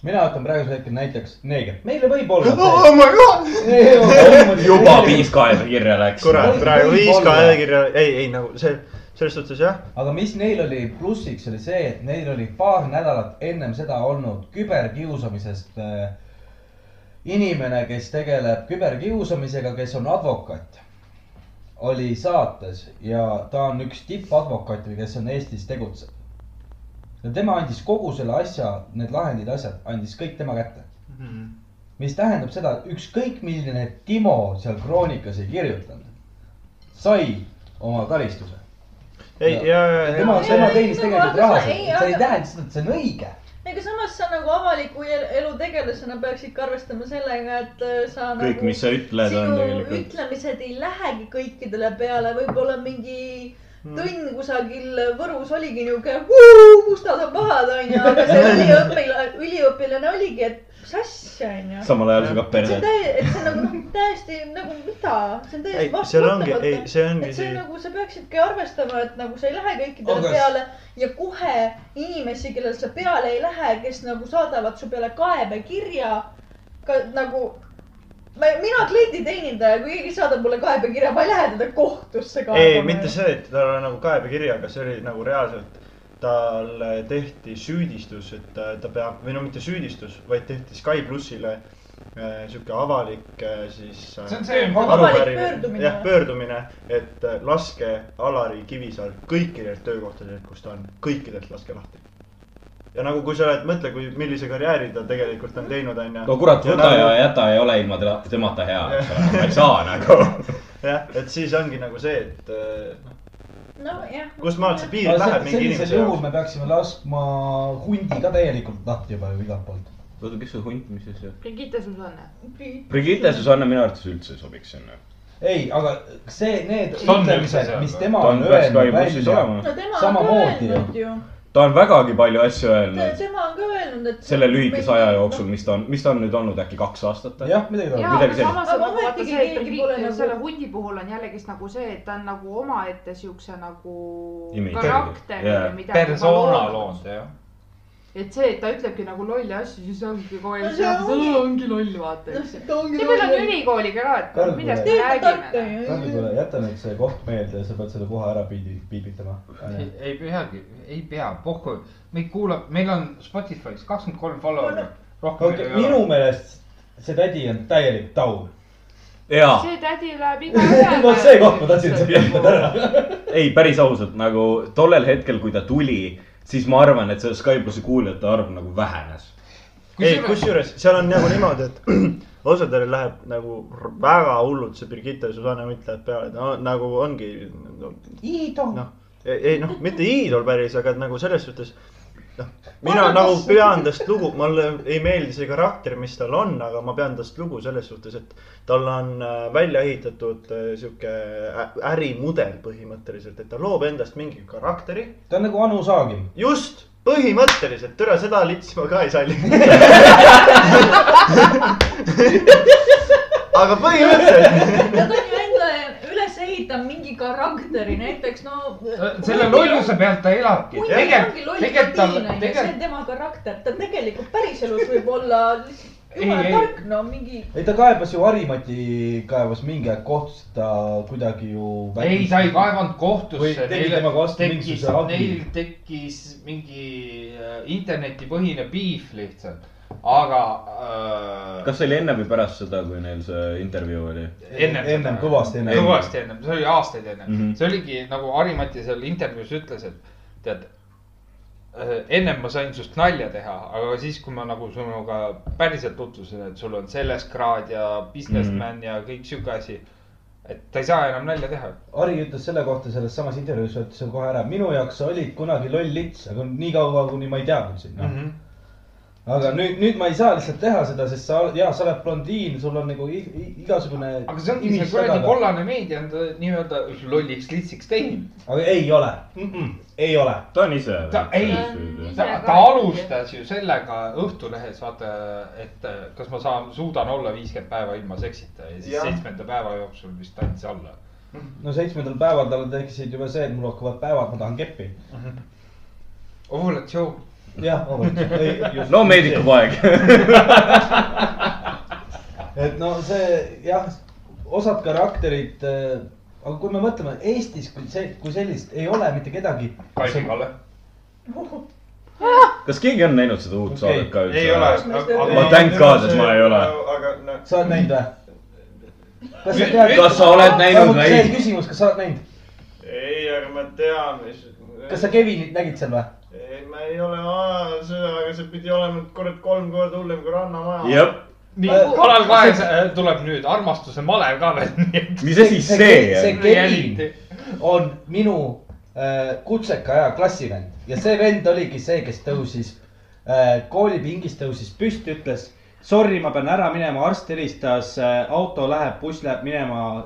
[SPEAKER 13] mina võtan praegusel hetkel näiteks neegrit , meile võib olla . (laughs) oh my god .
[SPEAKER 4] juba viis kaeva kirja läks .
[SPEAKER 14] kurat , praegu
[SPEAKER 13] Võib-
[SPEAKER 14] viis
[SPEAKER 13] võib-olla.
[SPEAKER 14] kaelakirja , ei , ei nagu see , selles suhtes jah ,
[SPEAKER 13] aga mis neil oli plussiks , oli see , et neil oli paar nädalat ennem seda olnud küberkiusamisest äh, inimene , kes tegeleb küberkiusamisega , kes on advokaat , oli saates ja ta on üks tippadvokaate , kes on Eestis tegutseb . ja tema andis kogu selle asja , need lahendid , asjad andis kõik tema kätte .
[SPEAKER 14] Mhm.
[SPEAKER 13] mis tähendab seda , et ükskõik milline Timo seal kroonikas ei kirjutanud , sai oma karistuse .
[SPEAKER 14] ei
[SPEAKER 13] Ja-
[SPEAKER 14] ja , ja ,
[SPEAKER 13] tema ,
[SPEAKER 14] ja
[SPEAKER 16] ei,
[SPEAKER 13] tema
[SPEAKER 16] ei,
[SPEAKER 13] teenis
[SPEAKER 16] no
[SPEAKER 13] tegelikult
[SPEAKER 16] aga sa-
[SPEAKER 13] raha ,
[SPEAKER 16] ei,
[SPEAKER 13] see ei
[SPEAKER 16] aga-
[SPEAKER 13] tähenda seda , et see on õige .
[SPEAKER 16] ega samas sa nagu avaliku el- elu tegelasena peaks ikka arvestama sellega , et äh, sa nagu
[SPEAKER 4] kõik , mis sa ütled , on
[SPEAKER 16] sinu
[SPEAKER 4] tegelikult .
[SPEAKER 16] ütlemised ei lähegi kõikidele peale , võib-olla mingi
[SPEAKER 14] Hmm.
[SPEAKER 16] tund kusagil Võrus oligi niuke "Huu, mustad on pahad onju ,
[SPEAKER 4] (laughs)
[SPEAKER 16] aga see üliõpilane , üliõpilane oligi , et mis asja onju .
[SPEAKER 4] samal ajal sügab
[SPEAKER 16] see on
[SPEAKER 4] perset .
[SPEAKER 16] täi- , et see on nagu noh , täiesti nagu mida , see on
[SPEAKER 14] ei
[SPEAKER 16] täiesti , vastu-
[SPEAKER 14] seal ongi , ei ,
[SPEAKER 16] võtmatu.
[SPEAKER 14] see ongi
[SPEAKER 16] et see on
[SPEAKER 14] see ,
[SPEAKER 16] nagu , sa peaksidki arvestama , et nagu sa ei lähe kõikidele
[SPEAKER 13] Aga s-
[SPEAKER 16] peale ja kohe inimesi , kellel sa peale ei lähe , kes nagu saadavad su peale kaebekirja , ka nagu ma , mina klienditeenindaja , kui keegi saadab mulle kaebekirja , ma ei lähe teda kohtusse
[SPEAKER 14] ei , mitte . see , et tal on nagu kaebekiri , aga see oli nagu reaalselt , talle tehti süüdistus , et ta, ta peab , või no mitte süüdistus , vaid tehti Sky plussile äh, sihuke avalik äh, siis .
[SPEAKER 5] see on see ,
[SPEAKER 16] Avalik
[SPEAKER 14] arupärimine ,
[SPEAKER 16] pöördumine.
[SPEAKER 14] jah , pöördumine , et äh, laske Alari Kivisaar kõikidelt töökohtadelt , kus ta on , kõikidelt laske lahti . ja nagu , kui sa oled , mõtle , kui , millise karjääri ta tegelikult on nagu- teinud , onju .
[SPEAKER 4] no kurat , võta ja jäta ei ole ilma teda- temata hea , eks ole , ma ei saa nagu .
[SPEAKER 14] jah , et siis ongi nagu see , et äh, noh,
[SPEAKER 16] nojah .
[SPEAKER 14] kust maalt see piir läheb mingi
[SPEAKER 13] sellisel
[SPEAKER 14] inimese
[SPEAKER 13] juhul
[SPEAKER 14] jaoks .
[SPEAKER 13] me peaksime laskma hundi ka täielikult lahti juba ju igalt poolt .
[SPEAKER 4] oota , kes see hunt , mis asja ?
[SPEAKER 17] Brigitte Susanne .
[SPEAKER 4] Brigitte ja Susanne minu arvates üldse ei sobiks sinna .
[SPEAKER 13] ei , aga see , need
[SPEAKER 5] Kas ta on üldse
[SPEAKER 13] ütlemised
[SPEAKER 5] seal ,
[SPEAKER 13] mis
[SPEAKER 5] või?
[SPEAKER 13] tema
[SPEAKER 4] ta on
[SPEAKER 13] on
[SPEAKER 4] peaks ka ju
[SPEAKER 13] öelnud
[SPEAKER 4] bussis
[SPEAKER 13] välja ,
[SPEAKER 4] olema .
[SPEAKER 16] no tema on ka
[SPEAKER 13] Samamoodi
[SPEAKER 16] öelnud ju .
[SPEAKER 4] ta on vägagi palju asju öelnud
[SPEAKER 16] tema on ka öelnud , et . Noh,
[SPEAKER 4] selle lühikese aja jooksul , mis ta on , mis ta on nüüd olnud äkki kaks aastat ?
[SPEAKER 13] jah , midagi
[SPEAKER 17] ja ,
[SPEAKER 13] taolist .
[SPEAKER 17] aga
[SPEAKER 4] Midagi sellist.
[SPEAKER 17] samas on
[SPEAKER 16] Aga
[SPEAKER 17] nagu vaata
[SPEAKER 16] ometigi
[SPEAKER 17] see , et
[SPEAKER 16] keegi
[SPEAKER 17] Brigitte
[SPEAKER 16] pole nagu-
[SPEAKER 17] selle hundi puhul on jällegist nagu see , et ta on nagu omaette siukse nagu
[SPEAKER 4] Image.
[SPEAKER 17] karakteri
[SPEAKER 4] Jaa.
[SPEAKER 17] või midagi .
[SPEAKER 5] persona . loonud jah .
[SPEAKER 17] et see , et ta ütlebki nagu lolle asju , siis ongi kohe
[SPEAKER 16] No , see ongi-
[SPEAKER 17] ongi loll , vaata , eks .
[SPEAKER 16] ta ongi . nagu-
[SPEAKER 17] ja meil on ülikooliga ka , et
[SPEAKER 13] Karl,
[SPEAKER 17] millest me
[SPEAKER 16] Teil on tark
[SPEAKER 17] räägime .
[SPEAKER 16] onju .
[SPEAKER 13] Karl , jäta nüüd see koht meelde ja sa pead selle kohe ära piidi- , piibitama .
[SPEAKER 5] ei ei peagi , ei pea , pohhu , meid kuulab , meil on Spotify's kakskümmend kolm follower'i , rohkem
[SPEAKER 13] okei , minu meelest see tädi on täielik taun .
[SPEAKER 4] jaa ,
[SPEAKER 17] see tädi läheb
[SPEAKER 13] Ah. (laughs) vot see koht ma tahtsin sulle öelda ära .
[SPEAKER 4] ei päris ausalt nagu tollel hetkel , kui ta tuli , siis ma arvan , et see Skype pluss kuulajate arv nagu vähenes .
[SPEAKER 14] ei , kusjuures seal on nagu niimoodi , et (clears throat) osadel läheb nagu r- väga hullult see Birgitta ja Susanne Mütt läheb peale , no nagu ongi no, .
[SPEAKER 13] Iidol .
[SPEAKER 14] noh , ei noh , mitte iidol päris , aga et nagu selles suhtes , noh , mina nagu pean tast lugu , mulle ei meeldi see karakter , mis tal on , aga ma pean tast lugu selles suhtes , et tal on äh, välja ehitatud äh, sihuke ä- ärimudel põhimõtteliselt , et ta loob endast mingi karakteri ,
[SPEAKER 13] ta on nagu Anu Saagim .
[SPEAKER 14] just põhimõtteliselt , türa seda litsi ma ka ei salli . aga põhimõtteliselt ,
[SPEAKER 16] Nad on ju enda üles ehitanud mingi karakteri , näiteks no .
[SPEAKER 5] Äh, selle lolluse pealt ta elabki .
[SPEAKER 16] hunt ongi
[SPEAKER 5] tegelikult ,
[SPEAKER 16] loll
[SPEAKER 5] tegelikult tal
[SPEAKER 16] Martin , onju , see
[SPEAKER 5] tegelikult
[SPEAKER 16] on tema karakter , ta tegelikult päriselus võib olla lihtsalt
[SPEAKER 5] Ei,
[SPEAKER 16] jumala
[SPEAKER 5] ei.
[SPEAKER 16] tark , no mingi .
[SPEAKER 13] ei , ta kaebas ju , Harimati kaebas mingi aeg kohtus , et ta kuidagi ju .
[SPEAKER 5] ei , ta ei kaevanud
[SPEAKER 13] Või
[SPEAKER 5] kohtusse .
[SPEAKER 13] tegi temaga vastu
[SPEAKER 5] tekkis
[SPEAKER 13] mingisuguse , abi.
[SPEAKER 5] neil tekkis mingi äh, internetipõhine piif lihtsalt , aga äh,
[SPEAKER 4] kas see oli enne või pärast seda , kui neil see intervjuu oli ?
[SPEAKER 5] ennem .
[SPEAKER 13] Ennem, kõvasti ennem.
[SPEAKER 5] kõvasti ennem , see oli aastaid ennem mm ,
[SPEAKER 4] Mhm.
[SPEAKER 5] -hmm. see oligi nagu Harimati seal intervjuus ütles , et tead . ennem ma sain sinust nalja teha , aga siis , kui ma nagu sinuga päriselt tutvusin , et sul on selles kraad ja businessman
[SPEAKER 13] Mhm.
[SPEAKER 5] mm -hmm. ja kõik sihuke asi . et ta ei saa enam nalja teha .
[SPEAKER 13] Harri ütles selle kohta selles samas
[SPEAKER 5] Mhm.
[SPEAKER 13] intervjuus , ütles selle kohe ära , minu jaoks sa olid kunagi loll lits , aga nii kaua , kuni ma ei teadnud sind , noh . aga nüüd , nüüd ma ei saa lihtsalt teha seda , sest sa , jaa , sa oled blondiin , sul on nagu ig- ig- igasugune .
[SPEAKER 5] aga see ongi see kuradi . kollane meedia on ta nii-öelda lolliks litsiks teinud .
[SPEAKER 13] aga ei ole mm , -mm, ei ole .
[SPEAKER 4] ta on ise .
[SPEAKER 5] Ta- ei. ta ta alustas ju sellega Õhtulehes , vaata , et äh, kas ma saan , suudan olla viiskümmend päeva ilma seksita ja siis
[SPEAKER 14] Jah.
[SPEAKER 5] seitsmenda päeva jooksul vist andis alla .
[SPEAKER 13] no seitsmendal päeval tal tekkisid juba see , et mul hakkavad päevad , ma tahan keppi .
[SPEAKER 5] ovulatsioon .
[SPEAKER 13] jah , vabandust .
[SPEAKER 4] no meedikupoeg .
[SPEAKER 13] (laughs) et no see jah , osad karakterid , aga kui me mõtleme Eestis , kui see , kui sellist ei ole mitte kedagi .
[SPEAKER 5] Kalvi Kalle .
[SPEAKER 4] kas keegi on näinud seda uut
[SPEAKER 13] Okei.
[SPEAKER 4] saadet ka
[SPEAKER 5] ei ole .
[SPEAKER 4] Ma thank god, et ma ei ole.
[SPEAKER 14] aga no
[SPEAKER 13] sa oled näinud või ? kas sa
[SPEAKER 5] Nüüd-
[SPEAKER 13] tead ?
[SPEAKER 4] kas sa oled näinud
[SPEAKER 13] või ? see
[SPEAKER 4] neid
[SPEAKER 13] oli ? küsimus , kas sa oled näinud ,
[SPEAKER 14] ei , aga ma tean , mis .
[SPEAKER 13] kas sa Kevinit nägid seal või ?
[SPEAKER 14] ei , ma ei ole vaadanud seda , aga see pidi olema kurat kolm korda hullem kui Rannamaja .
[SPEAKER 4] jah ,
[SPEAKER 5] nii
[SPEAKER 13] Äh, ,
[SPEAKER 5] Kalal Kaes äh, tuleb nüüd armastuse malev ka veel , (laughs) nii et .
[SPEAKER 4] mis asi see
[SPEAKER 13] see
[SPEAKER 4] on ?
[SPEAKER 13] Kevin on minu äh, kutseka aja klassivend ja see vend oligi see , kes tõusis äh, koolipingis tõusis
[SPEAKER 1] püsti , ütles sorry , ma pean ära minema , arst helistas , auto läheb , buss läheb minema ,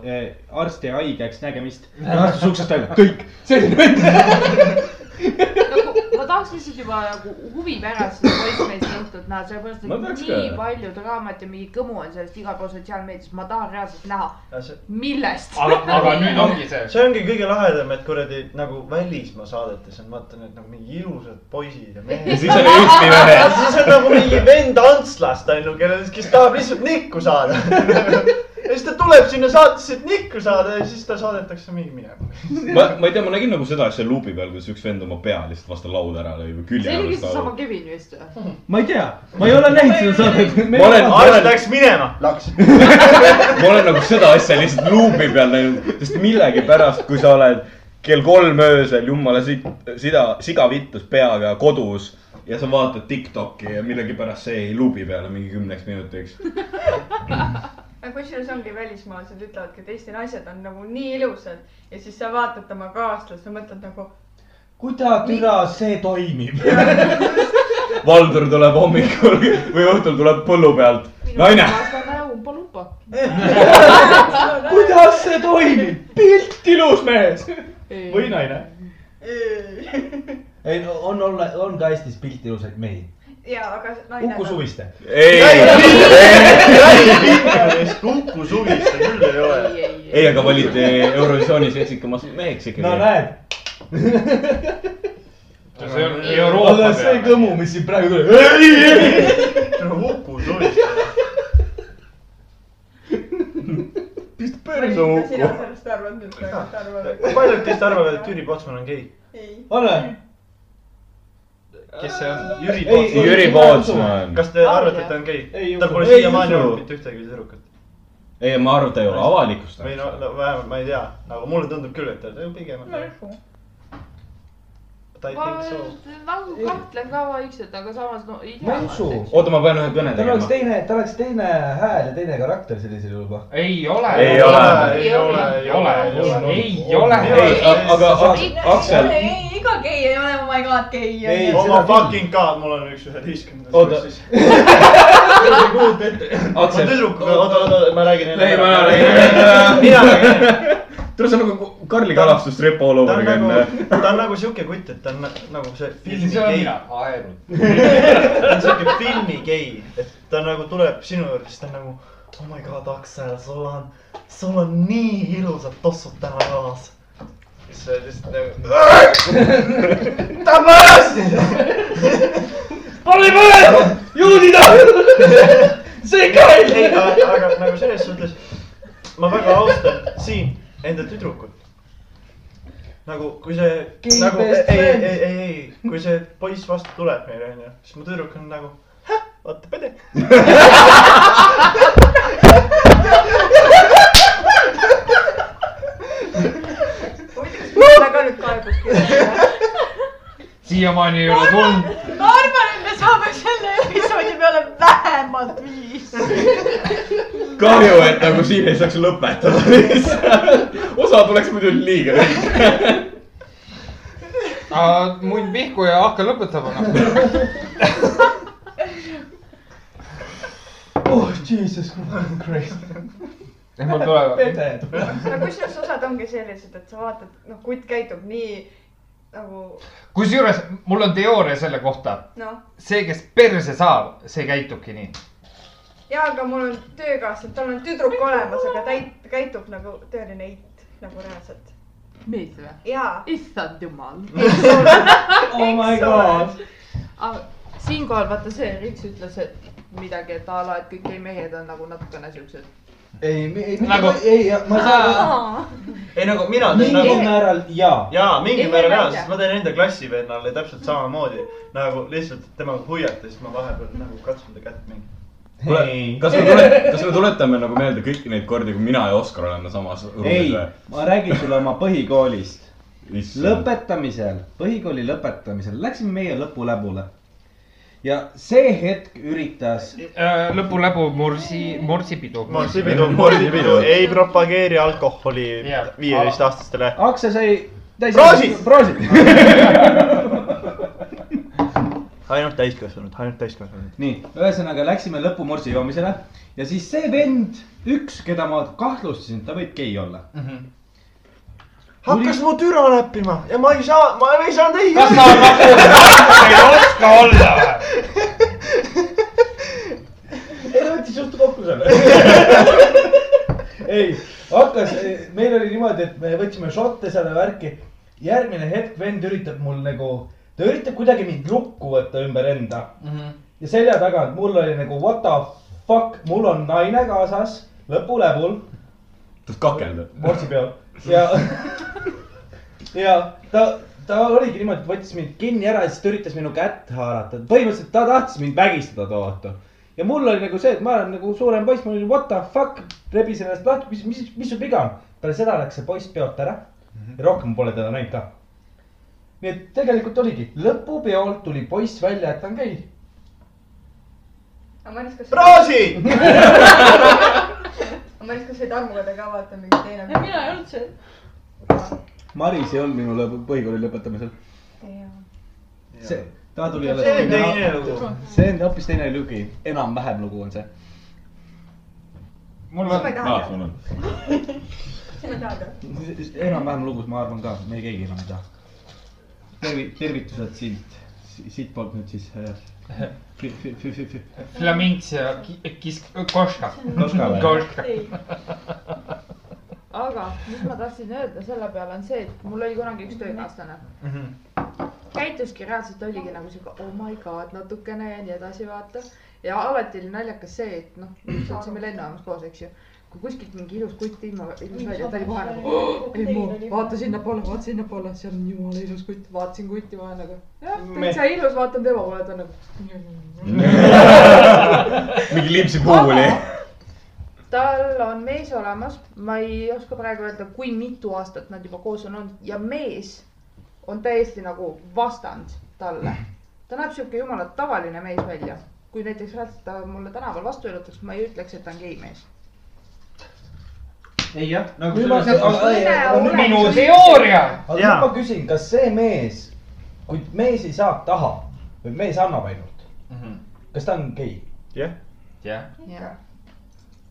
[SPEAKER 1] arst jäi haigeks , nägemist . astus uksest välja , kõik , selline vend .
[SPEAKER 17] nagu ma tahaks lihtsalt juba nagu huvi pärast seda poissmeeste õhtut näha , sellepärast
[SPEAKER 4] Ma tahaks
[SPEAKER 17] et
[SPEAKER 4] ka.
[SPEAKER 17] nii palju draamat ja mingi kõmu on sellest igal pool sotsiaalmeedias , ma tahan reaalselt näha ,
[SPEAKER 14] See,
[SPEAKER 17] millest .
[SPEAKER 5] aga , aga nüüd ongi see .
[SPEAKER 14] see ongi kõige lahedam , et kuradi nagu välismaa saadetes on vaata need nagu mingi ilusad poisid ja
[SPEAKER 4] ja
[SPEAKER 14] mehed .
[SPEAKER 4] siis oli ühtne vene .
[SPEAKER 14] siis on nagu mingi vend Antslast onju , kellel , kes tahab lihtsalt nikku saada . ja siis ta tuleb sinna saatesse , et nikku saada ja siis ta saadetakse mingi minema .
[SPEAKER 4] ma , ma ei tea , ma nägin nagu seda asja luubi peal , kuidas üks vend oma pea lihtsalt vastu lauda ära lõi või külje
[SPEAKER 17] see oligi
[SPEAKER 4] äärest
[SPEAKER 17] seesama
[SPEAKER 4] lauda .
[SPEAKER 17] Kevin vist või ?
[SPEAKER 1] ma ei tea , ma ei ole näinud seda saadet .
[SPEAKER 4] ma olen , ma
[SPEAKER 14] Ars
[SPEAKER 4] olen ,
[SPEAKER 14] läks minema , laks .
[SPEAKER 4] ma olen nagu seda asja lihtsalt luubi peal näinud , sest millegipärast , kui sa oled kell kolm öösel jumala sit- , sida , siga vittus peaga kodus ja sa vaatad Tiktoki ja millegipärast see jäi luubi peale mingi kümneks minutiks .
[SPEAKER 3] aga kusjuures ongi välismaalased ütlevadki , et Eesti naised on nagu nii ilusad ja siis sa vaatad oma kaaslast ja mõtled nagu ,
[SPEAKER 13] kuida türa see toimib ?
[SPEAKER 4] Valdur tuleb hommikul või õhtul tuleb põllu pealt . naine ,
[SPEAKER 17] vastane umba-lumba .
[SPEAKER 13] kuidas see toimib ? pilt ilus mees .
[SPEAKER 17] või naine .
[SPEAKER 13] ei , on , on , on ka Eestis pilt ilusaid mehi .
[SPEAKER 3] jaa , aga naine
[SPEAKER 13] Uku . Suviste .
[SPEAKER 4] ei ,
[SPEAKER 14] Kuku suviste küll ei ole .
[SPEAKER 17] ei , ei , ei .
[SPEAKER 4] ei , aga valiti Eurovisioonis seksikamast meheks ikkagi .
[SPEAKER 13] no näed ,
[SPEAKER 5] see on
[SPEAKER 13] Äh, aga
[SPEAKER 5] Euroopa
[SPEAKER 13] see
[SPEAKER 5] peale .
[SPEAKER 13] kõmu , mis siin praegu tuli .
[SPEAKER 14] Kuku suviste .
[SPEAKER 3] päris
[SPEAKER 4] Uku.
[SPEAKER 3] Uku . sina sellest arvad nüüd , aga sa arvad .
[SPEAKER 14] kui paljud teist arvavad , et Jüri Potsman on gei ?
[SPEAKER 3] ei ,
[SPEAKER 13] ole .
[SPEAKER 5] kes see on ?
[SPEAKER 14] Jüri
[SPEAKER 13] Ei,
[SPEAKER 14] Potsman .
[SPEAKER 4] Jüri Pootsman .
[SPEAKER 14] kas te arvate , et ta on gei ?
[SPEAKER 13] Ei
[SPEAKER 14] tal
[SPEAKER 13] usu.
[SPEAKER 14] pole
[SPEAKER 4] Ei
[SPEAKER 14] siiamaani
[SPEAKER 4] usu.
[SPEAKER 14] olnud mitte ühtegi tüdrukut .
[SPEAKER 4] ei , ma arvan , et ta ei ole
[SPEAKER 14] või no,
[SPEAKER 4] avalikustanud .
[SPEAKER 14] no vähemalt ma ei tea , aga mulle tundub küll , et ta ta pigem on
[SPEAKER 3] ma ei . usu .
[SPEAKER 14] ta ei
[SPEAKER 17] ma
[SPEAKER 14] think so .
[SPEAKER 17] nagu kahtlen ka vaikselt , aga samas no ei tea .
[SPEAKER 13] Ma ei usu.
[SPEAKER 4] oota , ma pean ühe kõne
[SPEAKER 13] tal oleks
[SPEAKER 4] tegema .
[SPEAKER 13] teine , tal oleks teine hääl ja teine karakter sellisel juhul kohe .
[SPEAKER 5] ei ole .
[SPEAKER 4] Ei ole.
[SPEAKER 14] ei ole , ei ole , ei ole .
[SPEAKER 5] ei ole .
[SPEAKER 4] ei , aga
[SPEAKER 16] ei ,
[SPEAKER 4] Aksel ,
[SPEAKER 16] ei , iga gei ei ole oh my god gei .
[SPEAKER 13] Ei,
[SPEAKER 14] oh
[SPEAKER 13] seda
[SPEAKER 14] my
[SPEAKER 13] küll.
[SPEAKER 14] fucking god , mul on üks üheteistkümnendas .
[SPEAKER 4] Oota.
[SPEAKER 14] ma
[SPEAKER 4] Aksel ,
[SPEAKER 14] tüdrukuga , oota , oota , ma räägin enne .
[SPEAKER 4] Ei, ma räägin.
[SPEAKER 14] mina räägin .
[SPEAKER 4] tule sa nagu Karli Kalastus Repo all
[SPEAKER 14] ta
[SPEAKER 4] over
[SPEAKER 14] on
[SPEAKER 4] again
[SPEAKER 14] nagu , ta on nagu siuke kutt , et ta on na- nagu see filmi gei ,
[SPEAKER 5] aerunud .
[SPEAKER 14] (laughs) ta on siuke filmi gei , et ta nagu tuleb sinu juurde , siis ta on nagu . Oh my god , Aksel , sul on , sul on nii ilusad tossud täna jalas . siis sa oled lihtsalt nagu . (laughs) ta mõõstis . ei , aga aga nagu selles suhtes ma väga austan siin enda tüdrukut . nagu , kui see ,
[SPEAKER 13] Gay
[SPEAKER 14] nagu ei
[SPEAKER 13] best ,
[SPEAKER 14] ei ,
[SPEAKER 13] friend.
[SPEAKER 14] ei , ei, ei , kui see poiss vastu tuleb meile onju , siis mu tüdruk on nagu , vaata pede .
[SPEAKER 3] huvitav , kas mul ka nüüd kaebus kirjutada ?
[SPEAKER 5] siiamaani ei ole tulnud .
[SPEAKER 16] ma arvan , et me saame selle episoodi peale vähemalt viis .
[SPEAKER 4] kahju , et nagu siin ei saaks lõpetada (laughs) lihtsalt . osa tuleks muidu liiga lühike .
[SPEAKER 13] (laughs)
[SPEAKER 5] mund pihku ja hakka lõpetama noh .
[SPEAKER 14] Oh, Jesus Christ .
[SPEAKER 5] mul tuleb ,
[SPEAKER 13] pede tuleb .
[SPEAKER 3] no kusjuures osad ongi sellised , et sa vaatad , noh , kutt käitub nii nagu
[SPEAKER 5] kusjuures mul on teooria selle kohta ,
[SPEAKER 3] noh ,
[SPEAKER 5] see , kes perse saab , see käitubki nii .
[SPEAKER 3] ja aga mul on töökaaslane , tal on tüdruk olemas , aga ta ei- ta käitub nagu tõeline eit , nagu reaalselt .
[SPEAKER 7] mees või ?
[SPEAKER 3] jaa .
[SPEAKER 7] issand jumal .
[SPEAKER 13] oh my god .
[SPEAKER 7] siinkohal vaata see Riks ütles , et midagi , et a la , et kõik ei mehed on nagu natukene siuksed .
[SPEAKER 13] ei , ei ,
[SPEAKER 5] Nagu-
[SPEAKER 13] ei , ma saan
[SPEAKER 14] ei nagu mina teen
[SPEAKER 13] mingil
[SPEAKER 14] nagu ,
[SPEAKER 13] määral jaa .
[SPEAKER 14] jaa , mingil
[SPEAKER 7] Ei,
[SPEAKER 14] määral
[SPEAKER 7] ei,
[SPEAKER 14] jaa ,
[SPEAKER 7] ei,
[SPEAKER 14] sest ma teen enda klassivennale täpselt samamoodi . nagu lihtsalt temaga huviata , siis ma vahepeal nagu katsun ta kätt mingi .
[SPEAKER 4] kuule , kas me tule- , kas me tuletame nagu meelde kõiki neid kordi , kui mina ja Oskar oleme samas
[SPEAKER 1] ei
[SPEAKER 4] ruumis või ?,
[SPEAKER 1] ma räägin sulle oma põhikoolist .
[SPEAKER 4] Issand.
[SPEAKER 1] lõpetamisel , põhikooli lõpetamisel läksime meie lõpuläbule . ja see hetk üritas ,
[SPEAKER 5] lõpuläbu Äh, morsi , morsipidu .
[SPEAKER 14] morsipidu , morsipidu , ei propageeri alkoholi
[SPEAKER 5] Jah.
[SPEAKER 14] viieteistaastastele .
[SPEAKER 1] aktsia sai .
[SPEAKER 14] Proosid!
[SPEAKER 1] proosid . (laughs)
[SPEAKER 14] ainult täiskasvanud , ainult täiskasvanud .
[SPEAKER 1] nii , ühesõnaga läksime lõpumorsi joomisele ja siis see vend , üks , keda ma kahtlustasin , ta võib gei olla .
[SPEAKER 14] hakkas mu türa näppima ja ma ei saa , ma ei saanud ei .
[SPEAKER 5] kas ta on nagu , ta ei oska olla või ?
[SPEAKER 13] ei , ta võttis just kokku selle . ei , hakkas , meil oli niimoodi , et me võtsime šotte selle värki . järgmine hetk vend üritab mul nagu , ta üritab kuidagi mind lukku võtta ümber enda ja selja tagant mul oli nagu what the fuck , mul on naine kaasas lõpuläbul ,
[SPEAKER 4] tahad kakelda ?
[SPEAKER 13] morsi peal ja , ja ta , ta oligi niimoodi , et võttis mind kinni ära ja siis ta üritas minu kätt haarata , põhimõtteliselt ta tahtis mind vägistada too õhtu . ja mul oli nagu see , et ma olen nagu suurem poiss , mul oli what the fuck , rebisin ennast lahti , mis , mis , mis sul viga on . peale seda läks see poiss peolt ära ja rohkem pole teda näinud ka . nii et tegelikult oligi , lõpupeol tuli poiss välja , et ta on gei .
[SPEAKER 3] aga Maris , kas ,
[SPEAKER 14] Rosi ,
[SPEAKER 3] Maris , kas sa Tarmoga ka vaata mingi teine
[SPEAKER 16] mina ei olnud seal .
[SPEAKER 1] Maris ei olnud minu lõpu , põhikooli lõpetamisel . see , ta tuli alles .
[SPEAKER 14] see on teine . lugu .
[SPEAKER 1] see on hoopis teine lugu , enam-vähem lugu on see .
[SPEAKER 5] mul
[SPEAKER 3] seda ma
[SPEAKER 5] on
[SPEAKER 3] ei taha
[SPEAKER 4] aa ,
[SPEAKER 3] teada ,
[SPEAKER 4] sul Ah, on .
[SPEAKER 3] seda ma ei taha teada .
[SPEAKER 1] enam-vähem lugus , ma arvan ka , me keegi enam ei taha . tervi- , tervitused siit , siitpoolt nüüd siis äh, fi- fi- fi- fi- fi-
[SPEAKER 5] flamings ja ki- kisk , koška .
[SPEAKER 1] Koškale.
[SPEAKER 5] koška .
[SPEAKER 16] ei ,
[SPEAKER 7] aga mis ma tahtsin öelda selle peale on see , et mul oli kunagi üks töökaaslane mm . -hmm. käituski reaalselt oligi nagu siuke oh my god natukene ja nii edasi vaata . ja alati oli naljakas see , et noh , me olime lennujaamas koos , eks ju . kui kuskilt mingi ilus kutt ilma , ilmus välja , ta oli kohe nagu
[SPEAKER 5] (gasps)
[SPEAKER 7] "Oh, ei ma vaata sinnapoole , vaata sinnapoole , seal on jumala ilus kutt , vaatasin kutti vaja nagu . jah , täitsa ilus , vaatan tema poole , ta on nagu .
[SPEAKER 4] mingi limpsi puu oli .
[SPEAKER 7] tal on mees olemas , ma ei oska praegu öelda , kui mitu aastat nad juba koos on olnud ja mees on täiesti nagu vastand talle . ta näeb siuke jumala tavaline mees välja . kui näiteks reaalselt ta mulle tänaval vastu ilutaks , ma ei ütleks , et ta on gei mees .
[SPEAKER 1] ei jah , nagu
[SPEAKER 13] nüüd ma ,
[SPEAKER 1] selles
[SPEAKER 13] aga ei , aga nüüd
[SPEAKER 5] minu teooria .
[SPEAKER 13] aga
[SPEAKER 14] Jaa.
[SPEAKER 13] nüüd ma küsin , kas see mees , kui mees ei saa taha või mees annab ainult , kas ta on gei ?
[SPEAKER 5] Mhm, jah ,
[SPEAKER 7] jah ,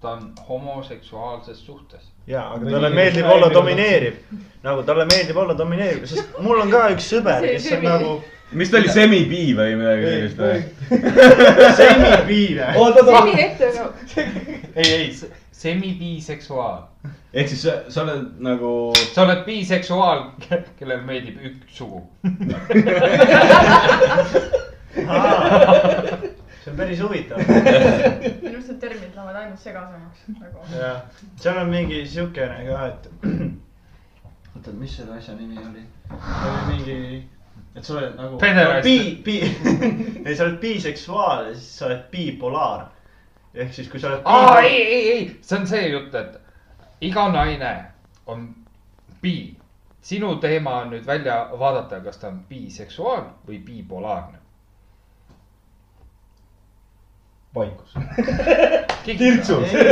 [SPEAKER 5] ta on homoseksuaalses suhtes .
[SPEAKER 14] ja , aga talle meeldib olla domineeriv , nagu talle meeldib olla domineeriv , sest mul on ka üks sõber , kes on nagu
[SPEAKER 4] mis ta oli , semi-bi või midagi sellist või ?
[SPEAKER 14] semipiive .
[SPEAKER 13] oot , oot , oot ,
[SPEAKER 7] selline ette nagu .
[SPEAKER 5] ei , ei , semibiseksuaal .
[SPEAKER 4] ehk siis sa- sa oled nagu ,
[SPEAKER 5] sa oled biseksuaal , kellele meeldib üks sugu .
[SPEAKER 14] see on päris huvitav .
[SPEAKER 3] minu arust need terminid lähevad ainult segasemaks nagu .
[SPEAKER 14] jah , seal on mingi siukene ka , et (clears throat) oota , mis selle asja nimi oli ? oli mingi , et sa oled nagu
[SPEAKER 5] Pederast.
[SPEAKER 14] bi- , bi- , (laughs) ei sa oled biseksuaal ja siis sa oled bipolaar . ehk siis , kui sa oled
[SPEAKER 5] aa , ei , ei , ei , see on see jutt , et iga naine on bi . sinu teema on nüüd välja vaadata , kas ta on biseksuaal või bipolaarne . (laughs)
[SPEAKER 13] vaikus .
[SPEAKER 5] Tirtsu .
[SPEAKER 14] ei ,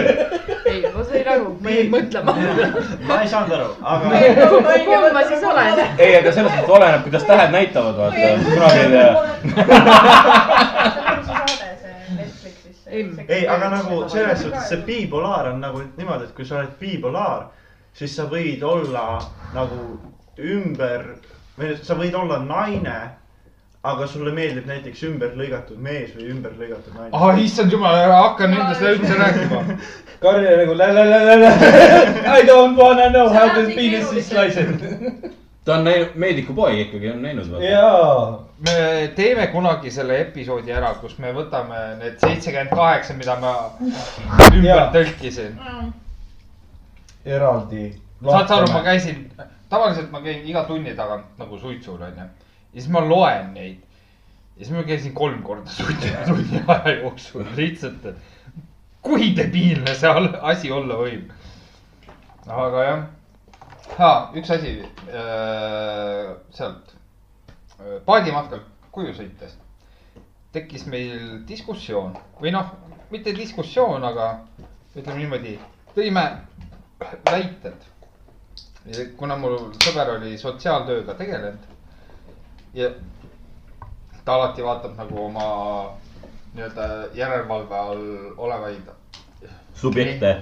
[SPEAKER 7] ei , ma sain aru , ma jäin mõtlema .
[SPEAKER 14] (laughs) ma ei saanud aru , aga
[SPEAKER 7] kumb ma siis olen ?
[SPEAKER 4] ei , aga selles mõttes oleneb , kuidas tähed näitavad , vaata . kunagi ei tea .
[SPEAKER 3] see on nagu see saade , see Netflixis .
[SPEAKER 7] M.
[SPEAKER 14] ei , aga nagu selles suhtes see bipolaar on nagu niimoodi , et kui sa oled bipolaar , siis sa võid olla nagu ümber , või sa võid olla naine , aga sulle meeldib näiteks ümberlõigatud mees või ümberlõigatud naine .
[SPEAKER 5] ah , issand jumal , ära hakka nüüd seda üldse rääkima .
[SPEAKER 13] Karl nagu lä- lä- lä- lä- lä- I don't wanna know how this penis is sliced .
[SPEAKER 4] ta on näinud , meediku poeg ikkagi on näinud .
[SPEAKER 13] (laughs) jaa .
[SPEAKER 5] me teeme kunagi selle episoodi ära , kus me võtame need seitsekümmend kaheksa , mida ma ümber
[SPEAKER 13] Jaa.
[SPEAKER 5] tõlkisin .
[SPEAKER 13] eraldi .
[SPEAKER 5] saad sa aru , ma käisin , tavaliselt ma käin iga tunni tagant nagu suitsul onju . ja siis ma loen neid . ja siis ma käisin kolm korda (laughs) suitsu tunni aja jooksul lihtsalt . kui debiilne see al- asi olla võib . aga jah . aa , üks asi äh, sealt äh, paadimatkalt koju sõites tekkis meil diskussioon või noh , mitte diskussioon , aga ütleme niimoodi , tõime väited . kuna mul sõber oli sotsiaaltööga tegelenud ja ta alati vaatab nagu oma nii-öelda järelevalve all olevaid
[SPEAKER 4] subjekte .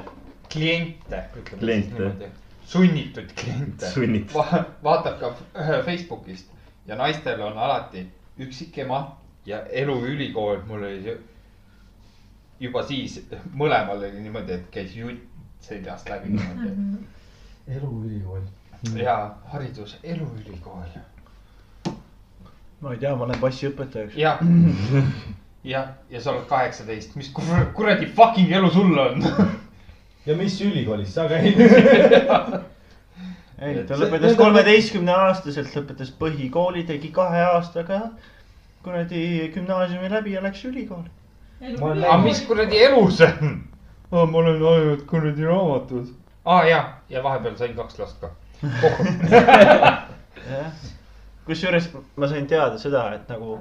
[SPEAKER 5] kliente , ütleme
[SPEAKER 4] Kliente.
[SPEAKER 5] siis niimoodi , sunnitud kliente
[SPEAKER 4] Sunnitud.
[SPEAKER 5] Va . vaatab ka f- Facebookist ja naistel on alati üksikema ja eluülikool , mul oli ju- juba siis mõlemal oli niimoodi , et käis jutt seljast läbi niimoodi
[SPEAKER 13] eluülikool .
[SPEAKER 5] ja haridus , eluülikool
[SPEAKER 14] ma ei tea , ma lähen bassiõpetajaks .
[SPEAKER 5] ja , ja , ja sa oled kaheksateist , mis kur- kuradi fucking elu sul on ?
[SPEAKER 13] ja mis ülikoolis sa käid ? (laughs)
[SPEAKER 14] ei , ta lõpetas kolmeteistkümne aastaselt , lõpetas põhikooli , tegi kahe aastaga kuradi gümnaasiumi läbi ja läks ülikooli .
[SPEAKER 5] aga mis kuradi elu see on ? ma olen ainult kuradi raamatus . aa ja , ja vahepeal sain kaks last ka .
[SPEAKER 14] jah , kusjuures ma sain teada seda , et nagu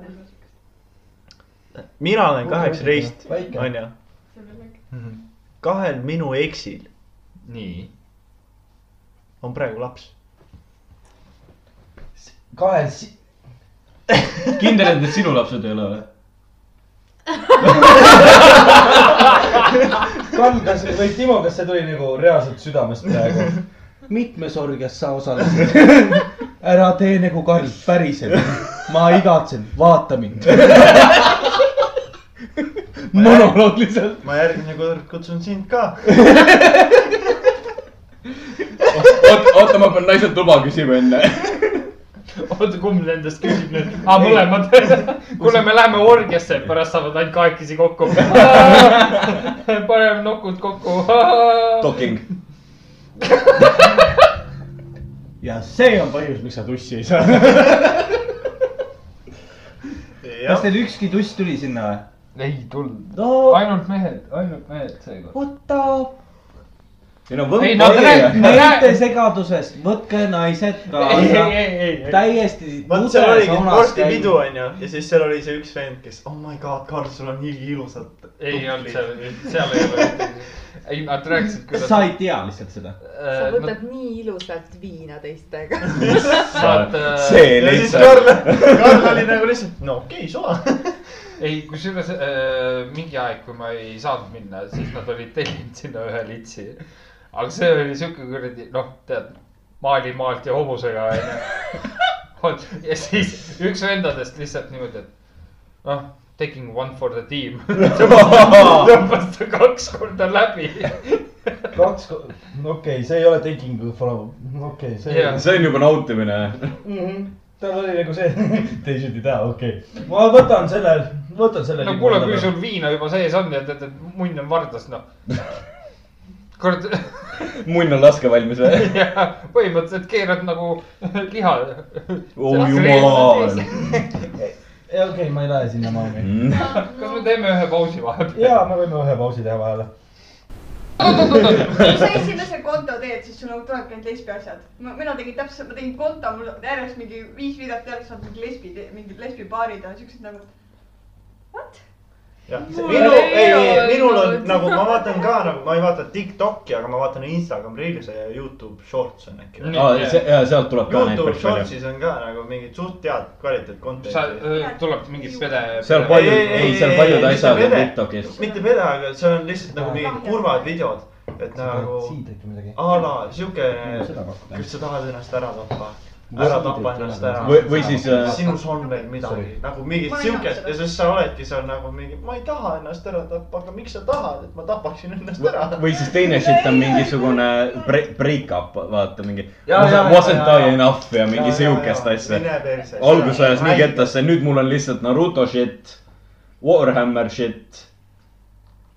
[SPEAKER 14] mina olen kaheksateist ,
[SPEAKER 13] Väike.
[SPEAKER 14] onju . Mhm. kahel minu eksil
[SPEAKER 5] nii , (laughs)
[SPEAKER 14] on praegu laps .
[SPEAKER 13] kahel si- ,
[SPEAKER 4] kindel , et need sinu lapsed ei ole või ?
[SPEAKER 13] Karl , kas või Timo , kas see tuli nagu reaalselt südamest praegu ? (laughs) mitmes orgias sa osalesid ? (laughs) ära tee nagu Karl , päriselt . ma igatsen , vaata (laughs) mind . monoloog lihtsalt .
[SPEAKER 14] ma järgmine kord kutsun sind ka .
[SPEAKER 4] oota , oota , ma pean naiselt luba küsima enne .
[SPEAKER 5] oota , kumb nendest küsib (laughs) nüüd ? aa , mõlemad . (laughs) kuule , me läheme orgiasse , pärast saavad ainult kahekesi (laughs) kokku . paneme nokud kokku .
[SPEAKER 4] Docking .
[SPEAKER 13] ja see on põhjus , miks sa tussi ei saa .
[SPEAKER 1] kas teil ükski tuss tuli sinna või ?
[SPEAKER 5] ei tulnud ,
[SPEAKER 13] no
[SPEAKER 5] ainult mehed , ainult mehed seekord .
[SPEAKER 1] võta
[SPEAKER 4] siin on võhm
[SPEAKER 5] Ei, nad räägivad-
[SPEAKER 1] meeste segadusest , võtke naised
[SPEAKER 5] (laughs) ei , ei ,
[SPEAKER 1] kaasa .
[SPEAKER 5] ei , ei , ei .
[SPEAKER 1] täiesti .
[SPEAKER 14] vot seal oligi vorstipidu onju ja siis seal oli see üks vend , kes , oh my god , Karl , sul on nii ilusad .
[SPEAKER 5] ei olnud
[SPEAKER 14] (laughs)
[SPEAKER 5] seal , seal ei olnud . ei , nad rääkisid , kuidas .
[SPEAKER 1] sa ei tea lihtsalt seda .
[SPEAKER 17] sa
[SPEAKER 5] Nad ,
[SPEAKER 17] võtad nii ilusalt viina teistega .
[SPEAKER 5] nad ,
[SPEAKER 4] äh, see
[SPEAKER 14] ja siis
[SPEAKER 4] lihtsalt .
[SPEAKER 14] Karl , Karl oli nagu lihtsalt , no okei okay, , suva .
[SPEAKER 5] ei , kusjuures äh, mingi aeg , kui ma ei saanud minna , siis nad olid tellinud sinna ühe litsi . aga see oli siuke kuradi , noh , tead , maali maalt ja hobusega onju . ja siis üks vendadest lihtsalt niimoodi , et noh , taking one for the team . tõmbas ta kaks korda läbi .
[SPEAKER 13] kaks , okei , see ei ole taking for , okei , see
[SPEAKER 5] Jah.
[SPEAKER 4] see on juba nautimine .
[SPEAKER 13] yeah. . tal oli nagu see , (laughs) teised ei tea , okei okay. . ma võtan selle , võtan selle .
[SPEAKER 5] no kuule , kui sul viina juba sees on ja tead , et munn on vardas , noh . kurat ,
[SPEAKER 4] munn on laske valmis või ?
[SPEAKER 5] (laughs) põhimõtteliselt keerad nagu (laughs) liha .
[SPEAKER 4] oh jumal .
[SPEAKER 13] okei okay, , ma ei lähe sinnamaani .
[SPEAKER 4] Mm.
[SPEAKER 5] kas me teeme ühe pausi vahepeal ?
[SPEAKER 13] ja me võime ühe pausi teha vahele .
[SPEAKER 3] kui sa esimese konto teed , siis sul nagu tulebki ainult lesbi asjad . mina tegin täpselt , ma tegin konto , mul järjest mingi viis videot järjest on mingi lesbi , mingid lesbipaarid ja siuksed nagu . What ?
[SPEAKER 14] jah ,
[SPEAKER 17] Mul
[SPEAKER 14] minu ,
[SPEAKER 17] ei
[SPEAKER 14] ei , ei ,
[SPEAKER 17] olnud.
[SPEAKER 14] minul on nagu ma vaatan ka nagu , ma ei vaata Tiktoki , aga ma vaatan Instagram Reels'e ja Youtube Shorts on äkki .
[SPEAKER 5] Nii.
[SPEAKER 4] aa , see , jaa , sealt tuleb Ah, ka neid
[SPEAKER 14] Youtube
[SPEAKER 4] päris palju .
[SPEAKER 14] Shortsis on ka nagu mingit suht head kvaliteet
[SPEAKER 5] (laughs) sa
[SPEAKER 14] content'i .
[SPEAKER 5] äh, tuleb mingit pede .
[SPEAKER 4] seal paljud ,
[SPEAKER 14] Ei, ei,
[SPEAKER 4] ei , seal
[SPEAKER 14] ei, ei,
[SPEAKER 4] paljud
[SPEAKER 14] ei,
[SPEAKER 4] asjad
[SPEAKER 14] mitte
[SPEAKER 4] on
[SPEAKER 14] vene.
[SPEAKER 4] TikTokis .
[SPEAKER 14] mitte pede , aga see on lihtsalt nagu mingid kurvad videod , et nagu
[SPEAKER 13] siid äkki midagi .
[SPEAKER 14] a la siuke ,
[SPEAKER 1] seda pakkuda.
[SPEAKER 14] kas sa tahad ennast ära tappa , ära tapa ennast ära .
[SPEAKER 4] või , või siis äh,
[SPEAKER 14] sinus on veel midagi , nagu mingit
[SPEAKER 7] Ma ei
[SPEAKER 14] siukest
[SPEAKER 7] taha
[SPEAKER 14] ja siis sa oledki seal nagu mingi , ma ei taha ennast ära tappa , aga miks sa tahad , et ma tapaksin ennast ära ?
[SPEAKER 4] või siis teine shit on mingisugune bre- break-up , vaata mingi
[SPEAKER 14] Jaa, jaa, jaa,
[SPEAKER 4] wasn't
[SPEAKER 14] jaa, jaa.
[SPEAKER 4] I enough ja mingi siukest asja . algus ajas nii . kettasse , nüüd mul on lihtsalt Naruto shit , Warhammer shit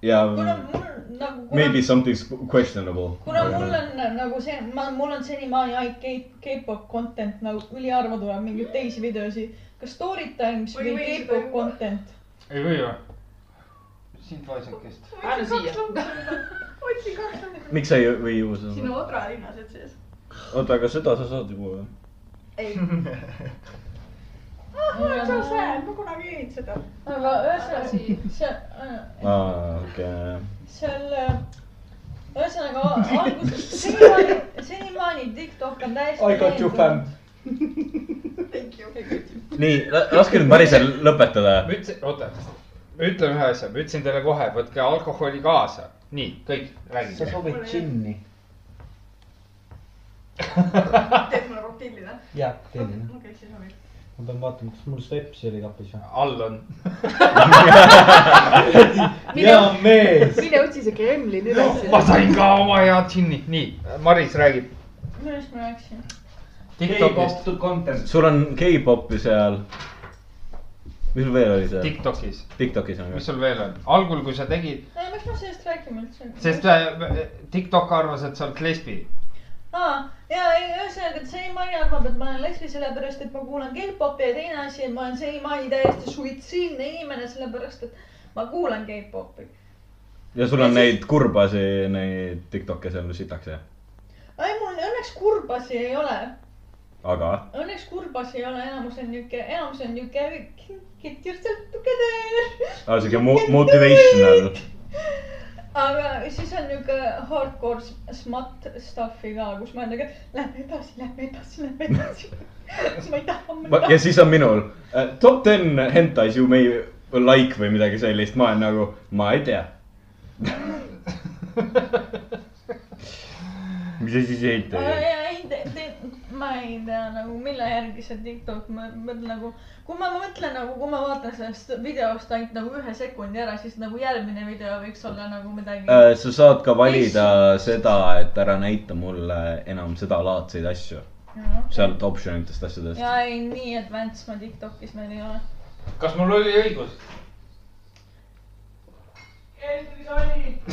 [SPEAKER 4] ja
[SPEAKER 16] kuna mul nagu ,
[SPEAKER 4] maybe
[SPEAKER 16] kuna ,
[SPEAKER 4] something questionable .
[SPEAKER 16] kuna mul on nagu see , ma , mul on senimaani ainult K- K-pop content nagu üliharva tuleb mingeid teisi videosid . kas story times
[SPEAKER 3] Oi,
[SPEAKER 16] või
[SPEAKER 3] või seda
[SPEAKER 16] K-pop
[SPEAKER 3] juba.
[SPEAKER 16] content ?
[SPEAKER 5] ei või või ? sind vaesekest .
[SPEAKER 17] Anna siia. .
[SPEAKER 3] otsi kaks lambist .
[SPEAKER 4] miks sa ei või ju seda ?
[SPEAKER 3] sinu odra linnased sees .
[SPEAKER 4] oota , aga seda sa saad juba .
[SPEAKER 3] ei . ah , mul on so sad , ma kunagi ei leidnud seda .
[SPEAKER 16] aga ühesõnaga , see , äh,
[SPEAKER 4] aa , okei .
[SPEAKER 16] seal , ühesõnaga alguses , senimaani , senimaani TikTok on
[SPEAKER 13] I
[SPEAKER 16] täiesti .
[SPEAKER 13] got you fam .
[SPEAKER 3] Thank you .
[SPEAKER 4] nii , laske nüüd Marisel lõpetada .
[SPEAKER 5] ma ütlesin , oota , ma ütlen ühe asja , ma ütlesin teile kohe , võtke alkoholi kaasa . nii , kõik ,
[SPEAKER 13] sa
[SPEAKER 5] räägime .
[SPEAKER 13] soovid džinni ?
[SPEAKER 3] teed mulle kokteilina ?
[SPEAKER 13] jah , teen .
[SPEAKER 3] okei , siis on kõik .
[SPEAKER 13] ma pean vaatama , kas mul Stepsi oli kapis või ?
[SPEAKER 5] all on .
[SPEAKER 17] mine ,
[SPEAKER 13] mees .
[SPEAKER 17] (laughs) mine otsi see Kremlin üles .
[SPEAKER 5] ma sain ka oma hea džinni . nii , Maris räägib
[SPEAKER 16] millest ma rääkisin ?
[SPEAKER 5] Tiktokist ,
[SPEAKER 13] content .
[SPEAKER 4] sul on K-popi seal . mis sul veel oli seal ?
[SPEAKER 5] Tiktokis ,
[SPEAKER 4] Tiktokis on
[SPEAKER 5] mis
[SPEAKER 4] ka .
[SPEAKER 5] sul veel on ? algul , kui sa tegid ,
[SPEAKER 16] miks ma sellest räägime üldse ?
[SPEAKER 5] sest äh, Tiktok arvas , et sa oled lesbi .
[SPEAKER 16] aa , ja ei , ühesõnaga , et senimaani arvab , et ma olen lesbi sellepärast , et ma kuulan K-popi ja teine asi , et ma olen senimaani täiesti suitsiidne inimene , sellepärast et ma kuulan K-popi .
[SPEAKER 4] ja sul on neid kurbasi , neid Tiktoke seal sitaks jah ?
[SPEAKER 16] ei , mul õnneks kurbasi ei ole ,
[SPEAKER 4] aga
[SPEAKER 16] õnneks kurbasi ei ole , enamus on niuke , enamus on niuke get yourself together .
[SPEAKER 4] aa , siuke mo- , motivational .
[SPEAKER 16] aga siis on niuke hardcore s- smut stuff'i ka , kus ma olen nagu , lähme edasi , lähme edasi , lähme edasi . ma ei taha , ma ei
[SPEAKER 4] ja
[SPEAKER 16] taha .
[SPEAKER 4] siis on minul äh, top ten hentais you may like või midagi sellist , ma olen nagu , ma ei tea . (laughs) mis asi see hent
[SPEAKER 16] ma
[SPEAKER 4] oli ?
[SPEAKER 16] ei tea , ma ei tea nagu mille järgi see Tiktok , ma mõtlen nagu , kui ma mõtlen nagu , kui ma vaatan sellest videost ainult nagu ühe sekundi ära , siis nagu järgmine video võiks olla nagu midagi äh. .
[SPEAKER 4] sa saad ka valida seda , et ära näita mulle enam sedalaadseid asju , sealt option itest asjadest .
[SPEAKER 16] ja ei , nii advanced ma Tiktokis veel ei ole .
[SPEAKER 5] kas mul oli õigus ?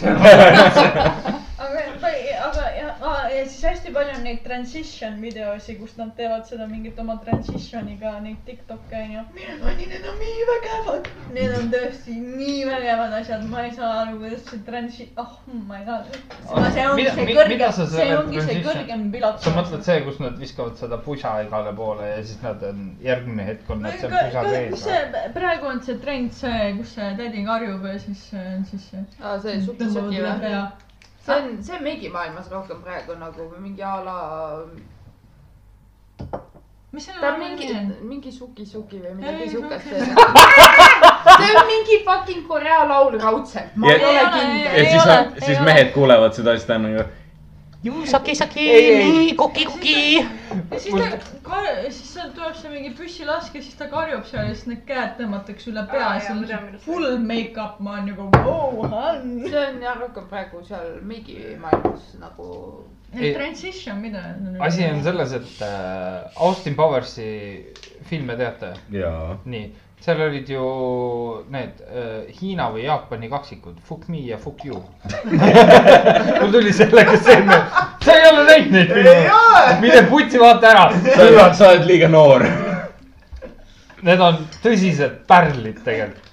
[SPEAKER 16] aga , aga ja, aa, ja siis hästi palju on neid transition videosi , kus nad teevad seda mingit oma transition'iga neid Tiktok'e onju . Need on nii vägevad , need on tõesti nii vägevad asjad , ma ei saa aru , kuidas see transi- , oh my god . see ongi
[SPEAKER 5] Mida- mi-
[SPEAKER 16] see
[SPEAKER 5] mida
[SPEAKER 16] kõrgem ,
[SPEAKER 5] sa
[SPEAKER 16] see
[SPEAKER 5] selle
[SPEAKER 16] ongi see
[SPEAKER 5] transition-
[SPEAKER 16] kõrgem piloot .
[SPEAKER 5] sa mõtled see , kus nad viskavad seda pusa igale poole ja siis nad on , järgmine hetk on nad seal pusa
[SPEAKER 16] mis
[SPEAKER 5] sees .
[SPEAKER 16] see praegu on see trend , see , kus see tädi karjub ja siis , siis .
[SPEAKER 17] aa , Ah, see suki-suki või ? see on , see on meigimaailmas rohkem praegu nagu mingi a la ,
[SPEAKER 16] mis
[SPEAKER 17] ta
[SPEAKER 16] selle
[SPEAKER 17] on mingi
[SPEAKER 16] nimi on ?,
[SPEAKER 17] mingi suki-suki või
[SPEAKER 16] Ei,
[SPEAKER 17] midagi siukest
[SPEAKER 16] suki- .
[SPEAKER 17] (laughs) see on mingi fucking Korea laul raudselt , ma
[SPEAKER 4] Ja-
[SPEAKER 17] ei ole
[SPEAKER 16] Ei ole,
[SPEAKER 17] kindel .
[SPEAKER 4] ja
[SPEAKER 16] ei
[SPEAKER 4] siis
[SPEAKER 16] ole,
[SPEAKER 4] on ,
[SPEAKER 16] ei
[SPEAKER 4] siis
[SPEAKER 16] ole.
[SPEAKER 4] mehed kuulevad seda , siis ta on nagu ,
[SPEAKER 16] ja siis ta kar- , siis seal tuleb see mingi püssilask ja siis ta karjub seal ja siis need käed tõmmatakse üle pea
[SPEAKER 3] Aa,
[SPEAKER 16] ja siis
[SPEAKER 3] jaa,
[SPEAKER 16] on
[SPEAKER 3] ma tean,
[SPEAKER 16] mingi
[SPEAKER 3] millest
[SPEAKER 16] full make-up , ma olen nagu vau , han .
[SPEAKER 17] see on jah rohkem praegu seal meigimaailmas nagu .
[SPEAKER 5] Ei.
[SPEAKER 16] Transition , mida ?
[SPEAKER 5] asi on . selles , et äh, Austin Powersi filme teate ,
[SPEAKER 4] jaa .
[SPEAKER 5] nii , seal olid ju need äh, Hiina või Jaapani kaksikud , Fuck me ja Fuck (laughs) you . mul tuli sellega see meelde , sa ei ole näinud neid filme , mine putsi vaata
[SPEAKER 4] sa
[SPEAKER 5] ära ,
[SPEAKER 4] oled , sa oled liiga noor .
[SPEAKER 5] need on tõsised pärlid tegelikult .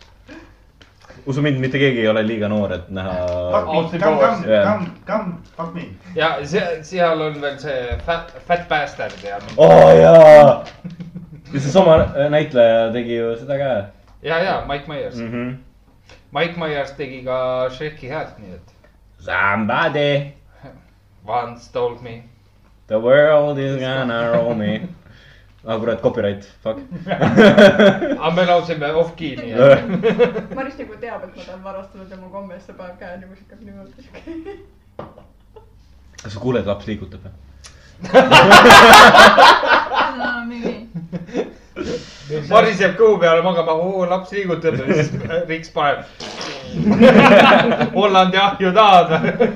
[SPEAKER 4] usu mind , mitte keegi ei ole liiga noor , et näha .
[SPEAKER 5] Austin Powers,
[SPEAKER 4] jah.
[SPEAKER 14] come , come , fuck me .
[SPEAKER 5] ja see , seal on veel see Fat , Fat Bastard ja mingi-
[SPEAKER 4] oo jaa . ja seesama äh, näitleja tegi ju seda ka
[SPEAKER 5] ja , ja Mike Myers
[SPEAKER 4] mm . -hmm.
[SPEAKER 5] Mike Myers tegi ka Shreki häält , nii et
[SPEAKER 4] Somebody ,
[SPEAKER 5] once told me .
[SPEAKER 4] the world is gonna roll me . ah kurat , copyright , fuck .
[SPEAKER 5] aga me laulsime off-key , nii et
[SPEAKER 3] Maris nagu teab , et ma tahan varastada tema komme , siis ta paneb käe niimoodi , hakkab niimoodi .
[SPEAKER 4] kas sa kuuled , laps liigutab või ?
[SPEAKER 16] nagu
[SPEAKER 5] Maris jääb kõhu peale magama , oo laps liigutab ja siis Riks paneb . (laughs) Hollandi ahju tahad või ?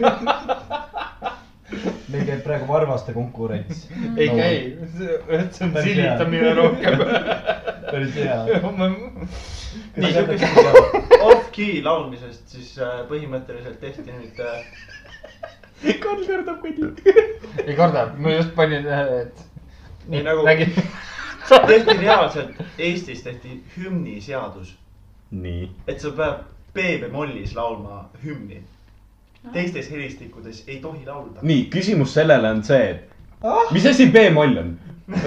[SPEAKER 13] meil käib praegu varvaste konkurents .
[SPEAKER 5] Mhm. ei käi , see on silitamine rohkem .
[SPEAKER 13] päris hea .
[SPEAKER 14] nii siukest off-key laulmisest siis äh, põhimõtteliselt tehti nüüd äh,
[SPEAKER 5] ei karda , ma just panin , et .
[SPEAKER 14] Ei, nagu-
[SPEAKER 5] nägin ,
[SPEAKER 14] tehti reaalselt , Eestis tehti hümniseadus ,
[SPEAKER 4] nii .
[SPEAKER 14] et sa pead B-bemollis laulma hümni . teistes helistikutes ei tohi laulda .
[SPEAKER 4] nii , küsimus sellele on see ,
[SPEAKER 13] Ah!
[SPEAKER 4] et mis asi B-moll on ?
[SPEAKER 17] ma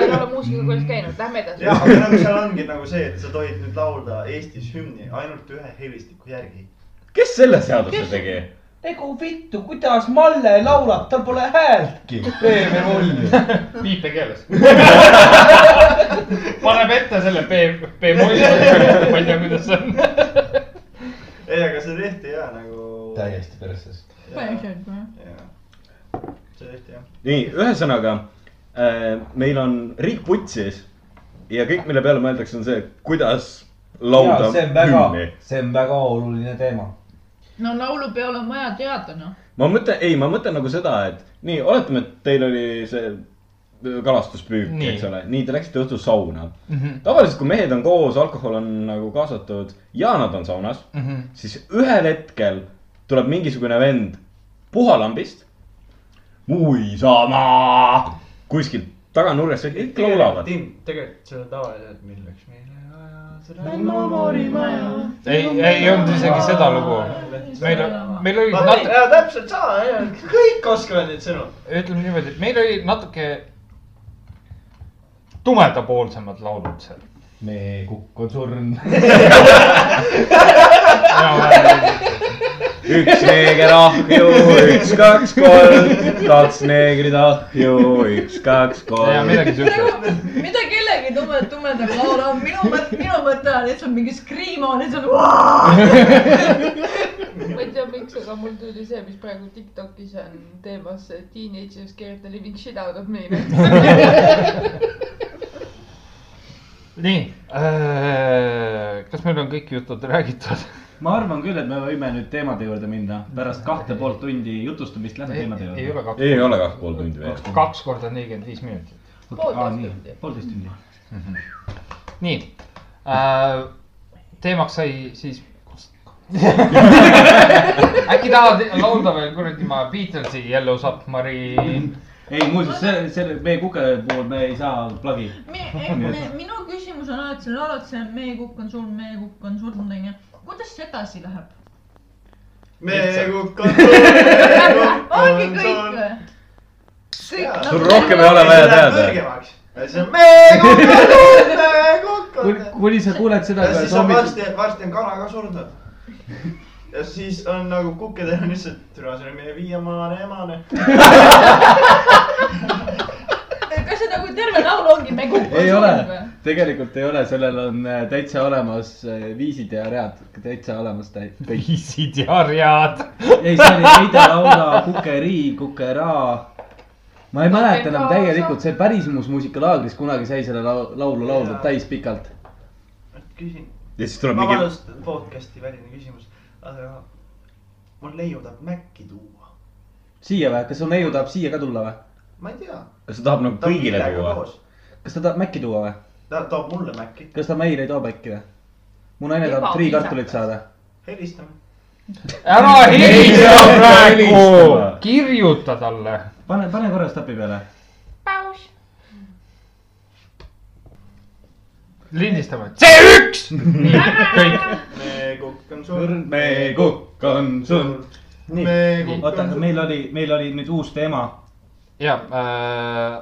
[SPEAKER 17] ei ole muusikakoolis käinud , lähme edasi .
[SPEAKER 14] ja , aga nagu seal ongi nagu see , et sa tohid nüüd laulda Eestis hümni ainult ühe helistiku järgi .
[SPEAKER 4] kes selle seaduse tegi ?
[SPEAKER 13] egu vittu , kuidas Malle laulab , tal pole häältki . teeme mulli .
[SPEAKER 5] (laughs) viipekeeles . paneb ette selle B , B-molli , ma ei tea , kuidas see on .
[SPEAKER 14] ei , aga see tehti ja nagu .
[SPEAKER 13] täiesti perses .
[SPEAKER 14] päriselt
[SPEAKER 16] noh.
[SPEAKER 14] või ? see tehti jah .
[SPEAKER 4] nii , ühesõnaga äh, meil on riik putsis ja kõik , mille peale mõeldakse , on see , kuidas laulda
[SPEAKER 13] see on väga
[SPEAKER 4] hümni .,
[SPEAKER 13] see on väga oluline teema .
[SPEAKER 18] no laulupeol on vaja teada ,
[SPEAKER 16] (laughs)
[SPEAKER 18] noh .
[SPEAKER 4] ma mõtlen , ei , ma mõtlen nagu seda , et nii , oletame , et teil oli see öö, kalastuspüük ,
[SPEAKER 5] Nii.
[SPEAKER 4] eks ole , nii te läksite õhtul sauna .
[SPEAKER 5] Mhm,
[SPEAKER 4] tavaliselt , kui mehed on koos , alkohol on nagu kaasatud ja nad on saunas ,
[SPEAKER 5] mhm.
[SPEAKER 4] siis ühel hetkel tuleb mingisugune vend puhalambist . muisama kuskilt taganurgast , kõik laulavad .
[SPEAKER 14] Tim , tegelikult see on tavaliselt , milleks meile vaja seda .
[SPEAKER 5] ei , ei olnud isegi seda lugu . meil , meil oli
[SPEAKER 14] vaata ,
[SPEAKER 5] natuke ,
[SPEAKER 14] jaa täpselt sama , kõik oskavad neid sõnu .
[SPEAKER 5] ütleme niimoodi , et meil oli natuke tumedapoolsemad laulud seal .
[SPEAKER 13] me kukk on
[SPEAKER 5] (laughs)
[SPEAKER 13] surnud .
[SPEAKER 4] üks neeger ahju , üks , kaks , kolm , kaks neegrit ahju , üks , kaks ,
[SPEAKER 5] ja
[SPEAKER 4] kolm .
[SPEAKER 5] midagi siukest .
[SPEAKER 18] mida kellegi tume , tumedam laul on , minu mõte , minu mõte on lihtsalt mingi skriimo , lihtsalt
[SPEAKER 16] nagu,
[SPEAKER 18] vaa .
[SPEAKER 17] ma ei tea , miks , aga mul tuli see , mis praegu Tiktokis on teemas , teenagers get the living shit out of me .
[SPEAKER 5] nii , kas meil on kõik jutud räägitud ?
[SPEAKER 1] ma arvan küll , et me võime nüüd teemade juurde minna , pärast kahte poolt tundi jutustamist lähme
[SPEAKER 5] ei
[SPEAKER 1] teemade
[SPEAKER 5] ei ole
[SPEAKER 1] juurde .
[SPEAKER 5] kaks ,
[SPEAKER 4] ei ole kah pool tundi veel .
[SPEAKER 5] kaks korda nelikümmend viis minutit .
[SPEAKER 17] Poolteist tundi.
[SPEAKER 1] poolteist tundi .
[SPEAKER 5] nii äh, , teemaks sai siis . äkki tahad laulda veel kuradi ma Beatlesi Yellow Submarine ?
[SPEAKER 1] ei , muuseas , see , see meie kuke puhul me ei saa plagi .
[SPEAKER 18] eh, minu küsimus on alati , sa laulad see Meie kukk on surnud , meie kukk on surnud , onju . kuidas sedasi läheb ?
[SPEAKER 14] me kukkame .
[SPEAKER 18] (laughs) ongi kõik . või ? kõik
[SPEAKER 4] sul rohkem ei ole vaja teada .
[SPEAKER 14] see on me kukkame , me kukkame .
[SPEAKER 1] kuni sa kuuled seda
[SPEAKER 14] ja . siis on varsti , varsti on kana ka surnud . ja siis on nagu kukkedel on lihtsalt , türa , see oli meie viiemane emane .
[SPEAKER 18] nagu , kas see nagu terve laul ongi Me kukk on
[SPEAKER 1] ei ole
[SPEAKER 18] surnud või ?,
[SPEAKER 1] tegelikult ei ole , sellel on äh, täitsa olemas äh, viisid ja read , täitsa olemas täi- (laughs) kõik .
[SPEAKER 5] viisid ja read .
[SPEAKER 1] ei , see oli Heide Laula , Kukerii , Kukera . ma ei mäleta enam täielikult , see Pärismus muusikalaagris kunagi sai selle lau- laulu laulda täispikalt .
[SPEAKER 14] küsin ,
[SPEAKER 4] ja siis tuleb mingi ,
[SPEAKER 14] vabandust , podcast'i väline küsimus , aga mul neiu tahab Maci tuua .
[SPEAKER 1] siia või , kas su neiu tahab siia ka tulla või ?
[SPEAKER 14] ma ei tea .
[SPEAKER 4] kas ta tahab nagu kõigile tuua ??
[SPEAKER 1] kas ta tahab Maci tuua või ?
[SPEAKER 14] ta toob mulle Maci ,
[SPEAKER 1] kas ta meile ei too Maci või ? mu naine tahab friikartulit saada .
[SPEAKER 14] helistame .
[SPEAKER 5] ära helista praegu , kirjuta talle .
[SPEAKER 1] pane , pane korra stapi peale .
[SPEAKER 5] lindistame , C1 . nii , kõik .
[SPEAKER 14] me kukk on surnud ,
[SPEAKER 1] me kukk on sul .
[SPEAKER 14] me
[SPEAKER 1] nii ,
[SPEAKER 14] kukk
[SPEAKER 1] oota ,
[SPEAKER 14] on
[SPEAKER 1] aga
[SPEAKER 14] surnud .
[SPEAKER 1] meil oli , meil oli nüüd uus teema .
[SPEAKER 5] ja äh,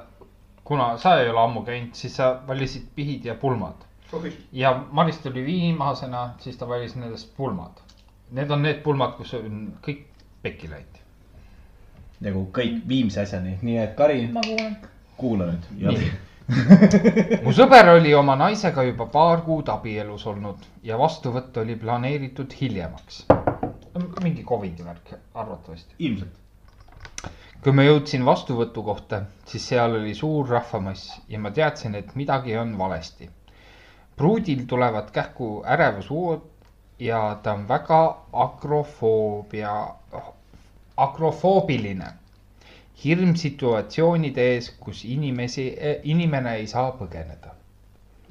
[SPEAKER 5] kuna sa ei ole ammu käinud , siis sa valisid pihid ja pulmad . ja Maris tuli viimasena , siis ta valis nendest pulmad . Need on need pulmad , kus on kõik pekki läinud .
[SPEAKER 1] nagu kõik viimse asjani , nii et Kari ,
[SPEAKER 3] ma kuulan .
[SPEAKER 1] kuula nüüd .
[SPEAKER 5] Nii. (laughs) mu sõber oli oma naisega juba paar kuud abielus olnud ja vastuvõtt oli planeeritud hiljemaks . mingi Covidi värk arvatavasti .
[SPEAKER 1] ilmselt .
[SPEAKER 5] kui ma jõudsin vastuvõtu kohta , siis seal oli suur rahvamass ja ma teadsin , et midagi on valesti . pruudil tulevad kähku ärevushood ja ta on väga akrofoobia , akrofoobiline . hirm situatsioonide ees , kus inimesi , inimene ei saa põgeneda .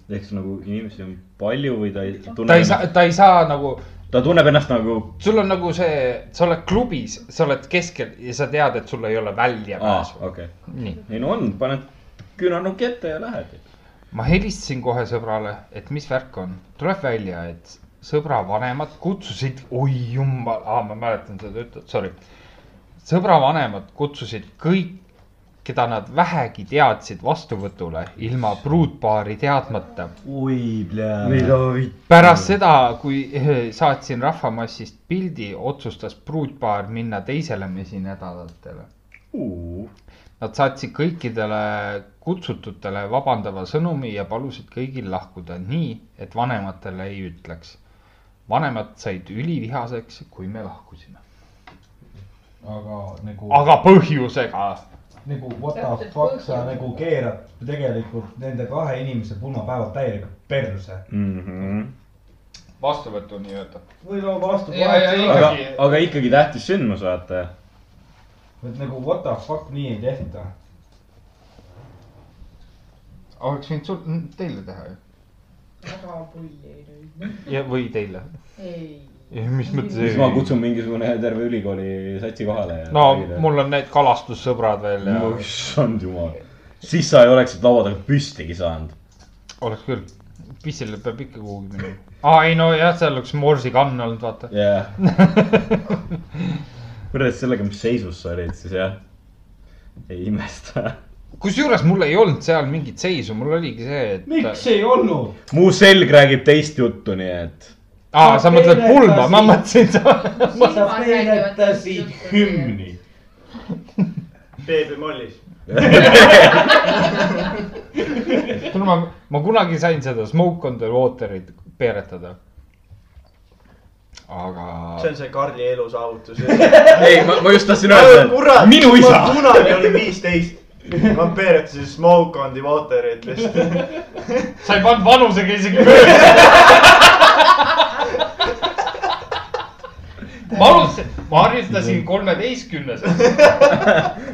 [SPEAKER 4] ehk siis nagu inimesi on palju või ta ei
[SPEAKER 5] ta
[SPEAKER 4] tunne
[SPEAKER 5] ei saa , ta ei saa nagu ,
[SPEAKER 4] ta tunneb ennast nagu
[SPEAKER 5] sul on nagu see , sa oled klubis , sa oled keskel ja sa tead , et sul ei ole
[SPEAKER 4] aa
[SPEAKER 5] väljapääsu ,
[SPEAKER 4] okei okay. .
[SPEAKER 5] nii .
[SPEAKER 4] ei no on , paned küünarnuki ette ja lähed .
[SPEAKER 5] ma helistasin kohe sõbrale , et mis värk on , tuleb välja , et sõbra vanemad kutsusid , oi jumal ah, , ma mäletan seda jutut , sorry . sõbra vanemad kutsusid kõik , keda nad vähegi teadsid vastuvõtule ilma pruutpaari teadmata .
[SPEAKER 1] oi , plää .
[SPEAKER 4] mida vitt .
[SPEAKER 5] pärast seda , kui eh, saatsin rahvamassist pildi , otsustas pruutpaar minna teisele mesinädalatele . Nad saatsid kõikidele kutsututele vabandava sõnumi ja palusid kõigil lahkuda nii , et vanematele ei ütleks . vanemad said ülivihaseks , kui me lahkusime .
[SPEAKER 13] aga nagu ,
[SPEAKER 5] aga põhjusega .
[SPEAKER 13] nagu what the fuck , sa nagu keerad tegelikult nende kahe inimese pulmapäevad täielikult perse .
[SPEAKER 5] Mhm.
[SPEAKER 4] Mm-hmm.
[SPEAKER 5] vastuvõtu nii-öelda .
[SPEAKER 13] või no vastu .
[SPEAKER 5] Ja- ja ikka-
[SPEAKER 4] aga , aga ikkagi tähtis sündmus , vaata .
[SPEAKER 13] et nagu what the fuck nii ei tehta .
[SPEAKER 5] oleks võinud sul , teile teha ju .
[SPEAKER 7] väga pulli ei löö .
[SPEAKER 5] ja , või teile .
[SPEAKER 7] ei .
[SPEAKER 5] mis mõttes
[SPEAKER 4] siis ma ? kutsun mingisugune terve ülikooli satsi kohale ja .
[SPEAKER 5] no mul on need kalastussõbrad veel ja
[SPEAKER 4] no issand jumal . siis sa ei oleks siit laua taga püstigi saanud .
[SPEAKER 5] oleks küll . pissile peab ikka kuhugi minema . aa , ei no jah , seal oleks morsikann olnud , vaata . (laughs)
[SPEAKER 4] jah . võrreldes sellega , mis seisus sa olid , siis jah . ei imesta .
[SPEAKER 5] kusjuures mul ei olnud seal mingit seisu , mul oligi see , et .
[SPEAKER 13] miks ei olnud ?
[SPEAKER 4] mu selg räägib teist juttu , nii et .
[SPEAKER 5] aa , sa mõtled
[SPEAKER 13] Teine
[SPEAKER 5] pulma ,
[SPEAKER 13] asi.
[SPEAKER 5] ma mõtlesin sa . (laughs)
[SPEAKER 13] sa peenetasid hümni .
[SPEAKER 14] beebi mollis .
[SPEAKER 5] kuule , ma , ma kunagi sain seda Smoke on the water'it peeretada .
[SPEAKER 14] see
[SPEAKER 5] aga .
[SPEAKER 14] on see Karli elusaavutus .
[SPEAKER 4] ei , ma , ma just tahtsin öelda , et minu isa .
[SPEAKER 14] ma kunagi olin viisteist . ma peeretasin Smoke on the water'it lihtsalt .
[SPEAKER 5] sa ei pannud vanusega (laughs) isegi mööda . ma alustasin , ma harjutasin kolmeteistkümneselt .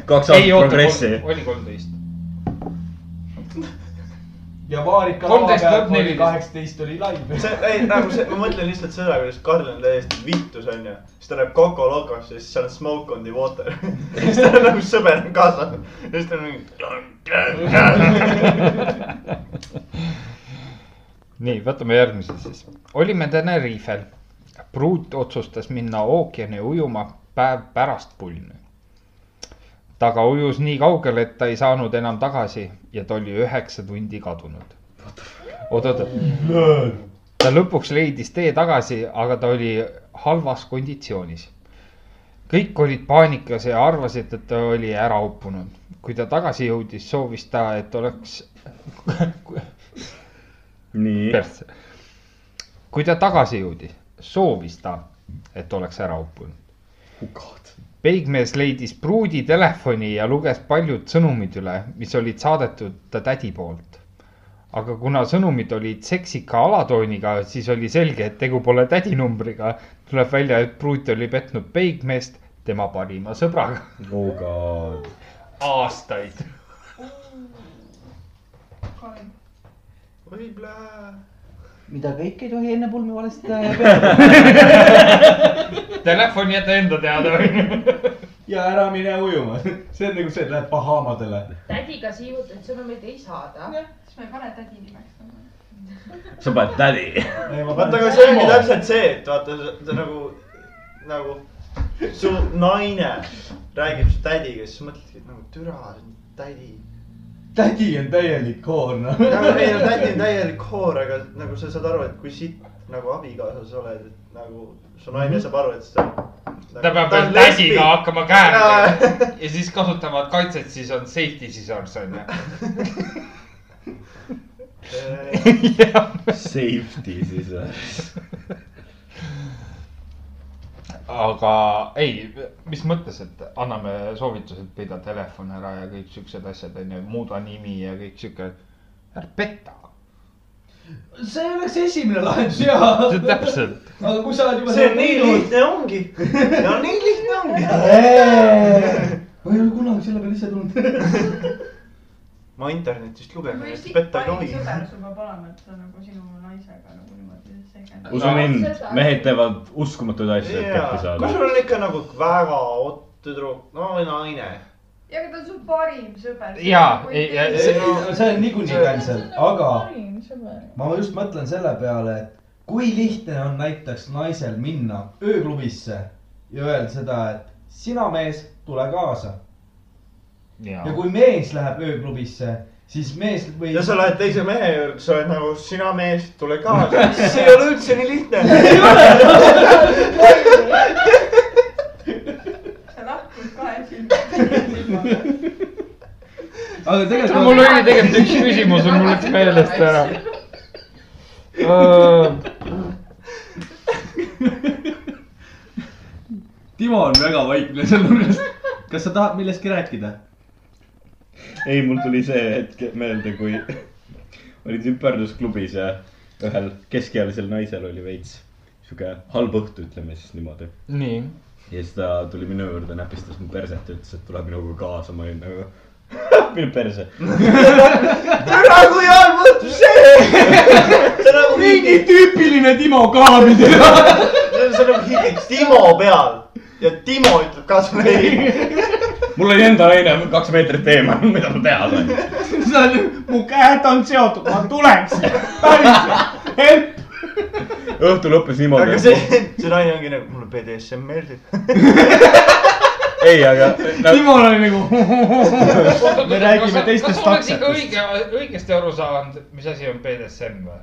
[SPEAKER 4] kaks
[SPEAKER 5] ei
[SPEAKER 4] aastat
[SPEAKER 5] oota ,
[SPEAKER 4] progressi .
[SPEAKER 5] oli kolmteist .
[SPEAKER 13] ja vaarika
[SPEAKER 5] 13
[SPEAKER 13] laua peal
[SPEAKER 5] lõpp
[SPEAKER 13] oli
[SPEAKER 5] neliteist.
[SPEAKER 13] kaheksateist oli live .
[SPEAKER 14] see , ei nagu see , ma mõtlen lihtsalt seda , kuidas Karl on täiesti vittus , onju . siis ta läheb Coco Locosse ja siis seal on Smoke on the water . (laughs) siis tal on nagu sõber on kaasas . ja siis ta on mingi .
[SPEAKER 5] nii , võtame järgmise siis . olime Tenerifel . pruut otsustas minna ookeani ujuma päev pärast pulmi . ta aga ujus nii kaugele , et ta ei saanud enam tagasi ja ta oli üheksa tundi kadunud . oot-oot . ta lõpuks leidis tee tagasi , aga ta oli halvas konditsioonis . kõik olid paanikas ja arvasid , et ta oli ära uppunud . kui ta tagasi jõudis , soovis ta , et oleks (laughs)
[SPEAKER 4] nii .
[SPEAKER 5] persse . kui ta tagasi jõudis , soovis ta , et oleks ära uppunud . peigmees leidis pruudi telefoni ja luges paljud sõnumid üle , mis olid saadetud ta tädi poolt . aga kuna sõnumid olid seksika alatooniga , siis oli selge , et tegu pole tädi numbriga . tuleb välja , et pruut oli petnud peigmeest tema parima sõbraga
[SPEAKER 4] oh god .
[SPEAKER 5] aastaid .
[SPEAKER 14] oi plää .
[SPEAKER 6] mida kõike ei tohi enne pulmi valesti teha
[SPEAKER 5] Telefon jäta enda teada onju .
[SPEAKER 13] ja ära mine ujuma . (laughs) see on nagu see , et lähed Bahamadele .
[SPEAKER 7] tädiga siivutud sõnumeid ei saada .
[SPEAKER 3] siis ma ei pane tädi nimeks .
[SPEAKER 4] sa paned tädi .
[SPEAKER 14] vaata , aga see ongi täpselt see , et vaata , ta nagu , nagu su naine räägib su tädiga , siis mõtledki , et nagu türa , tädi .
[SPEAKER 13] tädi on täielik hoor , noh . (laughs)
[SPEAKER 14] nagu ei no tädi on täielik hoor , aga nagu sa saad aru , et kui sitt nagu abikaasas oled , et nagu su naine saab aru , et sa . nagu
[SPEAKER 5] ta peab veel tädiga hakkama (laughs) käärima ja siis kasutavad kaitset , siis on safety scissors onju .
[SPEAKER 4] Safety siis või ?
[SPEAKER 5] aga ei , mis mõttes , et anname soovitused , pida telefon ära ja kõik siuksed asjad onju , muuda nimi ja kõik siuke . ära petta .
[SPEAKER 13] see oleks esimene lahendus jaa .
[SPEAKER 5] täpselt .
[SPEAKER 13] aga kui sa oled juba .
[SPEAKER 14] see on nii . lihtne ongi . no nii lihtne ongi .
[SPEAKER 13] ma ei ole kunagi selle peale
[SPEAKER 14] (laughs)
[SPEAKER 13] ise tulnud .
[SPEAKER 14] ma internetist lugesin , et petta ei tohi .
[SPEAKER 3] sõber sul peab olema , et sa nagu sinu naisega nagu niimoodi segad .
[SPEAKER 4] usu mind , mehed teevad uskumatuid asju , et kätte saada
[SPEAKER 14] kui . sul on ikka nagu väga ott tüdruk , no või naine .
[SPEAKER 3] ja aga ta on su parim sõber .
[SPEAKER 5] Jaa, ei- ja-
[SPEAKER 13] see , see on niikuinii cancel , aga
[SPEAKER 16] parim sõber .
[SPEAKER 13] ma just mõtlen selle peale , et kui lihtne on näiteks naisel minna ööklubisse ja öelda seda , et sina , mees , tule kaasa . ja kui mees läheb ööklubisse , siis mees või .
[SPEAKER 14] ja sa lähed teise mehe juurde , sa oled nagu sina mees , tule kaasa . (laughs) see ei ole üldse nii lihtne .
[SPEAKER 3] sa lahkud kahe (laughs) silmaga .
[SPEAKER 13] aga
[SPEAKER 5] mul
[SPEAKER 13] tegelikult
[SPEAKER 5] oli tegelikult üks küsimus , mul läks meelest ära .
[SPEAKER 1] Timo on väga vaikne seal nurgas . kas sa tahad millestki rääkida ?
[SPEAKER 4] ei , mul tuli see hetk meelde , kui (laughs) olid ümberlusklubis ja ühel keskealisel naisel oli veits sihuke halb õhtu , ütleme siis niimoodi .
[SPEAKER 5] nii .
[SPEAKER 4] ja siis ta tuli minu juurde , näpistas mu perset ja ütles , et tule minuga kaasa , ma olin nagu (laughs) minu perse .
[SPEAKER 14] ära kui halb õhtu see . (laughs) see on nagu mingi ,
[SPEAKER 1] tüüpiline Timo kaamine . (laughs)
[SPEAKER 14] see on nagu mingi Timo peal ja Timo ütleb ka sulle ei .
[SPEAKER 4] mul oli enda naine kaks meetrit eemal , (laughs) mida ma teha sain .
[SPEAKER 1] mu käed on seotud , ma tuleks . päriselt , help .
[SPEAKER 4] õhtu lõppes niimoodi .
[SPEAKER 14] aga see , see naine ongi nagu mulle BDSM meeldib .
[SPEAKER 4] ei ,
[SPEAKER 14] (laughs)
[SPEAKER 4] aga nagu,
[SPEAKER 1] Timol oli nagu .
[SPEAKER 5] me
[SPEAKER 1] räägime teistest
[SPEAKER 5] kas sa oled
[SPEAKER 1] aktsiatest.
[SPEAKER 5] ikka õige , õigesti aru saanud , mis asi on BDSM või ?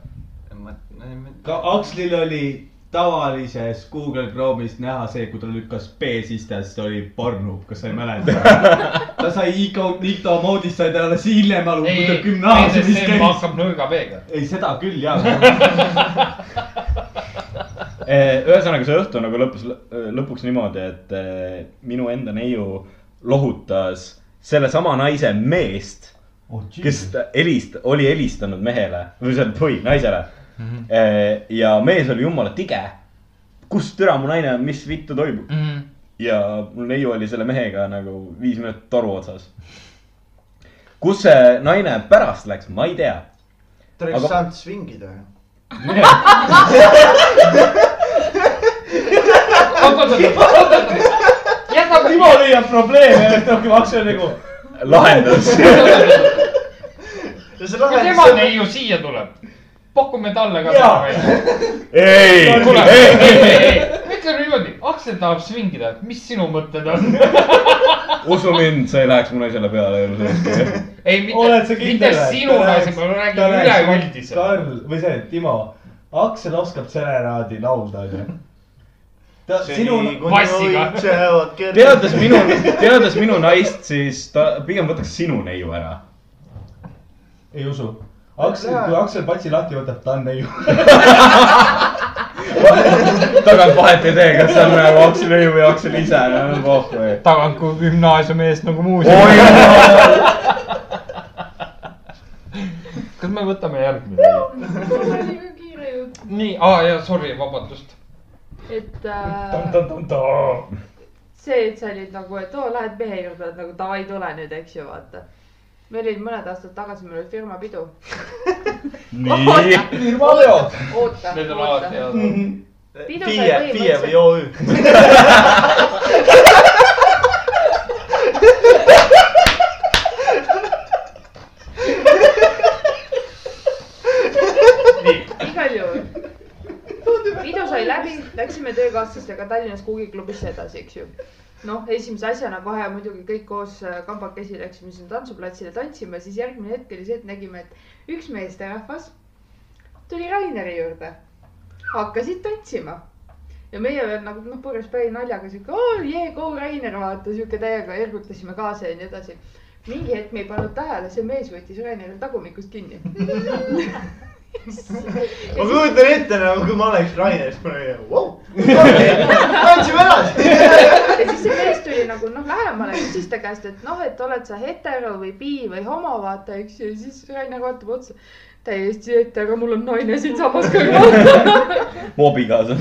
[SPEAKER 1] ka Akslil oli tavalises Google Chrome'is näha see , kui ta lükkas B sisse , siis ta oli pornub , kas sa ei mäleta ?
[SPEAKER 5] (laughs)
[SPEAKER 1] ta sai incognito moodist , sai ta alles hiljem aru , kui ta gümnaasiumis
[SPEAKER 5] BDSM
[SPEAKER 1] käis .
[SPEAKER 5] hakkab nõrga B-ga .
[SPEAKER 1] ei , seda küll
[SPEAKER 5] (laughs)
[SPEAKER 1] jaa .
[SPEAKER 4] eh, ühesõnaga see õhtu nagu lõppes lõ- lõpuks niimoodi , et eh, minu enda neiu lohutas sellesama naise meest , kes ta helist- , oli helistanud mehele või see , või naisele mm . -hmm. Eh, ja mees oli jumala tige . kus türa mu naine on , mis vittu toimub ? ja mul neiu oli selle mehega nagu viis minutit toru otsas . kus see naine pärast läks , ma ei tea
[SPEAKER 14] ta oleks
[SPEAKER 4] Aga-
[SPEAKER 14] saanud svingida .
[SPEAKER 1] Timo leiab probleeme , et rohkem Aksel oli nagu .
[SPEAKER 4] lahendus .
[SPEAKER 14] ja see
[SPEAKER 5] ja
[SPEAKER 14] lahendus
[SPEAKER 5] tema neiu siia tuleb . pakume talle ka
[SPEAKER 1] Jaa.
[SPEAKER 5] välja .
[SPEAKER 4] ei ,
[SPEAKER 5] kuule ,
[SPEAKER 4] ei ,
[SPEAKER 5] ei ,
[SPEAKER 4] ei ,
[SPEAKER 5] ei , ei , ütleme niimoodi , Aksel tahab svingida , mis sinu mõtted on ?
[SPEAKER 4] usu mind , sa ei läheks mu naisele peale elu sees .
[SPEAKER 5] ei ,
[SPEAKER 1] oled sa
[SPEAKER 5] mitte , mitte
[SPEAKER 1] kindel ?
[SPEAKER 5] sinu naise , ma räägin üleüldiselt .
[SPEAKER 1] Karl või see Timo , Aksel oskab serenaadi laulda onju . ta , sinu ,
[SPEAKER 5] passiga.
[SPEAKER 4] teades minu , teades minu naist , siis ta pigem võtaks sinu neiu ära .
[SPEAKER 1] ei usu . Aksel , kui Aksel patsi lahti võtab , ta on neiu .
[SPEAKER 4] tagant vahet ei tee , kas see on nagu Aksel neiu või Aksel ise , no pohhu .
[SPEAKER 5] tagant kui gümnaasiumi eest nagu muuseum .
[SPEAKER 4] oi ,
[SPEAKER 5] kas me võtame järgmine ?
[SPEAKER 7] mul oli ka kiire jutt ,
[SPEAKER 5] nii , aa jaa , sorry , vabandust .
[SPEAKER 7] et äh, see , et sa olid nagu , et oo , lähed mehe juurde , et nagu davai , tule nüüd , eks ju , vaata . meil olid mõned aastad tagasi , meil oli firma pidu .
[SPEAKER 4] nii .
[SPEAKER 7] firmaveod . oota ,
[SPEAKER 5] Need on alati
[SPEAKER 7] oota .
[SPEAKER 5] head .
[SPEAKER 1] Mhm.
[SPEAKER 7] Pidu sai
[SPEAKER 14] FIE , FIE või OÜ .
[SPEAKER 7] igal juhul . pidu sai läbi , läksime töökaaslastega Tallinnas kuugiklubisse edasi , eks ju . noh , esimese asjana kohe muidugi kõik koos äh, kambakesi läksime sinna tantsuplatsile tantsima , siis järgmine hetk oli see , et nägime , et üks meesterahvas tuli Raineri juurde , hakkasid tantsima ja meie veel nagu noh , purjus päi naljaga siuke oo jee , go Rainer , vaata siuke täiega ergutasime kaasa ja nii edasi . mingi hetk me ei pannud tähele , see mees võttis Raineri tagumikust kinni .
[SPEAKER 14] ma kujutan ette nagu , kui ma oleks Rainer , siis ma oleksin , (laughs) vau , tantsime edasi .
[SPEAKER 7] ja siis see mees tuli nagu noh , lähemale , küsis ta käest , et noh , et oled sa hetero või bi või homo , vaata , eks ju , siis Rainer vaatab otsa . täiesti hetero , mul on naine siinsamas kõrval .
[SPEAKER 4] hobikaasa .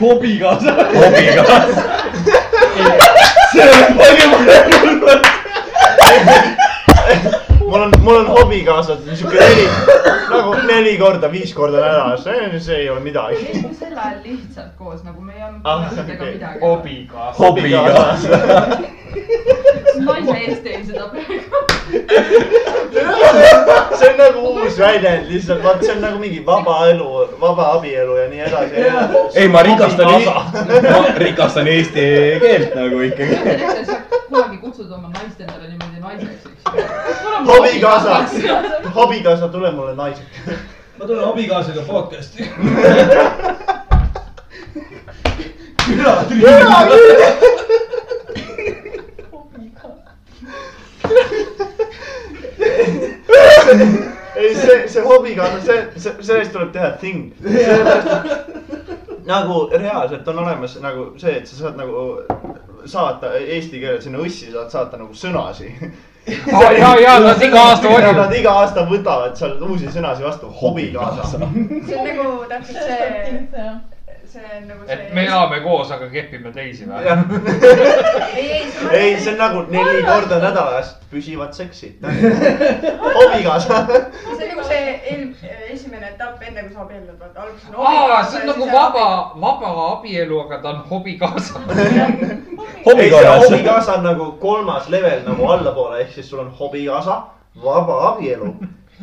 [SPEAKER 1] hobikaasa .
[SPEAKER 4] hobikaasa . see on palju parem .
[SPEAKER 14] mul on , mul on hobi kaasas , niisugune neli , nagu neli korda , viis korda nädalas , see ei ole midagi .
[SPEAKER 19] käisime sel ajal lihtsalt koos , nagu me ei olnud
[SPEAKER 14] Ah,
[SPEAKER 19] kuulanud ega
[SPEAKER 14] okei.
[SPEAKER 19] midagi .
[SPEAKER 5] hobikaasa .
[SPEAKER 4] hobikaasa .
[SPEAKER 19] naise eest teen seda praegu .
[SPEAKER 14] see on nagu uus väljend lihtsalt , vaat see on nagu mingi vaba elu , vaba abielu ja nii edasi .
[SPEAKER 4] ei , ma rikastan , ma rikastan eesti keelt nagu ikkagi .
[SPEAKER 19] selleks , et kunagi kutsud oma naist endale niimoodi naiseks ,
[SPEAKER 7] (laughs)
[SPEAKER 19] eks .
[SPEAKER 14] hobi kaasas , hobi kaasa , tule mulle naiseks .
[SPEAKER 13] ma tulen abikaasaga podcast'i .
[SPEAKER 14] ei , see , see hobi kaasa , see , see , sellest tuleb teha thing . nagu reaalselt on olemas nagu see , et sa saad nagu saata eesti keeles sinna õssi saad saata nagu sõnasi .
[SPEAKER 5] ja , ja , ja nad iga aasta
[SPEAKER 14] ja
[SPEAKER 5] on ju .
[SPEAKER 14] nad iga aasta võtavad seal uusi sõnasi vastu , hobi kaasa .
[SPEAKER 3] see on nagu täpselt see , see on nagu see .
[SPEAKER 5] et me . elame koos , aga kepime teisi või ?
[SPEAKER 14] ei , see on nagu neli korda nädalas püsivad
[SPEAKER 5] (laughs)
[SPEAKER 14] seksid . hobi kaasa .
[SPEAKER 3] see on nagu see eel- , esimene etapp enne kui sa abiellud , vaata alguses on
[SPEAKER 5] aa , see on nagu vaba , vaba abielu , aga ta on hobikaasa .
[SPEAKER 14] ei , see hobi
[SPEAKER 4] hobikaasa .
[SPEAKER 14] kaasa on nagu kolmas level nagu allapoole , ehk siis sul on hobi kaasa , vaba abielu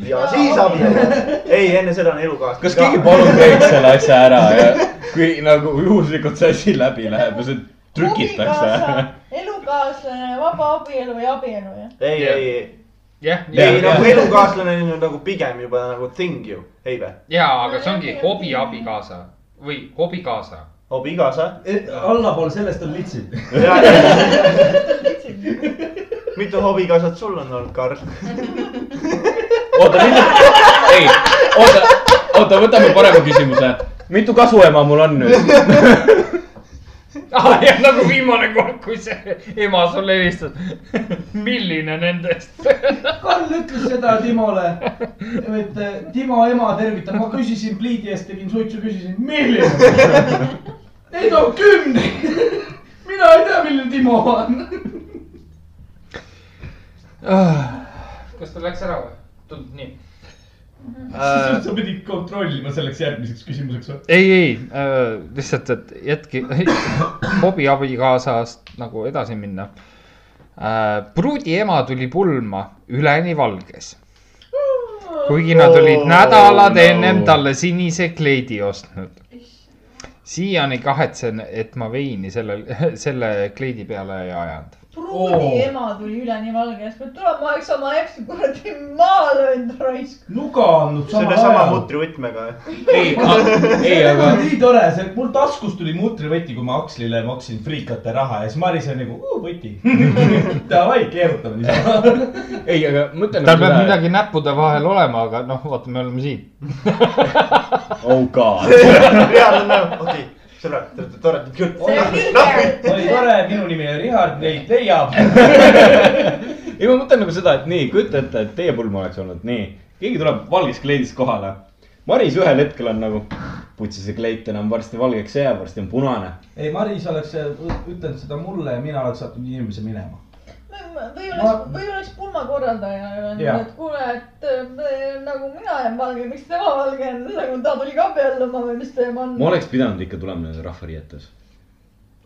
[SPEAKER 14] ja siis abielu . ei , enne seda on elukaaslane .
[SPEAKER 4] kas keegi palun teeks selle asja ära ja kui nagu juhuslikult see asi läbi läheb ja see trükitakse ära .
[SPEAKER 16] elukaaslane , vabaabielu ja abielu jah .
[SPEAKER 14] ei ,
[SPEAKER 5] Jah.
[SPEAKER 14] ei , ei ,
[SPEAKER 5] (laughs) jah ,
[SPEAKER 14] ei
[SPEAKER 5] ja ,
[SPEAKER 14] nagu elukaaslane on ju nagu pigem juba nagu thing ju , ei vä ?
[SPEAKER 5] ja , aga see ongi hobi abikaasa või (laughs) hobikaasa .
[SPEAKER 14] hobi kaasa .
[SPEAKER 13] allapool sellest on litsid .
[SPEAKER 14] mitu hobi kaasat sul on olnud , Karl ?
[SPEAKER 4] oota , mitu , ei , oota , oota , võtame parema küsimuse . mitu kasuema mul on nüüd ?
[SPEAKER 5] aa , jah , nagu viimane kord , kui see ema sulle helistas . (laughs) milline nendest ? (laughs)
[SPEAKER 13] Karl ütles seda Timole , et eh, Timo ema tervitab , ma küsisin pliidi eest , tegin suitsu , küsisin , milline . ei no kümne , mina ei tea , milline Timo on .
[SPEAKER 5] kas ta läks ära või ? tundub nii .
[SPEAKER 13] sa pidid kontrollima selleks järgmiseks küsimuseks või ?
[SPEAKER 5] ei , ei äh, , lihtsalt , et jätki (coughs) hobi abikaasast nagu edasi minna äh, . pruudi ema tuli pulma üleni valges . kuigi nad olid
[SPEAKER 14] Oh,
[SPEAKER 5] nädalad
[SPEAKER 14] no.
[SPEAKER 5] ennem talle sinise kleidi ostnud . siiani kahetsen , et ma veini selle , (laughs) selle kleidi peale ei ajanud .
[SPEAKER 16] pruudi
[SPEAKER 13] Oo.
[SPEAKER 16] ema tuli üleni valges , peab tulema , eks oma eksi kuradi maha löönud raisk .
[SPEAKER 13] nuga andnud sama
[SPEAKER 14] sellesama
[SPEAKER 13] ajal .
[SPEAKER 14] mutrivõtmega .
[SPEAKER 4] ei , ei ,
[SPEAKER 13] see
[SPEAKER 4] aga
[SPEAKER 13] on nagu nii tore , see mul taskust tuli mutrivõti , kui ma Akslile maksin friikate raha ja siis Maris on nagu "Uu, võti . (laughs) Davai , keerutame niisama .
[SPEAKER 4] ei , aga mõtlen . nagu
[SPEAKER 5] tal peab . midagi näppude vahel olema , aga noh , vaata , me oleme siin .
[SPEAKER 4] oh god .
[SPEAKER 14] reaalne näo , okei , sõbrad , te olete toredad
[SPEAKER 16] see on
[SPEAKER 14] küll .
[SPEAKER 16] liiger .
[SPEAKER 13] (laughs) oli tore , minu nimi on Richard , neid leiab .
[SPEAKER 4] ei , ma mõtlen nagu seda , et nii , kujuta ette , et teie pulm oleks olnud nii , keegi tuleb valges kleidis kohale . Maris ühel hetkel on nagu , putsi see kleit enam varsti valgeks ei jää , varsti on punane .
[SPEAKER 13] ei , Maris oleks ütelnud seda mulle ja mina oleks saatnud inimese minema .
[SPEAKER 16] või oleks , või oleks pulmakorraldaja öelnud ,
[SPEAKER 13] Jaa.
[SPEAKER 16] et kuule , et äh, nagu mina olen valge , miks tema valge on , nagu ta tuli ka pealluma või mis teema on .
[SPEAKER 4] ma oleks pidanud ikka tulema nende rahvariietes .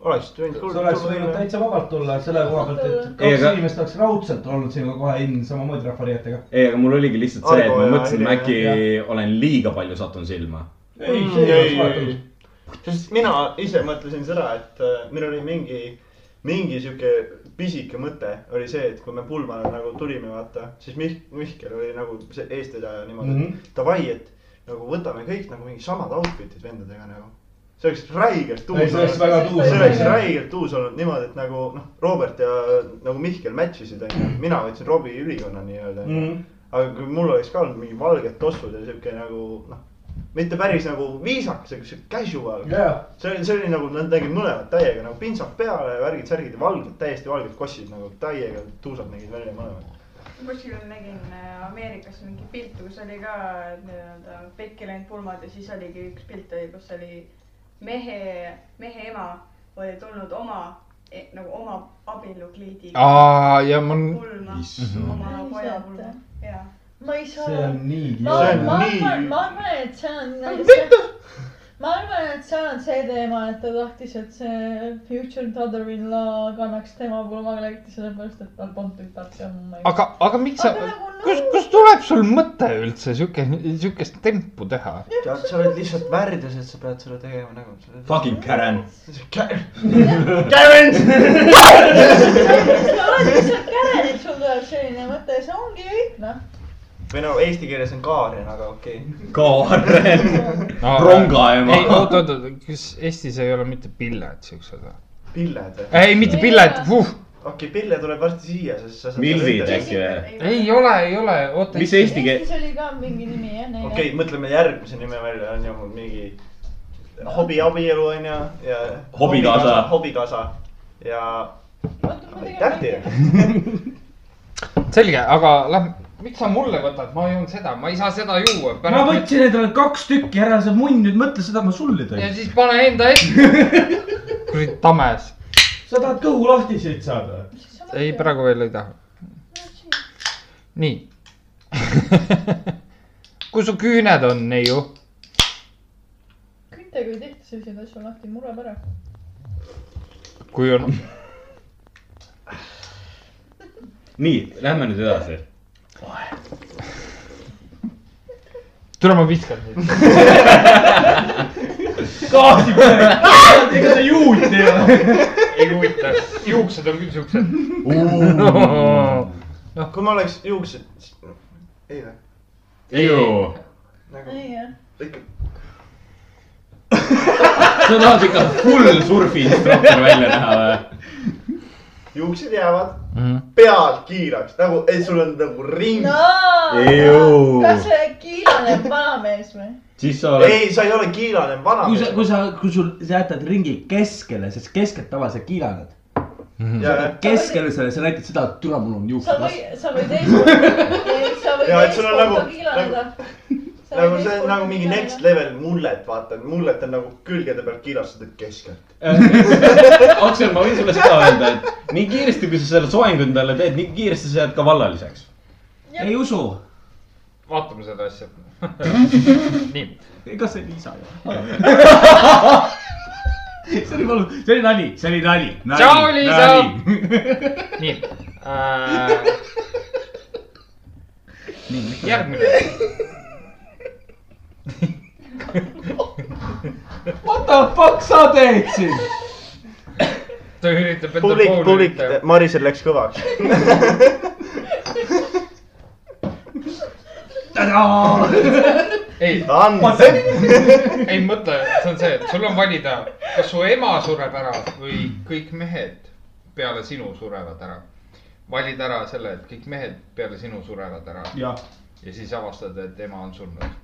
[SPEAKER 14] oleksid võinud
[SPEAKER 13] sa oleks võinud
[SPEAKER 14] kuulda .
[SPEAKER 13] täitsa vabalt tulla selle koha pealt , et
[SPEAKER 4] Ei,
[SPEAKER 13] kaks
[SPEAKER 4] aga-
[SPEAKER 13] inimest oleks raudselt olnud sinuga kohe in samamoodi rahvariietega .
[SPEAKER 4] ei , aga mul oligi lihtsalt see , et
[SPEAKER 14] Argo
[SPEAKER 4] ma
[SPEAKER 14] ja
[SPEAKER 4] mõtlesin , et ma
[SPEAKER 14] Helja,
[SPEAKER 4] äkki olen liiga palju sattunud silma .
[SPEAKER 13] ei , see ei oleks vahet olnud .
[SPEAKER 14] sest mina ise mõtlesin seda , et äh, meil oli mingi , mingi sihuke pisike mõte oli see , et kui me pulmale nagu tulime , vaata , siis Mih- , Mihkel oli nagu see eestvedaja niimoodi mm ,
[SPEAKER 13] Mhm.
[SPEAKER 14] -hmm. et davai , et nagu võtame kõik nagu mingi samad outfit'id vendadega nagu . see oleks räigelt
[SPEAKER 13] Ei,
[SPEAKER 14] uus
[SPEAKER 13] see oleks väga tuus Mm.
[SPEAKER 14] see oleks
[SPEAKER 13] olnud.
[SPEAKER 14] räigelt uus olnud niimoodi , et nagu noh , Robert ja nagu Mihkel match isid onju , mina võtsin Robbie ülikonna nii-öelda
[SPEAKER 13] Mhm.
[SPEAKER 14] onju mm. . aga kui mul oleks ka olnud mingi valged tossud ja sihuke nagu noh , mitte päris nagu viisakas , aga sihuke casual
[SPEAKER 13] jaa ,
[SPEAKER 14] see oli , see oli nagu nad nägid mõlemad täiega nagu pintsak peale ja värgid , särgid ja valged , täiesti valged kossid nagu täiega tuusad nägid välja mõlemad .
[SPEAKER 3] kuskil nägin äh, Ameerikas mingi pilti , kus oli ka nii-öelda pekki läinud pulmad ja siis oligi üks pilt oli , kus oli mehe , mehe ema oli tulnud oma eh, nagu oma abielukliidiga
[SPEAKER 5] aa , ja mul ,
[SPEAKER 3] pulma ,
[SPEAKER 4] issand.
[SPEAKER 3] oma poja pulma , jaa .
[SPEAKER 16] ma ei saa .
[SPEAKER 13] see on nii
[SPEAKER 16] ma
[SPEAKER 14] See on
[SPEAKER 13] kiire .
[SPEAKER 14] nii-
[SPEAKER 16] arvan , ma arvan , et see on . ma arvan , et seal on see teema , et ta tahtis , et see future daughter-in-law kannaks tema pulmakleti , sellepärast et tal polnud tütart ja ma ei .
[SPEAKER 5] aga , aga miks sa
[SPEAKER 16] Aga nagu no- ,
[SPEAKER 5] kus , kus tuleb sul mõte üldse sihuke , sihukest tempu teha ?
[SPEAKER 14] tead , sa oled lihtsalt värdjas , et sa pead selle tegema nagu .
[SPEAKER 4] Fucking Karen .
[SPEAKER 14] Karen .
[SPEAKER 16] sa oled lihtsalt käre , et sul tuleb selline mõte ja see ongi kõik noh .
[SPEAKER 14] või no eesti keeles on Kaarjan , aga okei okay. .
[SPEAKER 4] Karen .
[SPEAKER 5] ei ,
[SPEAKER 4] rongaema .
[SPEAKER 5] oot , oot , oot , kas Eestis ei ole mitte pilled siuksed või ?
[SPEAKER 14] pilled või ?
[SPEAKER 5] ei , mitte pilled , vuh ,
[SPEAKER 14] okei okay, , pille tuleb varsti siia , sest sa .
[SPEAKER 4] Milvid äkki või ?
[SPEAKER 5] ei ole , ei ole , oota .
[SPEAKER 4] mis eesti keel ,
[SPEAKER 16] Eestis oli ka mingi nimi jah neil .
[SPEAKER 14] okei okay, , mõtleme järgmise nime välja , on ju mul mingi hobi abielu on ju ja .
[SPEAKER 4] Hobikasa.
[SPEAKER 14] hobikasa ja aitäh teile .
[SPEAKER 5] selge , aga lähme , miks sa mulle võtad , ma joon seda , ma ei saa seda juua .
[SPEAKER 1] ma .
[SPEAKER 4] nagu-
[SPEAKER 1] võtsin endale kaks tükki ära , sa munn nüüd mõtle seda , ma sulle
[SPEAKER 5] ja
[SPEAKER 1] tõin .
[SPEAKER 5] siis pane enda ette .
[SPEAKER 4] (laughs)
[SPEAKER 5] kuradi tames .
[SPEAKER 13] sa tahad kõhu lahti siit saada ?
[SPEAKER 5] ei ,. praegu veel ei taha . nii . kus su küüned on , neiu ?
[SPEAKER 16] kütte , kui tehti selliseid asju lahti , mureb ära .
[SPEAKER 5] kui on ,
[SPEAKER 4] nii , lähme nüüd edasi .
[SPEAKER 5] tule ma viskan sind .
[SPEAKER 13] gaasi peale , ega sa juut ei ole .
[SPEAKER 5] ei huvita , juuksed on küll siuksed .
[SPEAKER 14] kui ma oleks juuksed , ei või ?
[SPEAKER 4] ju ,
[SPEAKER 14] nagu
[SPEAKER 16] ei jah .
[SPEAKER 14] ikka
[SPEAKER 4] sa tahad ikka full surfiinstruktor välja näha või ?
[SPEAKER 14] juuksed jäävad pead kiiraks , nagu , et sul on nagu ring no. .
[SPEAKER 4] Eju.
[SPEAKER 16] no , kas see kiilane vanamees või ?
[SPEAKER 4] siis sa oled ,
[SPEAKER 14] ei , sa ei ole kiilane , vana
[SPEAKER 1] kui sa ,
[SPEAKER 14] mees .
[SPEAKER 1] kui sa , kui sul , sa jätad ringi keskele , sest keskelt tavaliselt kiilaned .
[SPEAKER 14] ja ,
[SPEAKER 1] keskele selle , sa näitad seda , et türa , mul on
[SPEAKER 16] sa
[SPEAKER 1] juuksed vastu .
[SPEAKER 16] võid , sa võid
[SPEAKER 14] (laughs)
[SPEAKER 16] eespool , sa võid
[SPEAKER 14] Jaa, et sul on
[SPEAKER 16] eespool
[SPEAKER 14] nagu-
[SPEAKER 16] ka kiilaneda .
[SPEAKER 14] nagu see on nagu mingi next level mullet , vaata , mullet on nagu külgede pealt kiirastatud keskelt .
[SPEAKER 4] Aksel , ma võin sulle seda öelda , et nii kiiresti , kui sa selle soengu endale teed , nii kiiresti sa jääd ka vallaliseks .
[SPEAKER 1] ei usu .
[SPEAKER 5] (laughs) vaatame seda asja . (laughs) nii ,
[SPEAKER 1] ega see Liisa ei ole . see oli valus , see oli nali , see oli nali .
[SPEAKER 5] Tšau, Liisa! (laughs) nii äh, . järgmine .
[SPEAKER 1] What the fuck sa teed siin ?
[SPEAKER 5] ta üritab enda
[SPEAKER 14] publik , publik ,
[SPEAKER 5] üritada.
[SPEAKER 14] Marisel läks (laughs) kõvaks .
[SPEAKER 5] ei , ei mõtle , see on see , et sul on valida , kas su ema sureb ära või kõik mehed peale sinu surevad ära . valid ära selle , et kõik mehed peale sinu surevad ära
[SPEAKER 1] jah .
[SPEAKER 5] ja siis avastad , et ema on surnud .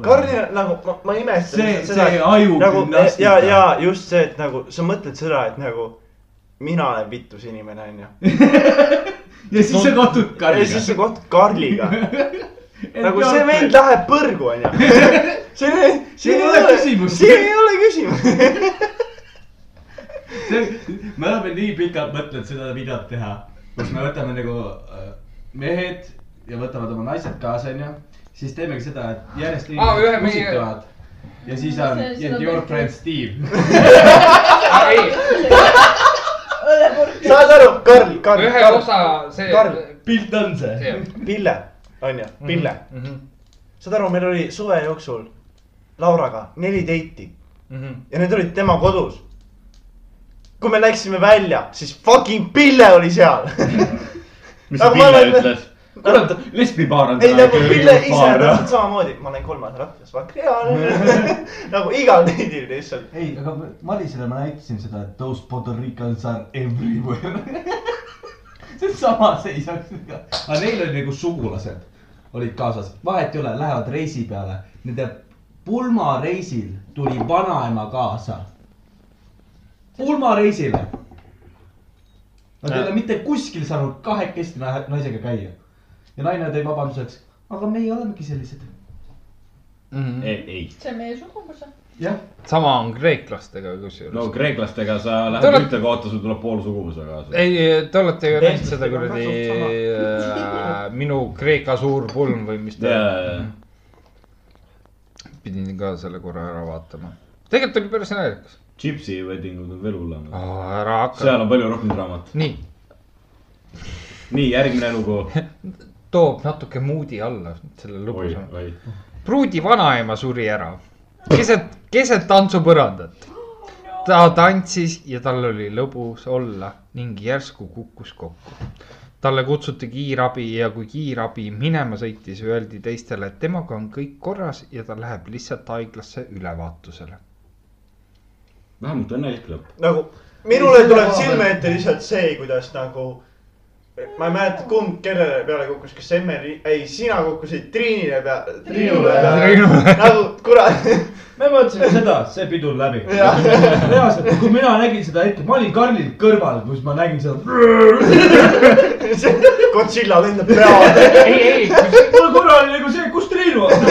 [SPEAKER 14] Karl , nagu ma, ma imestan
[SPEAKER 1] See-
[SPEAKER 14] lihtsalt seda,
[SPEAKER 1] see
[SPEAKER 14] et
[SPEAKER 1] ajugümnastika.
[SPEAKER 14] nagu, . ja , ja just see , et nagu sa mõtled seda , et nagu mina olen vittus inimene , onju .
[SPEAKER 1] ja siis sa kohtud
[SPEAKER 14] ja siis sa
[SPEAKER 1] Karliga .
[SPEAKER 14] kohtud
[SPEAKER 1] (laughs)
[SPEAKER 14] Karliga . nagu see vend läheb põrgu , onju . see ,
[SPEAKER 1] Siin
[SPEAKER 14] siin
[SPEAKER 1] ei ole küsimust.
[SPEAKER 14] siin ei ole küsimust .
[SPEAKER 13] see , (laughs) me oleme nii pikalt mõtelnud seda videot teha , kus me võtame nagu äh, mehed ja võtavad oma naised kaasa , onyu . siis teemegi seda , et järjest
[SPEAKER 5] Aa, ühe
[SPEAKER 13] inimesed
[SPEAKER 5] meie-
[SPEAKER 13] kusitavad . ja siis on
[SPEAKER 16] See- seda
[SPEAKER 13] and your
[SPEAKER 16] tehti.
[SPEAKER 13] friend Steve .
[SPEAKER 16] (laughs)
[SPEAKER 13] (laughs)
[SPEAKER 5] ei ,
[SPEAKER 16] õllepurk .
[SPEAKER 14] (laughs) saad aru , Karl , Karl ,
[SPEAKER 5] ühe
[SPEAKER 14] Karl ,
[SPEAKER 5] osa see .
[SPEAKER 14] Karl.
[SPEAKER 13] pilt on see ?
[SPEAKER 5] see
[SPEAKER 1] Mhm,
[SPEAKER 14] Pille , onju , Pille . saad aru , meil oli suve jooksul Lauraga neli date'i
[SPEAKER 4] Mhm.
[SPEAKER 14] ja need olid tema kodus . kui me läksime välja , siis fucking Pille oli
[SPEAKER 1] (laughs)
[SPEAKER 14] seal .
[SPEAKER 4] mis see
[SPEAKER 14] Aga ma
[SPEAKER 4] Pille
[SPEAKER 14] olen-
[SPEAKER 4] ütles ? kurat , lesbipaar on
[SPEAKER 14] ei nagu Pille noh. ise täpselt samamoodi , ma olen kolmas rahvas , vakreaalne . nagu igal teidil lihtsalt .
[SPEAKER 13] ei , aga Marisele ma näitasin seda , et those Puerto Ricans are everywhere . (laughs) see on sama seisaks . aga neil oli nagu sugulased olid kaasas , vahet ei ole , lähevad reisi peale . Nende pulmareisil tuli vanaema kaasa . pulmareisile . Nad ei ole mitte kuskil saanud kahekesti nahe- naisega käia . ja naine tõi vabanduseks , aga meie olemegi sellised .
[SPEAKER 4] ei , ei ,
[SPEAKER 16] see on meie suguvõsa .
[SPEAKER 13] jah ,
[SPEAKER 5] Mhm. sama on kreeklastega kusjuures
[SPEAKER 4] no
[SPEAKER 5] no, .
[SPEAKER 4] kreeklastega sa lähed
[SPEAKER 5] Te olete-
[SPEAKER 4] ühte kohta , sul tuleb pool suguvõsa kaasa .
[SPEAKER 5] ei , te olete ju näinud seda
[SPEAKER 13] Kreeklastega on
[SPEAKER 5] kuradi
[SPEAKER 13] ka suht
[SPEAKER 5] äh, minu Kreeka suur pulm või mis ta
[SPEAKER 4] jaa ,
[SPEAKER 5] pidin ka selle korra ära vaatama . tegelikult oli päris naljakas .
[SPEAKER 4] Gypsy wedding ud on veel hullemad .
[SPEAKER 5] ära hakka .
[SPEAKER 4] seal on palju rohkem draamat .
[SPEAKER 5] nii ,
[SPEAKER 4] nii , järgmine lugu .
[SPEAKER 5] toob natuke moodi alla selle
[SPEAKER 4] oi ,
[SPEAKER 5] lõbusama .
[SPEAKER 4] oi .
[SPEAKER 5] pruudi vanaema suri ära keset , keset tantsupõrandat . ta tantsis ja tal oli lõbus olla ning järsku kukkus kokku . talle kutsuti kiirabi ja kui kiirabi minema sõitis , öeldi teistele , et temaga on kõik korras ja ta läheb lihtsalt haiglasse ülevaatusele .
[SPEAKER 4] vähemalt õnnelik lõpp .
[SPEAKER 14] nagu minule tuleb silme ette lihtsalt see , kuidas nagu , ma ei mäleta , kumb kellele peale kukkus , kas Emmeli , ei , sina kukkusid Triinile peale , Triinule peale . nagu (laughs) kurat ,
[SPEAKER 6] me mõtlesime seda , see pidu on läbi .
[SPEAKER 14] jah .
[SPEAKER 6] reaalselt , kui mina nägin seda hetke , ma olin Karlil kõrval , kus ma nägin seda .
[SPEAKER 14] Godzilla lendab peale .
[SPEAKER 5] ei , ei ,
[SPEAKER 6] mul korra oli nagu see , kus Triinu on .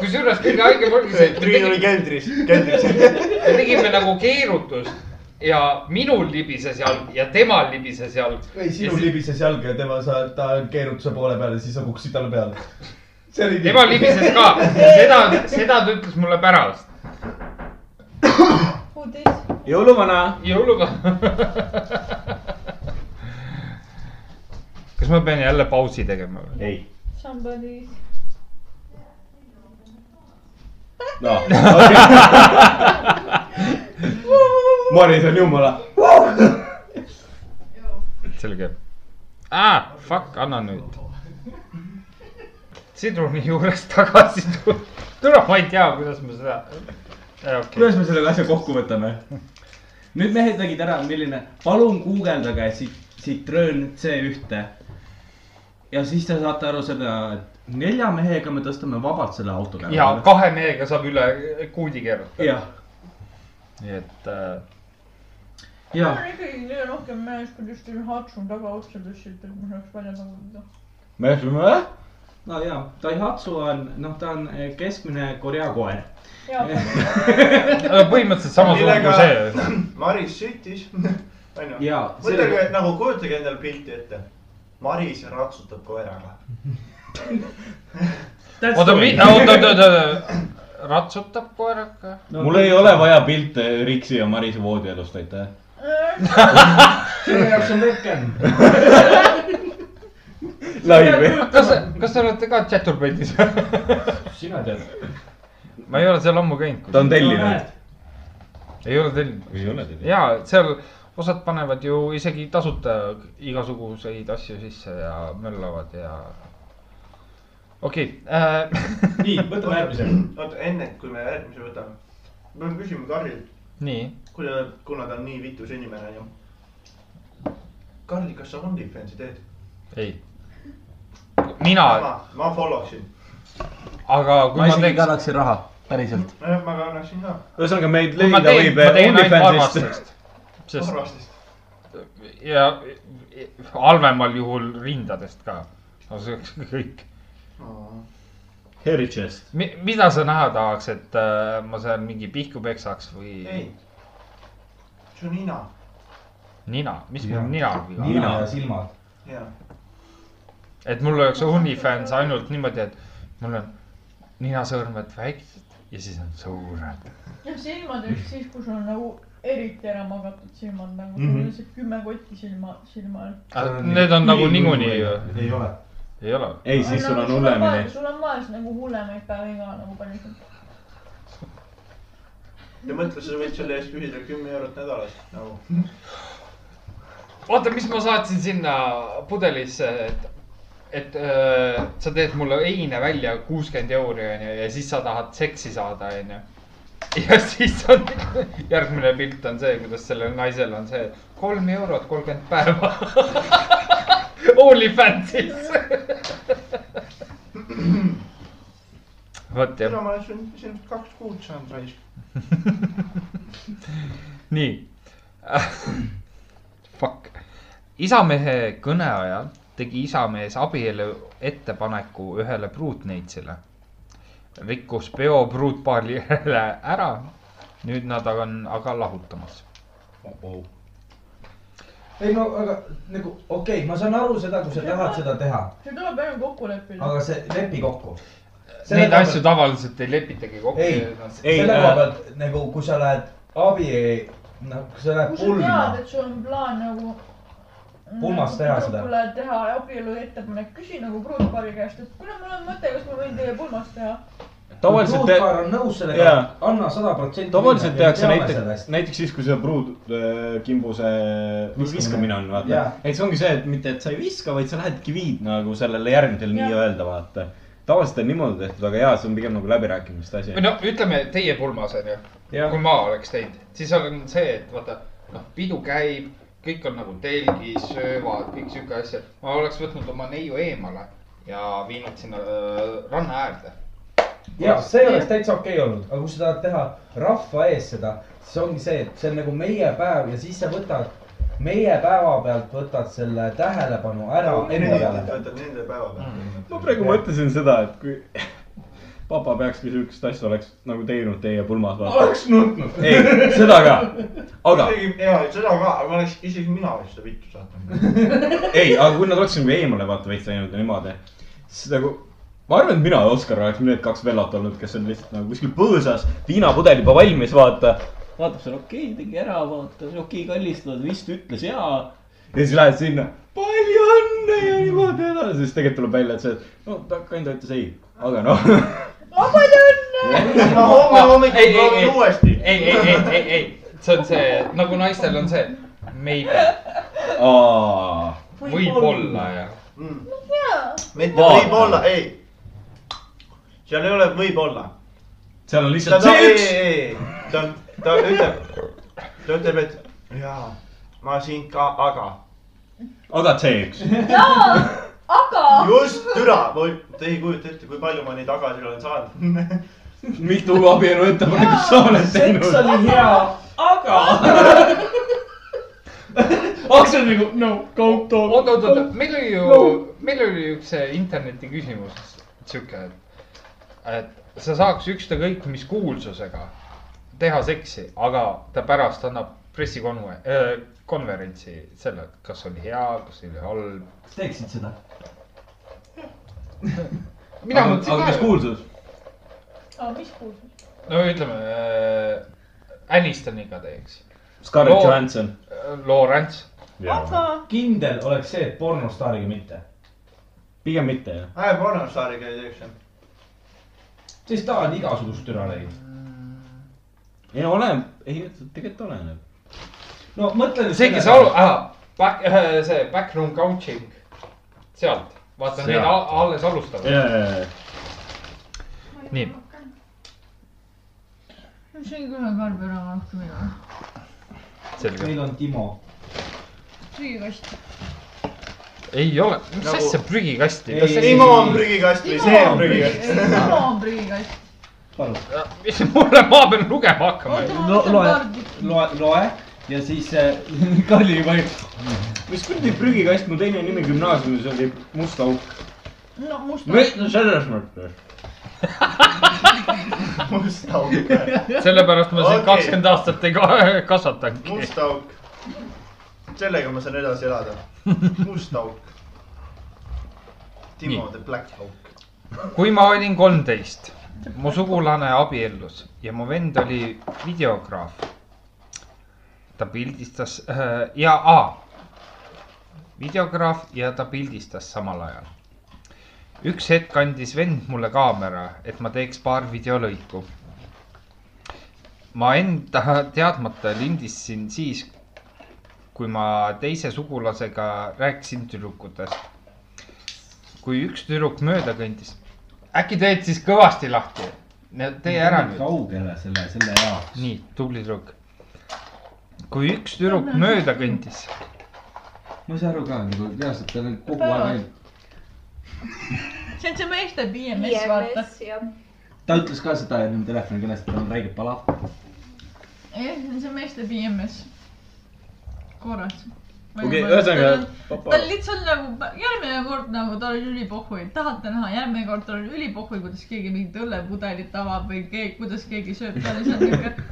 [SPEAKER 5] kusjuures kõige haigem ongi see , et me
[SPEAKER 14] Triin
[SPEAKER 5] tegime-
[SPEAKER 14] oli keldris , keldris .
[SPEAKER 5] me tegime nagu keerutust ja minul libises jalg ja temal libises jalg .
[SPEAKER 6] ei , sinul libises jalga ja tema , sa , ta keerutas su poole peale , siis sa kukkusid talle peale . see oli
[SPEAKER 5] tema libises ka , seda , seda ta ütles mulle pärast .
[SPEAKER 16] uudis .
[SPEAKER 1] jõuluvana .
[SPEAKER 5] jõuluga . kas ma pean jälle pausi tegema või ?
[SPEAKER 4] ei .
[SPEAKER 16] Somebody .
[SPEAKER 4] noh , Maris on jumala .
[SPEAKER 5] selge . aa , fuck , anna nüüd . sidruni juures tagasi tulla . tule , ma ei tea , kuidas ma seda . Äh, Okay.
[SPEAKER 1] kuidas me selle asja kokku võtame ? nüüd mehed nägid ära , milline , palun guugeldage Cit- Citroen C1-e . ja siis te saate aru seda , et nelja mehega me tõstame vabalt selle auto peale .
[SPEAKER 5] ja kahe mehega saab üle kuudi keerata .
[SPEAKER 1] jah ,
[SPEAKER 5] nii et äh,
[SPEAKER 1] ja
[SPEAKER 18] mul on ikkagi kõige rohkem meeles , kui just oli Hatsun tagaotsa tõstsid , et ma saaks välja panna .
[SPEAKER 4] me ütleme ,
[SPEAKER 1] no ja Daihatsu on , noh , ta on eh, keskmine Korea koer .
[SPEAKER 5] äh, põhimõtteliselt sama suur kui see .
[SPEAKER 14] Maris süttis , onju .
[SPEAKER 1] ja
[SPEAKER 14] mõtelge nagu kujutage endale pilti ette . Maris ratsutab koeraga .
[SPEAKER 5] oota , oota , oota , oota , ratsutab koeraga .
[SPEAKER 1] No,
[SPEAKER 4] mul ei ole vaja pilte Riksi ja Marise voodielust , aitäh .
[SPEAKER 6] selle jaoks on webcam .
[SPEAKER 4] laivi .
[SPEAKER 5] kas , kas te olete ka Chaturbedis ?
[SPEAKER 6] sina tead .
[SPEAKER 5] (laughs) ma ei ole seal ammu käinud .
[SPEAKER 4] ta on tellinud .
[SPEAKER 5] ei ole tellinud .
[SPEAKER 4] ei ole tellinud .
[SPEAKER 5] ja seal osad panevad ju isegi tasuta igasuguseid asju sisse ja möllavad ja . okei äh, , (laughs)
[SPEAKER 6] nii , võtame järgmise .
[SPEAKER 14] oota , enne kui me järgmise võtame , me peame küsima Karlilt ,
[SPEAKER 5] nii ,
[SPEAKER 14] kuna , kuna ta on nii vitus inimene , onju . Karl , kas sa OnlyFansi teed ?
[SPEAKER 5] ei . mina ,
[SPEAKER 14] ma , ma follow ksin .
[SPEAKER 5] aga kui
[SPEAKER 1] ma
[SPEAKER 5] ma
[SPEAKER 1] isegi
[SPEAKER 5] teeks ,
[SPEAKER 1] kannaksin raha , päriselt .
[SPEAKER 14] nojah , ma ka annaksin ka .
[SPEAKER 4] ühesõnaga meid
[SPEAKER 5] kui ma
[SPEAKER 4] leida
[SPEAKER 5] teen ,
[SPEAKER 4] võib
[SPEAKER 5] ma teen ainult
[SPEAKER 4] OnlyFansist .
[SPEAKER 5] armastust . sest
[SPEAKER 14] arvastist .
[SPEAKER 5] ja e, halvemal juhul rindadest ka . no see oleks kõik .
[SPEAKER 4] Herichest .
[SPEAKER 5] Mi- , mida sa näha tahaks , et äh, ma seal mingi pihku peksaks või
[SPEAKER 14] ei , see on nina .
[SPEAKER 5] nina , mis mul ninal viga on ?
[SPEAKER 13] nina ja silmad .
[SPEAKER 14] jaa .
[SPEAKER 5] et mul oleks OnlyFans ainult niimoodi , et mul on ninasõõrmed väiksed ja siis on suured .
[SPEAKER 18] ja silmad olid siis , kui sul on nagu eriti ära magatud silmad
[SPEAKER 14] Mhm.
[SPEAKER 18] nagu mm , sul -hmm. on see kümme kotti silma , silma all .
[SPEAKER 5] Need on nagu niikuinii ju .
[SPEAKER 13] ei ole .
[SPEAKER 5] ei ole .
[SPEAKER 4] ei , siis sul on hullemini .
[SPEAKER 18] sul on vaes nagu hullemaid päevi ka nagu palju .
[SPEAKER 14] ja mõtle , sa võid selle eest küsida kümme eurot nädalas nagu .
[SPEAKER 5] oota , mis ma saatsin sinna pudelisse , et , et öö, sa teed mulle heine välja kuuskümmend euri onju ja siis sa tahad seksi saada onju . ja siis on järgmine pilt on see , kuidas sellel naisel on see kolm eurot kolmkümmend päeva . (laughs) Onlyfansis . (laughs) vot jah
[SPEAKER 14] mina , ma olen siin , siin kaks kuud saanud raisk .
[SPEAKER 5] nii (coughs) Fuck . isamehe kõne ajal tegi isamees abielu ettepaneku ühele pruutneitsile . rikkus peo pruutpaarile ära . nüüd nad on aga lahutamas .
[SPEAKER 13] ei no aga nagu okei okay, , ma saan aru seda , kui sa tahad seda teha ,
[SPEAKER 18] see tuleb enne kokku leppida .
[SPEAKER 13] aga see lepi kokku .
[SPEAKER 5] Neid asju tavaliselt ei lepitagi kokku .
[SPEAKER 13] ei ,
[SPEAKER 4] Ei,
[SPEAKER 13] selle koha
[SPEAKER 4] äh,
[SPEAKER 13] pealt nagu , kui sa lähed abi , noh , kui sa lähed
[SPEAKER 18] kui sa
[SPEAKER 13] pulma
[SPEAKER 18] tead , et sul on plaan nagu .
[SPEAKER 13] Pulmas teha seda.
[SPEAKER 18] tüdrukule teha abielu ettepanek , küsi nagu pruutpaari käest , et kuule , mul on mõte , kas ma võin teie pulmas teha .
[SPEAKER 4] tavaliselt te-
[SPEAKER 13] Ruutkaar on nõus sellega
[SPEAKER 4] Jaa. ,
[SPEAKER 13] anna sada protsenti .
[SPEAKER 4] tavaliselt tehakse näiteks ,. näiteks siis , kui see pruudkimbuse
[SPEAKER 13] Viskamine.
[SPEAKER 4] viskamine on , vaata
[SPEAKER 13] Jaa. .
[SPEAKER 4] et see ongi see , et mitte , et sa ei viska , vaid sa lähedki viid nagu sellele järgmisele
[SPEAKER 18] Jah.
[SPEAKER 4] nii-öelda , vaata . tavaliselt on niimoodi tehtud , aga jaa , see on pigem nagu läbirääkimiste asi
[SPEAKER 5] või . no ütleme teie pulmas onju , kui ma oleks teinud , siis on see , et vaata noh , pidu käib , kõik on nagu telgis , söövad , kõik siuke asjad . ma oleks võtnud oma neiu eemale ja viinud sinna äh, ranna äärde .
[SPEAKER 13] ja see oleks täitsa okei okay olnud , aga kui sa tahad teha rahva ees seda , siis ongi see , et see on nagu meie päev ja siis sa võtad , meie päeva pealt võtad selle tähelepanu ära endale .
[SPEAKER 14] nende päeva
[SPEAKER 5] Mm.
[SPEAKER 14] pealt .
[SPEAKER 4] ma praegu mõtlesin seda , et kui (laughs) papa peakski siukest asja oleks nagu teinud teie pulmas , vaata .
[SPEAKER 13] oleks nutnud .
[SPEAKER 4] ei , seda ka ,
[SPEAKER 5] (laughs)
[SPEAKER 4] aga
[SPEAKER 14] jaa , seda ka , aga oleks , isegi mina oleks seda vittu saatnud .
[SPEAKER 4] ei , aga kui nad oleksid nagu eemale vaata veits läinud ja niimoodi , siis nagu ma arvan , et mina ja Oskar oleks need kaks vellat olnud , kes on lihtsalt nagu kuskil põõsas , viinapudel juba valmis , vaata . vaatab seal , okei okay, , tegi ära , vaata , okei okay, , kallistad , vist ütles jaa . ja siis lähed sinna , palju õnne ja niimoodi edasi , siis tegelikult tuleb välja , et see , no ta kinda ütles ei , aga noh . (laughs)
[SPEAKER 14] ma homme hommikul proovin uuesti .
[SPEAKER 5] ei , ei , ei , ei , ei , see on see nagu naistel on see maybe , võib-olla ja .
[SPEAKER 14] Mm. mitte
[SPEAKER 4] Vaata.
[SPEAKER 14] võib-olla , ei . seal ei ole võib-olla .
[SPEAKER 4] seal on
[SPEAKER 14] ta ,
[SPEAKER 4] lihtsalt
[SPEAKER 14] ta ,
[SPEAKER 4] see
[SPEAKER 14] ei ,
[SPEAKER 4] üks .
[SPEAKER 14] ei , ei , ta , ta ütleb , ta ütleb , et jaa , ma siin ka , aga .
[SPEAKER 4] aga see üks .
[SPEAKER 14] just , türa , te ei kujuta ette , kui palju ma neid agasid olen saanud .
[SPEAKER 4] mitu abielu ettepanekut sa oled
[SPEAKER 13] seks
[SPEAKER 4] teinud ?
[SPEAKER 13] oli hea , aga .
[SPEAKER 4] Aksel nagu no go to .
[SPEAKER 5] oot , oot , oot , meil oli ju , meil oli üks see interneti küsimus , siuke , et , et sa saaks ükstakõik mis kuulsusega teha seksi , aga ta pärast annab pressikonver- äh, , konverentsi selle , kas oli hea , kas oli halb .
[SPEAKER 13] teeksid seda ?
[SPEAKER 5] mina
[SPEAKER 4] aga
[SPEAKER 5] mõtlesin
[SPEAKER 4] kas
[SPEAKER 5] ka ,
[SPEAKER 4] kuulsus ?
[SPEAKER 18] aa , mis kuulsus ?
[SPEAKER 5] no ütleme äh, , Anistoniga teeks ,
[SPEAKER 4] Scarlett
[SPEAKER 5] Loo-
[SPEAKER 4] Johansson .
[SPEAKER 5] Lawrence .
[SPEAKER 4] aga .
[SPEAKER 13] kindel oleks see , et pornostaariga mitte ,
[SPEAKER 4] pigem mitte jah .
[SPEAKER 14] aa , pornostaariga ei teeks jah .
[SPEAKER 13] sest ta on igasugust türa läinud .
[SPEAKER 4] ei no oleneb , ei tegelikult oleneb .
[SPEAKER 13] no mõtle nüüd .
[SPEAKER 5] see , kes aru , back , see backroom coaching , sealt , vaata neid
[SPEAKER 4] Sealt.
[SPEAKER 5] al- alles alustavad .
[SPEAKER 4] ja , ja , ja ,
[SPEAKER 5] nii ,
[SPEAKER 18] see ei kõla karbi ära rohkem ei ole .
[SPEAKER 5] selge .
[SPEAKER 13] meil on Timo .
[SPEAKER 18] prügikast .
[SPEAKER 5] ei ole , mis
[SPEAKER 14] Nagu-
[SPEAKER 5] asja prügikasti ,
[SPEAKER 13] Ei,
[SPEAKER 5] kas see
[SPEAKER 14] Timo on prügikast või see on prügikast ? (laughs)
[SPEAKER 18] Timo on prügikast .
[SPEAKER 5] mis mulle maa peal lugema hakkama ?
[SPEAKER 18] oota , ma
[SPEAKER 1] Lo-
[SPEAKER 18] mõtlen
[SPEAKER 1] loe-
[SPEAKER 18] kaardi .
[SPEAKER 1] loe , loe ja siis äh, (laughs) Karli juba
[SPEAKER 4] mis kuradi prügikast , mu teine nimi gümnaasiumis oli must auk .
[SPEAKER 18] no must
[SPEAKER 4] ma ütlen selles mõttes .
[SPEAKER 14] must auk ,
[SPEAKER 5] sellepärast ma sind
[SPEAKER 14] Okei.
[SPEAKER 5] kakskümmend aastat ei ka- (laughs) kasvatanudki .
[SPEAKER 14] must auk . sellega ma saan edasi elada . must auk . Timo the black auk .
[SPEAKER 5] kui ma olin kolmteist , mu sugulane abiellus ja mu vend oli videograaf . ta pildistas äh, ja , videograaf ja ta pildistas samal ajal . üks hetk andis vend mulle kaamera , et ma teeks paar videolõiku . ma enda teadmata lindistasin siis , kui ma teise sugulasega rääkisin tüdrukutest . kui üks tüdruk mööda kõndis , äkki teed siis kõvasti lahti ? tee ära nüüd .
[SPEAKER 7] kaugele selle , selle jaoks .
[SPEAKER 5] nii , tubli tüdruk . kui üks tüdruk mööda kõndis ,
[SPEAKER 1] ma ei saa aru ka nagu reaalselt , tal on kogu
[SPEAKER 16] Päevad.
[SPEAKER 1] aeg ainult ,
[SPEAKER 16] see on see meeste BMS , vaata .
[SPEAKER 20] jah .
[SPEAKER 1] ta ütles ka seda enne telefoni kõnes , et tal on räige palav .
[SPEAKER 16] jah , see on see meeste BMS . korras .
[SPEAKER 4] okei , ühesõnaga
[SPEAKER 16] ta . lihtsalt nagu pä- järgmine kord nagu ta oli ülipohui , tahate näha , järgmine kord ta oli ülipohui , kuidas keegi mingit õllepudelit avab või keegi , kuidas keegi sööb , ta oli
[SPEAKER 4] (laughs)
[SPEAKER 16] seal niuke .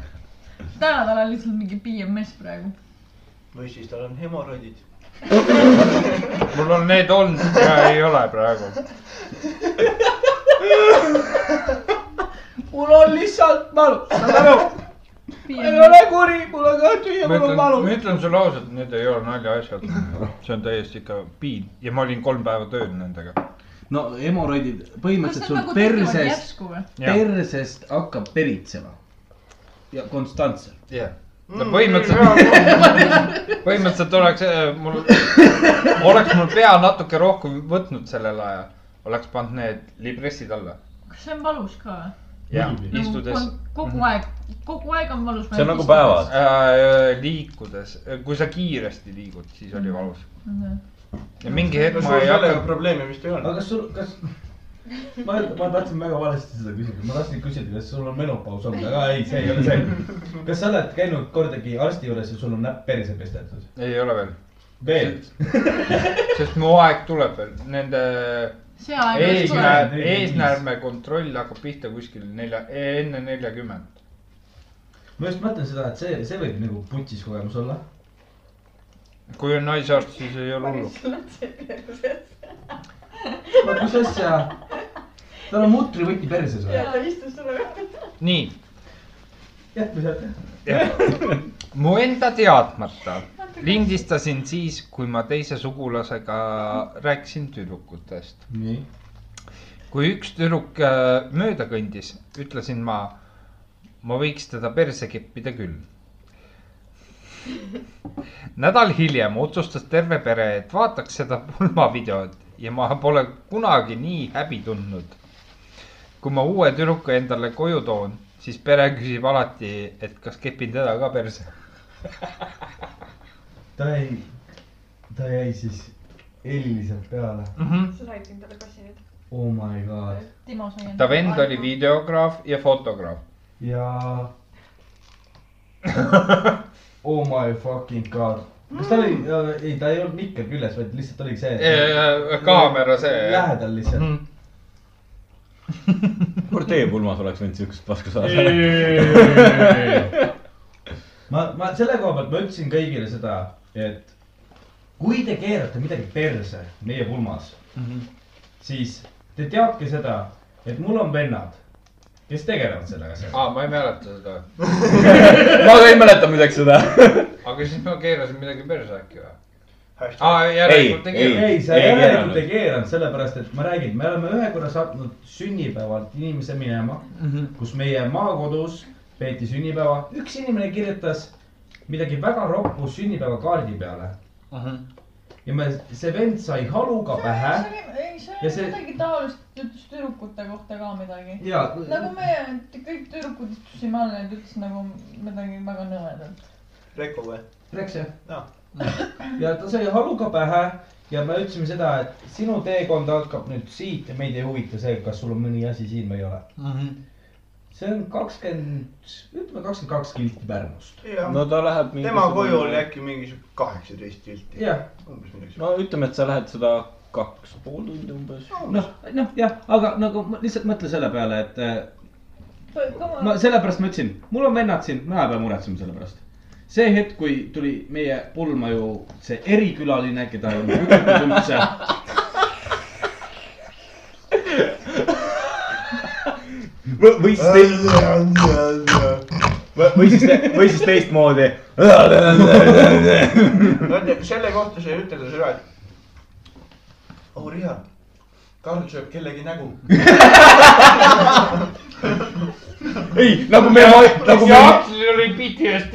[SPEAKER 16] täna tal on lihtsalt mingi BMS praegu .
[SPEAKER 14] või siis tal on hemoroidid .
[SPEAKER 5] mul on need olnud ja ei ole
[SPEAKER 13] (laughs)
[SPEAKER 5] praegu .
[SPEAKER 13] mul on lihtsalt valu , saad aru ? ei ole kuri , mul on ka tühi ,
[SPEAKER 5] ma
[SPEAKER 13] mul on
[SPEAKER 5] ütlen ,
[SPEAKER 13] valu
[SPEAKER 5] ma . ütlen sulle ausalt , need ei ole naljaasjad . see on täiesti ikka piin ja ma olin kolm päeva tööl nendega .
[SPEAKER 7] no hemoroidid ,
[SPEAKER 16] kas
[SPEAKER 7] põhimõtteliselt
[SPEAKER 16] need
[SPEAKER 7] sul
[SPEAKER 16] nagu tekivad
[SPEAKER 7] persest ,
[SPEAKER 16] järsku või ?
[SPEAKER 5] Jah.
[SPEAKER 7] persest hakkab peritsema . ja konstantselt .
[SPEAKER 5] jah . no
[SPEAKER 14] Mm,
[SPEAKER 5] põhimõtteliselt ,
[SPEAKER 4] (laughs)
[SPEAKER 5] põhimõtteliselt oleks äh, mul , (laughs) oleks mul pea natuke rohkem võtnud sellel ajal , oleks pannud need libressid alla .
[SPEAKER 16] kas see on valus ka või ?
[SPEAKER 5] ja istudes ,
[SPEAKER 16] kogu aeg , kogu aeg on valus .
[SPEAKER 4] Mhm. see on nagu . päevad .
[SPEAKER 5] äh, liikudes , kui sa kiiresti liigud , siis
[SPEAKER 13] Mm.
[SPEAKER 5] oli valus .
[SPEAKER 16] Mhm.
[SPEAKER 5] ja mingi hetk ma ei hakanud .
[SPEAKER 14] probleemi vist ei
[SPEAKER 13] aga
[SPEAKER 14] olnud .
[SPEAKER 13] kas sul , kas , ma , ma tahtsin väga valesti seda küsida , ma tahtsin küsida , kas sul on menopaus olnud , aga ei , see ei ole see . kas sa oled käinud kordagi arsti juures ja sul on näpp perse pestetud ?
[SPEAKER 5] ei ole veel ,
[SPEAKER 13] veel ?
[SPEAKER 5] sest mu aeg tuleb veel , nende
[SPEAKER 16] see aeg oleks tulemas .
[SPEAKER 5] eesnäärme , eesnäärme kontroll hakkab pihta kuskil nelja , enne neljakümmend .
[SPEAKER 13] ma just mõtlen seda , et see , see võib nagu putsis kogemus olla .
[SPEAKER 5] kui on naisarst , siis ei ole hullu .
[SPEAKER 13] no mis asja , tal on mutrivõti perses või ?
[SPEAKER 3] ta istus sulle .
[SPEAKER 5] nii ,
[SPEAKER 13] jätme sealt .
[SPEAKER 5] mu enda teadmata lindistasin siis , kui ma teise sugulasega rääkisin tüdrukutest .
[SPEAKER 13] nii .
[SPEAKER 5] kui üks tüdruk äh, mööda kõndis , ütlesin ma , ma võiks teda perse keppida küll . (laughs) nädal hiljem otsustas terve pere , et vaataks seda pulmavideot ja ma pole kunagi nii häbi tundnud . kui ma uue tüdruku endale koju toon , siis pere küsib alati , et kas kepin teda ka perse .
[SPEAKER 13] ta jäi , ta jäi siis Elliselt peale .
[SPEAKER 3] sa said endale kassi nüüd .
[SPEAKER 13] Oh my god .
[SPEAKER 16] Timo sai
[SPEAKER 5] ta . vend oli videograaf ja fotograaf .
[SPEAKER 13] ja . Oh my fucking god . kas ta oli , ei , ta ei olnud mikker küljes , vaid lihtsalt oligi see .
[SPEAKER 5] Äh, kaamera see . Mhm.
[SPEAKER 13] lähedal lihtsalt .
[SPEAKER 4] kurat , teie pulmas oleks võinud siukest paska saada .
[SPEAKER 13] ma , ma selle koha pealt ma ütlesin kõigile seda , et kui te keerate midagi perse meie pulmas mm , -hmm. siis te teadke seda , et mul on vennad , kes tegelevad sellega seal .
[SPEAKER 5] aa , ma ei mäleta seda .
[SPEAKER 4] ma ka ei mäleta muideks seda .
[SPEAKER 5] aga siis ma keerasin midagi perse äkki või ?
[SPEAKER 4] Ah.
[SPEAKER 14] hästi ,
[SPEAKER 5] aa , järelikult
[SPEAKER 4] Ei,
[SPEAKER 5] ei keeranud .
[SPEAKER 13] ei , sa
[SPEAKER 4] Ei
[SPEAKER 13] järelikult
[SPEAKER 4] keeranud.
[SPEAKER 13] ei keeranud , sellepärast et ma räägin , me oleme ühe korra saatnud sünnipäevalt inimese minema mm , -hmm. kus meie maakodus peeti sünnipäeva , üks inimene kirjutas midagi väga roppu sünnipäevakaardi peale . ja me , see vend sai haluga pähe
[SPEAKER 16] ei , see
[SPEAKER 13] Ja
[SPEAKER 16] oli
[SPEAKER 13] see-
[SPEAKER 16] midagi taolist , ta ütles tüdrukute kohta ka midagi .
[SPEAKER 13] ja
[SPEAKER 16] nagu meie et kõik tüdrukud istusime all ja ta ütles nagu midagi väga nõmedat .
[SPEAKER 14] Reku või ?
[SPEAKER 13] läks jah
[SPEAKER 14] Jah.
[SPEAKER 13] ja ta sai haluga pähe ja me ütlesime seda , et sinu teekond algab nüüd siit ja meid ei huvita see , kas sul on mõni asi siin või ei ole . see on kakskümmend , ütleme kakskümmend kaks kilti Pärnust .
[SPEAKER 14] jah ,
[SPEAKER 4] no ta läheb .
[SPEAKER 14] tema koju oli . äkki mingi sihuke kaheksateist tilti .
[SPEAKER 13] jah ,
[SPEAKER 14] umbes midagi siukest .
[SPEAKER 4] no ütleme , et sa lähed seda kaks pool tundi umbes .
[SPEAKER 7] noh , noh jah , aga nagu ma lihtsalt mõtle selle peale , et eh, ma sellepärast ma ütlesin , mul on vennad siin , mina ei pea muretsema selle pärast . see hetk , kui tuli meie pulma ju see erikülaline , keda ei olnud ükskord üldse .
[SPEAKER 4] või siis teist , või siis , või siis (laughs) teistmoodi .
[SPEAKER 14] no vot, selle kohta sa ei ütle seda , et . oh Riia , Karl sööb kellegi nägu .
[SPEAKER 4] ei , nagu me , nagu me ,
[SPEAKER 5] Aksel oli PTSD .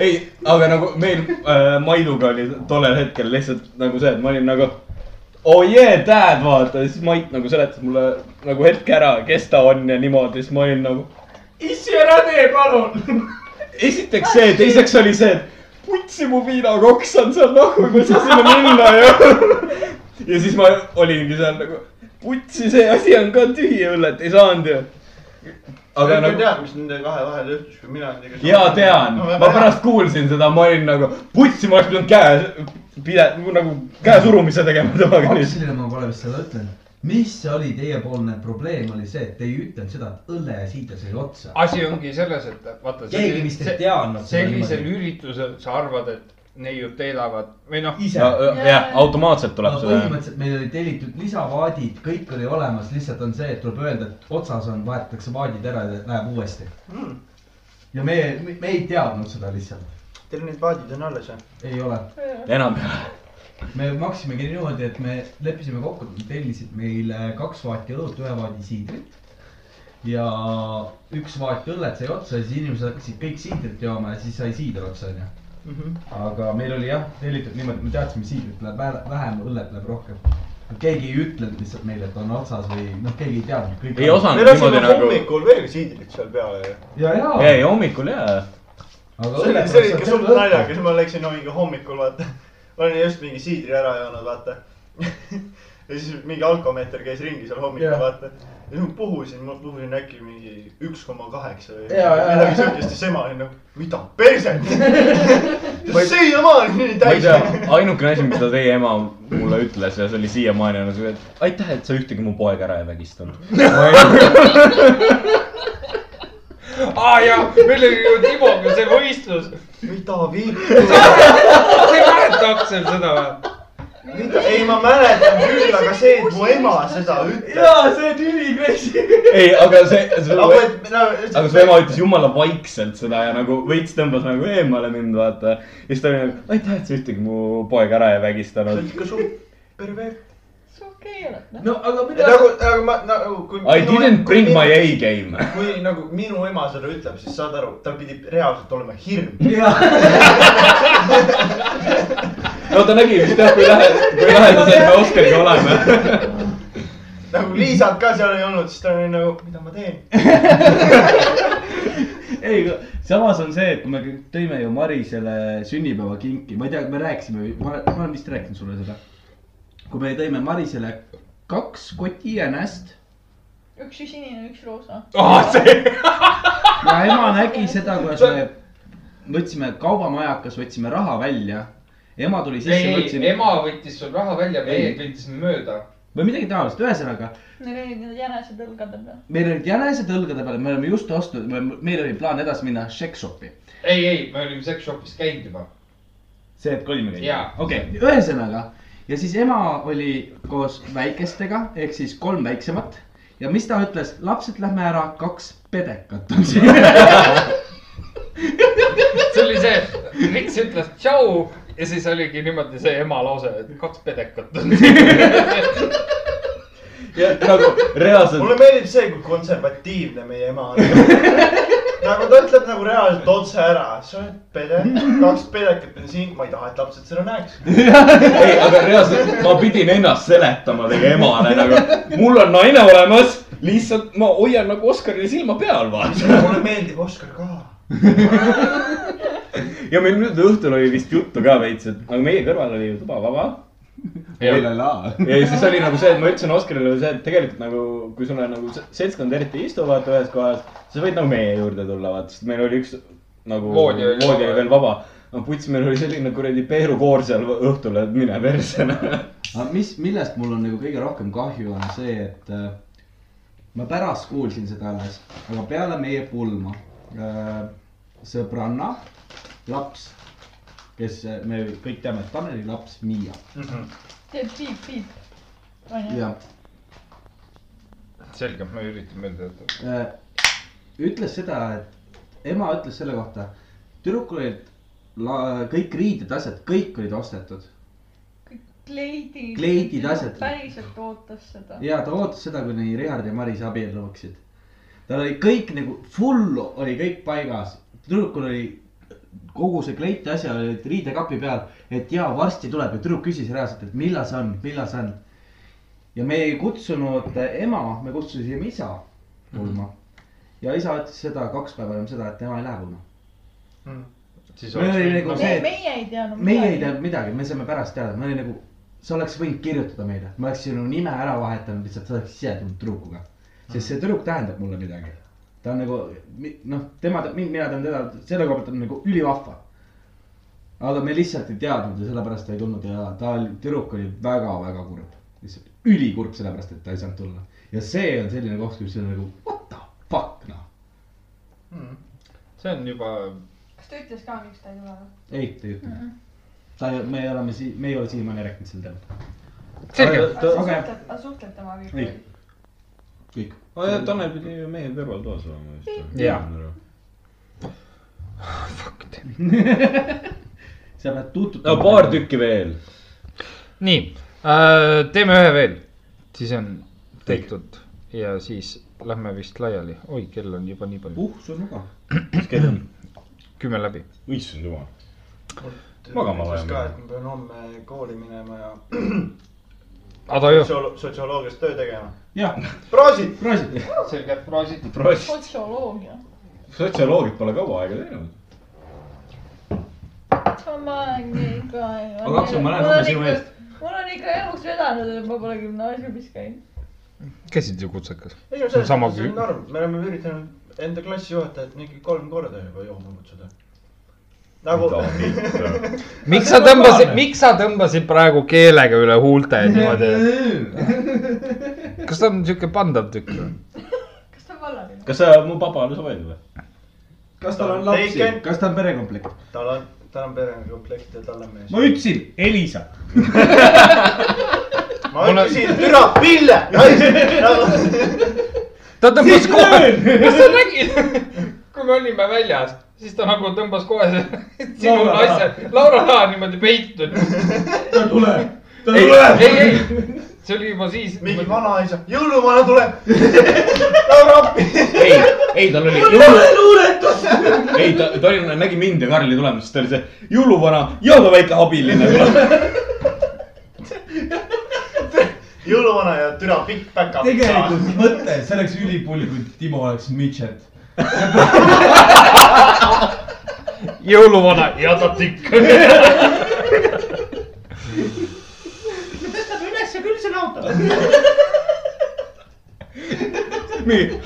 [SPEAKER 4] ei , aga nagu meil äh, Maiduga oli tollel hetkel lihtsalt nagu see , et ma olin nagu . oh yeah , dad , vaata , siis Mait nagu seletas mulle nagu hetke ära , kes ta on ja niimoodi , siis ma olin nagu . issi , ära tee , palun . esiteks see , teiseks oli see , et putsi mu viinakoks on seal nahku , kui sa sinna minna ei jõua . ja siis ma olingi seal nagu , putsi , see asi on ka tühi ja õllet ei saanud ju .
[SPEAKER 14] aga nagu . tead , mis nende kahe vahel juhtus , kui mina nendega .
[SPEAKER 4] ja tean , ma pärast kuulsin seda , ma olin nagu , putsi , ma oleks pidanud käe , pide- , nagu käesurumise tegema temaga nüüd .
[SPEAKER 13] Akselile ma pole vist seda ütlenud . mis oli teiepoolne probleem , oli see , et te ei ütelnud seda , et õlle ja siita sai otsa .
[SPEAKER 5] asi ongi selles , et vaata .
[SPEAKER 13] keegi vist ei teadnud .
[SPEAKER 5] sellisel üritusel sa arvad , et neiud teelavad või noh ,
[SPEAKER 13] ise no, .
[SPEAKER 4] jah , automaatselt tuleb
[SPEAKER 13] no
[SPEAKER 4] seda .
[SPEAKER 13] põhimõtteliselt meil olid tellitud lisavaadid , kõik oli olemas , lihtsalt on see , et tuleb öelda , et otsas on , vahetatakse vaadid ära ja läheb uuesti .
[SPEAKER 14] Mm.
[SPEAKER 13] ja me, me , me ei teadnud seda lihtsalt ,
[SPEAKER 14] Teil need paadid on alles või ?
[SPEAKER 13] ei ole .
[SPEAKER 4] enam .
[SPEAKER 13] me maksimegi niimoodi , et me leppisime kokku , et nad tellisid meile kaks vaati õlut , ühe vaadi siidrit . ja üks vaat õllet sai otsa ja siis inimesed hakkasid kõik siidrit jooma ja siis sai siider otsa , onju .
[SPEAKER 4] Mhm.
[SPEAKER 13] aga meil oli jah tellitud niimoodi , et me teadsime , siidrit läheb vähe- vähem , õllet läheb rohkem . keegi ei ütlenud lihtsalt meile , et on otsas või noh , keegi ei teadnud .
[SPEAKER 4] ei .
[SPEAKER 14] me
[SPEAKER 4] osanud niimoodi
[SPEAKER 14] lasime
[SPEAKER 4] nagu .
[SPEAKER 14] hommikul veel siidrit seal peale ju .
[SPEAKER 13] ja , ja .
[SPEAKER 4] ei , hommikul jaa .
[SPEAKER 13] aga
[SPEAKER 14] see oli ,
[SPEAKER 13] õllet
[SPEAKER 14] see oli ikka suht . naljakas , ma läksin mingi hommikul , vaata . olin just mingi siidri ära joonud , vaata . (laughs) ja siis mingi alkomeeter käis ringi seal hommikul ,
[SPEAKER 13] Jah.
[SPEAKER 14] vaata . ja siis ma puhusin , ma puhusin äkki mingi üks koma kaheksa või
[SPEAKER 13] Jaa, jaa,
[SPEAKER 14] midagi
[SPEAKER 13] jaa.
[SPEAKER 14] siukest ja siis ema oli nagu , mida (laughs) perset . siiamaani nii
[SPEAKER 4] ma ei
[SPEAKER 14] täis .
[SPEAKER 4] tea , ainukene asi , mida teie ema mulle ütles ja see oli siiamaani on see , et aitäh , et sa ühtegi mu poega ära ei vägistanud .
[SPEAKER 5] (laughs) aa jaa , meil oli ju Timoga see võistlus .
[SPEAKER 14] mida viib ?
[SPEAKER 5] sa ei mäleta Aksel seda või ?
[SPEAKER 14] mida , ei ma mäletan küll , aga see , et mu ema seda ütles .
[SPEAKER 13] see on ülikreisi .
[SPEAKER 4] ei , aga see ,
[SPEAKER 14] nagu , et no, .
[SPEAKER 4] aga su ema ütles jumala vaikselt seda ja nagu veits tõmbas nagu eemale mind , vaata . ja siis ta oli nagu , aitäh , et sa ühtegi mu poega ära ei
[SPEAKER 14] sa
[SPEAKER 4] vägistanud
[SPEAKER 14] oled . ikka suht pervert .
[SPEAKER 13] no aga
[SPEAKER 14] Ja
[SPEAKER 13] mida (laughs)
[SPEAKER 14] nagu , nagu ma , nagu kui .
[SPEAKER 4] I didn't bring my A game .
[SPEAKER 14] kui nagu minu ema seda ütleb , siis saad aru , tal pidi reaalselt olema hirm .
[SPEAKER 13] jaa ,
[SPEAKER 4] no ta nägi vist jah , kui lähe- , kui lähedased me Oskariga oleme .
[SPEAKER 14] nagu Liisat ka seal ei olnud , siis ta oli nagu , mida ma teen .
[SPEAKER 1] ei , samas on see , et kui me kõik tõime ju Marisele sünnipäevakinki , ma ei tea , me rääkisime , ma olen , ma olen vist rääkinud sulle seda . kui me tõime Marisele kaks kotti jänest
[SPEAKER 16] üks sinine , üks roosa .
[SPEAKER 1] ja ema nägi seda , kuidas me võtsime kaubamajakas , võtsime raha välja . ema tuli
[SPEAKER 5] ei ,
[SPEAKER 1] sisse ,
[SPEAKER 5] ei ,
[SPEAKER 1] võtsin
[SPEAKER 5] ema võttis sul raha välja , meie kõndisime mööda .
[SPEAKER 1] või midagi taolist , ühesõnaga
[SPEAKER 16] Neil olid need jänesed õlgade peal .
[SPEAKER 1] meil olid jänesed õlgade peal , me oleme just ostnud , meil oli plaan edasi minna Shake-Shopi .
[SPEAKER 5] ei , ei , me olime sex shop'is käinud juba .
[SPEAKER 1] see , et kolm oli
[SPEAKER 5] Jaa. .
[SPEAKER 1] okei okay. , ühesõnaga ja siis ema oli koos väikestega ehk siis kolm väiksemat ja mis ta ütles , lapsed , lähme ära , kaks pedekat on siin .
[SPEAKER 5] see oli see , Rits ütles tšau ja siis oligi niimoodi see ema lause , et kaks pedekat on siin .
[SPEAKER 4] nagu reaalselt
[SPEAKER 14] mulle meeldib see , kui konservatiivne meie ema on . (laughs) nagu ta ütleb nagu reaalselt otse ära , sa oled pede , kaks pedekat on siin , ma ei taha , et lapsed seda näeks .
[SPEAKER 4] ei , aga reaalselt ma pidin ennast seletama teie emale nagu , mul on naine olemas , lihtsalt ma hoian nagu Oskarile silma peal , vaata .
[SPEAKER 14] mulle meeldib Oskar ka .
[SPEAKER 4] ja meil nüüd õhtul oli vist juttu ka veits , et aga meie kõrval oli ju tuba vaba . ja siis oli nagu see , et ma ütlesin Oskarile see , et tegelikult nagu , kui sul on nagu se- seltskond eriti ei istu vaata ühes kohas , sa võid nagu meie juurde tulla , vaata , sest meil oli üks nagu
[SPEAKER 5] Voodi oli
[SPEAKER 4] voodi
[SPEAKER 5] vaba.
[SPEAKER 4] oli veel vaba . no puts , meil oli selline kuradi peerukoor seal õhtul , et mine persse .
[SPEAKER 13] aga mis , millest mul on nagu kõige rohkem kahju , on see , et äh, ma pärast kuulsin seda alles , aga peale meie pulma äh, sõbranna laps , kes äh, me kõik teame , et Taneli laps Miia
[SPEAKER 16] teeb piip-piip . onju .
[SPEAKER 13] ja
[SPEAKER 5] selge , ma üritan meelde jätta .
[SPEAKER 13] äh, ütles seda , et ema ütles selle kohta , tüdrukul olid la- kõik riided , asjad , kõik olid ostetud .
[SPEAKER 3] kleidid .
[SPEAKER 13] Kleidid, asjad.
[SPEAKER 3] päriselt ootas seda .
[SPEAKER 13] ja ta ootas seda , kuni Richard ja Maris abielluksid . tal oli kõik nagu full oli kõik paigas , tüdrukul oli kogu see kleit ja asja olid riidekapi peal , et ja varsti tuleb ja tüdruk küsis reaalselt , et millal see on , millal see on . ja me ei kutsunud ema , me kutsusime isa ulma ja isa ütles seda kaks päeva enne seda , et tema ei lähe ulma .
[SPEAKER 14] siis
[SPEAKER 13] meil oli nagu
[SPEAKER 16] me
[SPEAKER 13] see ,, et
[SPEAKER 16] meie ei teadnud .
[SPEAKER 13] meie ei teadnud midagi , me saime pärast teada , me oli nagu , sa oleks võinud kirjutada meile , ma oleks sinu nime ära vahetanud , lihtsalt sa oleks ise tulnud tüdrukuga . sest see tüdruk tähendab mulle midagi . ta on nagu mi- noh , tema , mina tean teda , selle koha pealt on nagu ülivahva . aga me lihtsalt ei teadnud ja sellepärast ta ei tulnud ja ta , tüdruk oli väga-väga kurb , lihtsalt ülikurb , sellepärast et ta ei saanud tulla . ja see on selline koht , kus on nagu what the fuck noh .
[SPEAKER 5] see on juba ,
[SPEAKER 3] kas ta ütles ka , miks ta ei tule ?
[SPEAKER 13] ei , ta ei
[SPEAKER 16] Mhm.
[SPEAKER 13] ütle . ta , me oleme siin , me ei ole siiamaani rääkinud sel teemal .
[SPEAKER 5] selge .
[SPEAKER 13] Ta-
[SPEAKER 3] aga suhtled , aga suhtled temaga ikka
[SPEAKER 13] Ei.
[SPEAKER 3] veel ?
[SPEAKER 13] kõik .
[SPEAKER 4] Tanel pidi ju meie kõrval toas olema vist .
[SPEAKER 5] Jah. .
[SPEAKER 13] sa pead tutvutama
[SPEAKER 4] no paar . tükki veel .
[SPEAKER 5] nii äh, , teeme ühe veel , siis on tehtud ja siis lähme vist laiali . oi , kell on juba nii palju ,
[SPEAKER 13] uh , sul on ka .
[SPEAKER 4] mis kell on ?
[SPEAKER 5] kümme läbi .
[SPEAKER 4] issand jumal . Magama
[SPEAKER 14] ütles
[SPEAKER 4] vaja
[SPEAKER 14] ka ,
[SPEAKER 4] minna.
[SPEAKER 14] et ma pean homme kooli minema ja
[SPEAKER 5] Adajo ,
[SPEAKER 14] sotsiolo- sotsioloogias töö tegema .
[SPEAKER 13] jah ,
[SPEAKER 14] proosid ,
[SPEAKER 13] proovisid .
[SPEAKER 1] (laughs)
[SPEAKER 5] selged fraasid .
[SPEAKER 16] sotsioloogia .
[SPEAKER 4] sotsioloogid pole kaua aega teinud .
[SPEAKER 16] aga
[SPEAKER 21] aga Aksu , ma lähen homme sinu eest .
[SPEAKER 16] mul on ikka elus vedanud , et ma pole gümnaasiumis käinud .
[SPEAKER 5] käsid ju kutsekas .
[SPEAKER 14] ei no selles
[SPEAKER 5] Sama
[SPEAKER 14] mõttes see on
[SPEAKER 5] küll.
[SPEAKER 14] norm , me oleme üritanud enda klassijuhatajat mingi kolm korda juba jooma kutsuda . nagu , (laughs)
[SPEAKER 5] miks sa tõmbasid , miks sa tõmbasid praegu keelega üle huulte niimoodi ? kas ta on siuke pandav tükk või ?
[SPEAKER 3] kas ta on vallaline ?
[SPEAKER 4] kas sa mu papale soovid või ?
[SPEAKER 13] kas tal on lapsi
[SPEAKER 14] Taken. ,
[SPEAKER 13] kas tal on perekomplekt ?
[SPEAKER 14] tal on , tal on perekomplekt ja tal on mees .
[SPEAKER 13] ma ütlesin Elisa .
[SPEAKER 14] ma ütlesin , türa , Pille , Nagu- naised .
[SPEAKER 5] ta tõmbas kohe , kas sa nägid ? (laughs) kui me olime väljas , siis ta nagu tõmbas kohe see sinu
[SPEAKER 13] Laura
[SPEAKER 5] naise , Laura Laa niimoodi peitud .
[SPEAKER 13] ta tuleb , ta
[SPEAKER 5] ei ,
[SPEAKER 13] tuleb .
[SPEAKER 5] ei , ei , see oli juba siis .
[SPEAKER 14] mingi vanaisa , jõuluvana (laughs) Nagu tuleb . Laura appi .
[SPEAKER 4] ei , ei tal oli .
[SPEAKER 13] luuletus .
[SPEAKER 4] ei , ta , ta oli , nägi mind ja Karli tulemas , siis ta oli see jõuluvana ja ka väike abiline .
[SPEAKER 14] jõuluvana ja türa pikk päkapikk .
[SPEAKER 1] tegelikult mõtle , see oleks ülipull , kui Timo oleks midžet .
[SPEAKER 5] jõuluvana ja ta tikk .
[SPEAKER 14] tõstab ülesse küll selle auto .
[SPEAKER 4] Nii,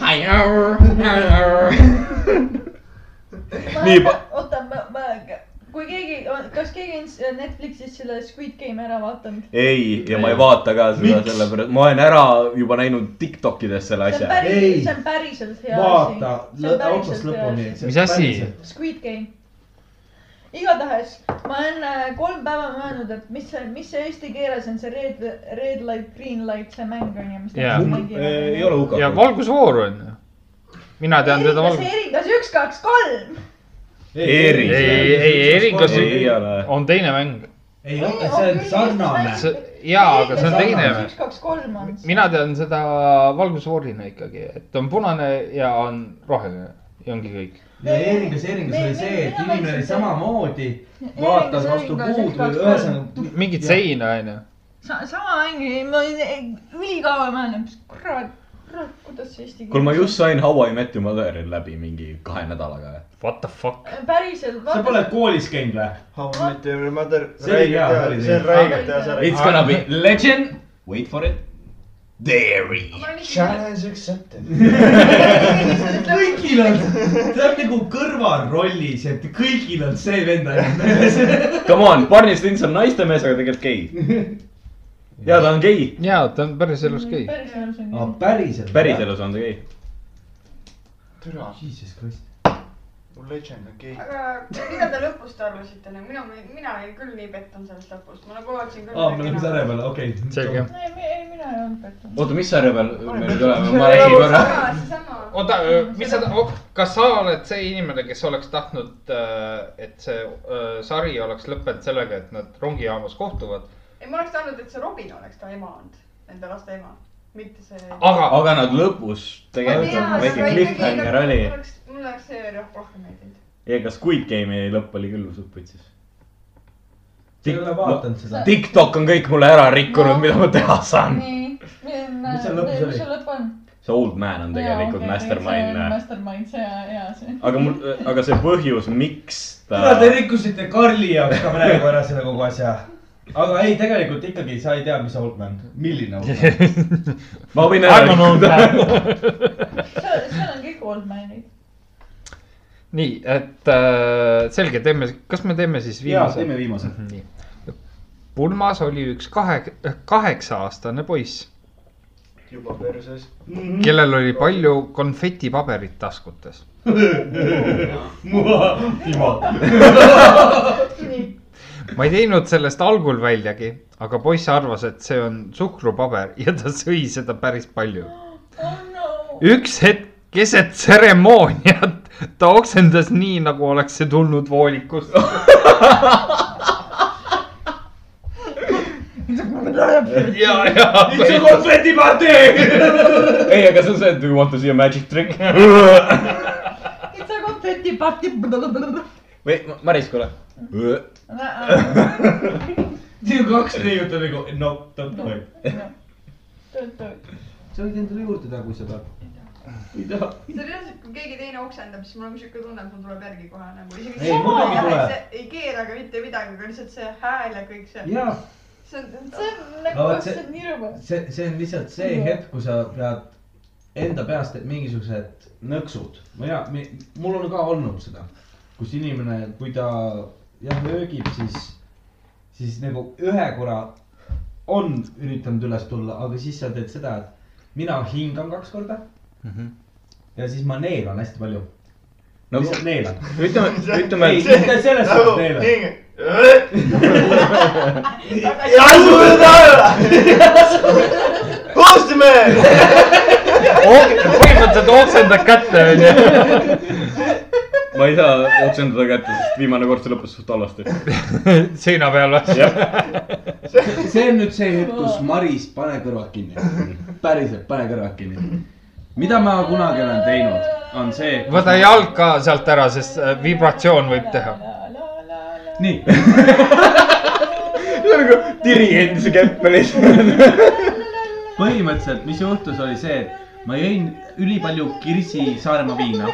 [SPEAKER 16] nii
[SPEAKER 4] pa- .
[SPEAKER 16] oota , ma , ma , kui keegi , kas keegi on Netflixis selle Squid Game'i ära vaadanud ?
[SPEAKER 4] ei , ja ma ei vaata ka seda sellepärast , ma olen ära juba näinud Tiktokides selle
[SPEAKER 16] see on
[SPEAKER 4] asja .
[SPEAKER 16] päris ,
[SPEAKER 1] Ei.
[SPEAKER 16] see on päriselt hea asi .
[SPEAKER 1] vaata , otsast lõpuni .
[SPEAKER 5] Mis asi?
[SPEAKER 16] Squid Game . igatahes ma olen äh, kolm päeva mõelnud , et mis see , mis see eesti keeles on see red , red light , green light , see mäng on ju , mis
[SPEAKER 5] Jaa.
[SPEAKER 16] nad
[SPEAKER 4] ei ole hukatud .
[SPEAKER 5] ja valgusfoor on ju . mina tean teda
[SPEAKER 16] Erikas ,
[SPEAKER 5] valgus .
[SPEAKER 16] Erikas üks , kaks , kolm .
[SPEAKER 4] Eeri .
[SPEAKER 5] ei , ei , ei , Erikas
[SPEAKER 4] ei ole .
[SPEAKER 5] on teine mäng .
[SPEAKER 1] ei , see on sarnane .
[SPEAKER 5] See- jaa, aga see on teine mäng.
[SPEAKER 16] üks , kaks , kolm on .
[SPEAKER 5] mina tean seda valgusfoorina ikkagi , et on punane ja on roheline ja ongi kõik .
[SPEAKER 1] ja Eeringas , Eeringas oli see , et inimene oli samamoodi , vaatas vastu puud või ühesõnaga .
[SPEAKER 5] mingit seina on ju .
[SPEAKER 3] sa , sama ongi , ma olin ülikaua mõelnud , mis kurat .
[SPEAKER 16] kurat , kuidas see eesti
[SPEAKER 4] kuule ,
[SPEAKER 16] keel .
[SPEAKER 4] ma just sain How I Met Your Mother'i läbi mingi kahe nädalaga .
[SPEAKER 5] What the fuck ?
[SPEAKER 16] päriselt .
[SPEAKER 1] sa pole koolis käinud või ?
[SPEAKER 14] How I met your mother .
[SPEAKER 1] See oli hea, oli
[SPEAKER 14] see on
[SPEAKER 1] see.
[SPEAKER 14] räigelt hea sari .
[SPEAKER 4] It's gonna be legend . Wait for it . Dairy .
[SPEAKER 14] Challenge accepted .
[SPEAKER 1] kõigil on , ta on nagu kõrvalrollis , et kõigil on see vend ainult meeles .
[SPEAKER 4] Come on , Barney Stinson on naistemees , aga tegelikult gei . ja ta on gei ,
[SPEAKER 5] jaa , ta on päris
[SPEAKER 16] Mm.
[SPEAKER 5] elus gei .
[SPEAKER 16] päriselt
[SPEAKER 13] Ah.
[SPEAKER 16] on
[SPEAKER 1] aa
[SPEAKER 16] küll .,
[SPEAKER 1] päriselt ?
[SPEAKER 4] päriselus on ta gei .
[SPEAKER 14] türa ,
[SPEAKER 1] Jesus Christ .
[SPEAKER 14] mul legend on gei .
[SPEAKER 3] aga mida te lõpust arvasite , mina , mina olin küll nii pettunud sellest lõpust , ma nagu ootasin küll .
[SPEAKER 1] aa , me oleme sarja peal , okei .
[SPEAKER 5] selge .
[SPEAKER 16] ei , ei mina ei olnud pettunud .
[SPEAKER 4] oota , mis sarja peal me nüüd oleme , ma räägin korra .
[SPEAKER 3] sama , seesama .
[SPEAKER 5] oota , mis sa , kas sa oled see inimene , kes oleks tahtnud , et see äh, sari oleks lõppenud sellega , et nad rongijaamas kohtuvad
[SPEAKER 3] ei , ma oleks tahtnud , et see Robin oleks ta ema olnud , nende laste ema , mitte see .
[SPEAKER 1] Ah,
[SPEAKER 5] aga ,
[SPEAKER 4] aga nad lõpus tegelikult on väike cliffhanger oli .
[SPEAKER 3] mulle oleks see roh- rohkem meeldinud .
[SPEAKER 4] ja ka Squid Game'i lõpp oli küll suputsis .
[SPEAKER 13] sa ei ole vaadanud seda .
[SPEAKER 4] TikTok on kõik mulle ära rikkunud , mida ma teha saan .
[SPEAKER 18] nii ,
[SPEAKER 13] Mis seal lõpus oli?
[SPEAKER 18] mis seal lõpp on ?
[SPEAKER 4] see old man on tegelikult
[SPEAKER 18] Jaa, okei,
[SPEAKER 4] mastermind
[SPEAKER 18] see on . Mastermind , see ja , ja see .
[SPEAKER 4] aga mul , aga see põhjus , miks ta
[SPEAKER 13] kurat , te rikkusite Karli jaoks ka praegu ära selle kogu asja . aga ei , tegelikult ikkagi sa ei tea , mis Oldman , milline Oldman .
[SPEAKER 4] ma võin
[SPEAKER 5] I don't know
[SPEAKER 4] öelda ,
[SPEAKER 5] that .
[SPEAKER 18] seal , seal on kõik old man'id .
[SPEAKER 5] nii , et äh, selge , teeme , kas me teeme siis
[SPEAKER 1] ja
[SPEAKER 5] viimase ?
[SPEAKER 1] teeme viimase .
[SPEAKER 5] nii . pulmas oli üks kahe , kaheksa-aastane poiss ,
[SPEAKER 14] juba perses .
[SPEAKER 5] kellel oli palju konfetipaberit (laughs) taskutes . ma ei teinud sellest algul väljagi , aga poiss arvas , et see on suhkrupaber ja ta sõi seda päris palju . Oh üks hetk keset tseremooniat ta oksendas nii , nagu oleks see tulnud (laughs) voolikust . ja , ja .
[SPEAKER 4] (laughs) ei , aga see on see , et do you want to see a magic (laughs) trick ?
[SPEAKER 18] It's a confetti party .
[SPEAKER 4] või , Maris , kuule .
[SPEAKER 13] siin on kaks neiut on nagu no , don't worry .
[SPEAKER 6] sa võid endale juurde teha , kui sa tahad .
[SPEAKER 3] see on reaalselt , kui keegi teine oksendab , siis mul on siuke tunne , et mul tuleb järgi kohe nagu isegi .
[SPEAKER 6] Ei, mul ei tule.
[SPEAKER 3] ei keera ka mitte midagi , aga lihtsalt see hääl ja kõik see .
[SPEAKER 6] jaa ,
[SPEAKER 3] see on ,
[SPEAKER 16] see on nagu
[SPEAKER 13] No vot see-
[SPEAKER 16] lihtsalt nii rõve .
[SPEAKER 13] see , see on lihtsalt see hetk , kui sa pead enda peast mingisugused nõksud , ma ei tea , mul on ka olnud seda , kus inimene , kui ta jah löögib , siis , siis nagu ühe korra on üritanud üles tulla , aga siis sa teed seda , et mina hingan kaks korda ja siis ma neelan hästi palju .
[SPEAKER 4] no
[SPEAKER 13] lihtsalt neelan .
[SPEAKER 4] ütleme , ütleme ,
[SPEAKER 13] ei ,
[SPEAKER 4] et
[SPEAKER 13] mitte selles suhtes neelan .
[SPEAKER 14] nii . Postimees .
[SPEAKER 5] põhimõtteliselt oksendad kätte , onju .
[SPEAKER 4] ma ei saa oksendada kätte , sest viimane kord see lõppes suht halvasti . (laughs)
[SPEAKER 5] seina peal või ?
[SPEAKER 1] see on nüüd see hetk , kus Maris , pane kõrvad kinni . päriselt , pane kõrvad kinni . mida ma kunagi olen teinud , on see .
[SPEAKER 5] võta jalg ka sealt ära , sest äh, vibratsioon võib teha .
[SPEAKER 1] nii ,
[SPEAKER 4] see on nagu dirigendi (laughs) käppelis .
[SPEAKER 1] põhimõtteliselt , mis juhtus , oli see , et ma jõin ülipalju Kirsi Saaremaa viina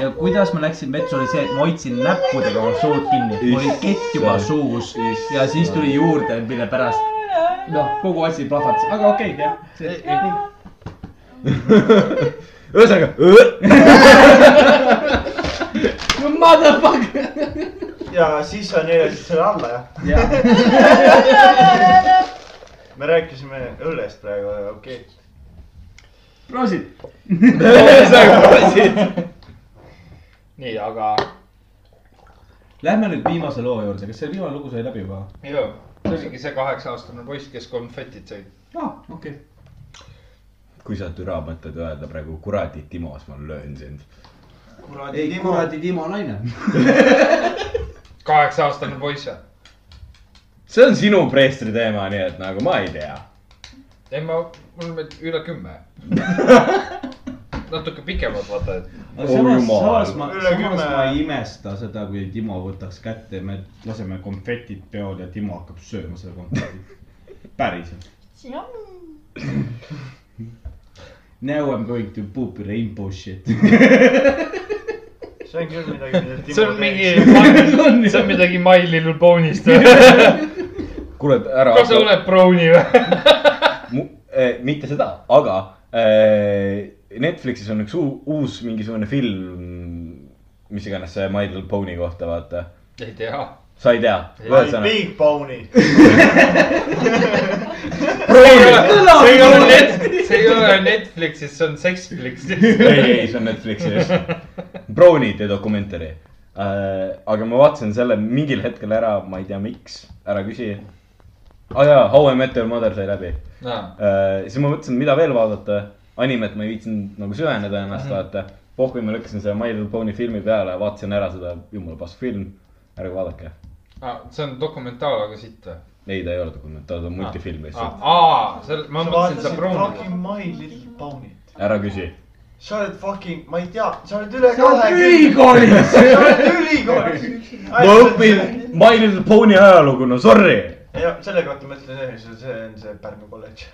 [SPEAKER 1] ja kuidas ma läksin vetsu , oli see , et ma hoidsin näppudega oma suud kinni , mul oli kett juba suus ja siis tuli juurde , mille pärast noh , kogu asi plahvatas , aga okei okay, , jah .
[SPEAKER 4] ühesõnaga ,
[SPEAKER 14] ja siis sa neelasid selle alla , jah ? me rääkisime õllest praegu , aga okei okay. .
[SPEAKER 1] proovisid ?
[SPEAKER 5] nii , aga .
[SPEAKER 1] Lähme nüüd viimase loo juurde , kas see viimane lugu sai läbi juba ?
[SPEAKER 5] jaa , see oligi see kaheksa-aastane poiss , kes konfetid sõid .
[SPEAKER 1] aa , okei okay. .
[SPEAKER 4] kui sa türa mõtled öelda praegu , kuradi Timos , ma löön sind .
[SPEAKER 14] kuradi
[SPEAKER 6] ei
[SPEAKER 14] Timo ,
[SPEAKER 6] kuradi Timo naine .
[SPEAKER 5] kaheksa-aastane poiss või ?
[SPEAKER 4] see on sinu preestri teema , nii et nagu ma ei tea .
[SPEAKER 5] ei , ma , mul on nüüd üle kümme natuke pikemalt , vaata , et
[SPEAKER 1] aga
[SPEAKER 4] Oh
[SPEAKER 1] samas ,
[SPEAKER 4] jumal.
[SPEAKER 1] samas ma ,
[SPEAKER 14] Üle
[SPEAKER 1] samas ma
[SPEAKER 14] kümme.
[SPEAKER 1] ei imesta seda , kui Timo võtaks kätte ja me laseme konfetid peol ja Timo hakkab sööma seda (laughs) konfetit . päriselt . Now I m going to poop rainbow (laughs) shit .
[SPEAKER 14] see on küll midagi , mida Timo
[SPEAKER 5] see on mingi
[SPEAKER 14] teeks. ,
[SPEAKER 5] see (laughs) on midagi My Little (laughs) Pony'st .
[SPEAKER 4] kuule , ära .
[SPEAKER 5] kas sa oled Browni või ?
[SPEAKER 4] mu, eh, mitte seda , aga eh, Netflixis on üks uu, uus mingisugune film , mis iganes see My Little Pony kohta , vaata .
[SPEAKER 5] ei tea .
[SPEAKER 4] sa ei tea ? ühesõnaga .
[SPEAKER 14] Big Pony .
[SPEAKER 5] see ei ole net- , see ei ole Netflixis , see on Sexflixis .
[SPEAKER 4] ei , ei , see on Netflixis . Brownide dokumentari eh, . aga ma vaatasin selle mingil hetkel ära , ma ei tea , miks , ära küsi . aa ah, jaa , How I Met Your Mother sai läbi Äh, siis ma mõtlesin , mida veel vaadata . animet ma ei viitsinud nagu süveneda ennast vaata . pohvi ma lükkasin selle My Little Pony filmi peale , vaatasin ära seda jumala pask film . ärge vaadake .
[SPEAKER 5] see on Ah, dokumentaal , aga sitt või ?
[SPEAKER 4] ei , ta ei ole dokumentaal , ta on multifilm
[SPEAKER 5] Ah,
[SPEAKER 4] lihtsalt .
[SPEAKER 5] aa , seal , ma mõtlesin ,
[SPEAKER 14] sa
[SPEAKER 5] et
[SPEAKER 14] vaatasid
[SPEAKER 5] sa proovid .
[SPEAKER 14] fucking My Little Pony't .
[SPEAKER 4] ära küsi .
[SPEAKER 14] sa oled fucking , ma ei tea , sa oled üle
[SPEAKER 22] sa oled ülikoolis .
[SPEAKER 14] sa oled ülikoolis .
[SPEAKER 4] ma õpin . My Little Pony ajalugu , no sorry .
[SPEAKER 14] ja selle kohta ma ütlen ühe , see see on see Pärnu (laughs) kolledž .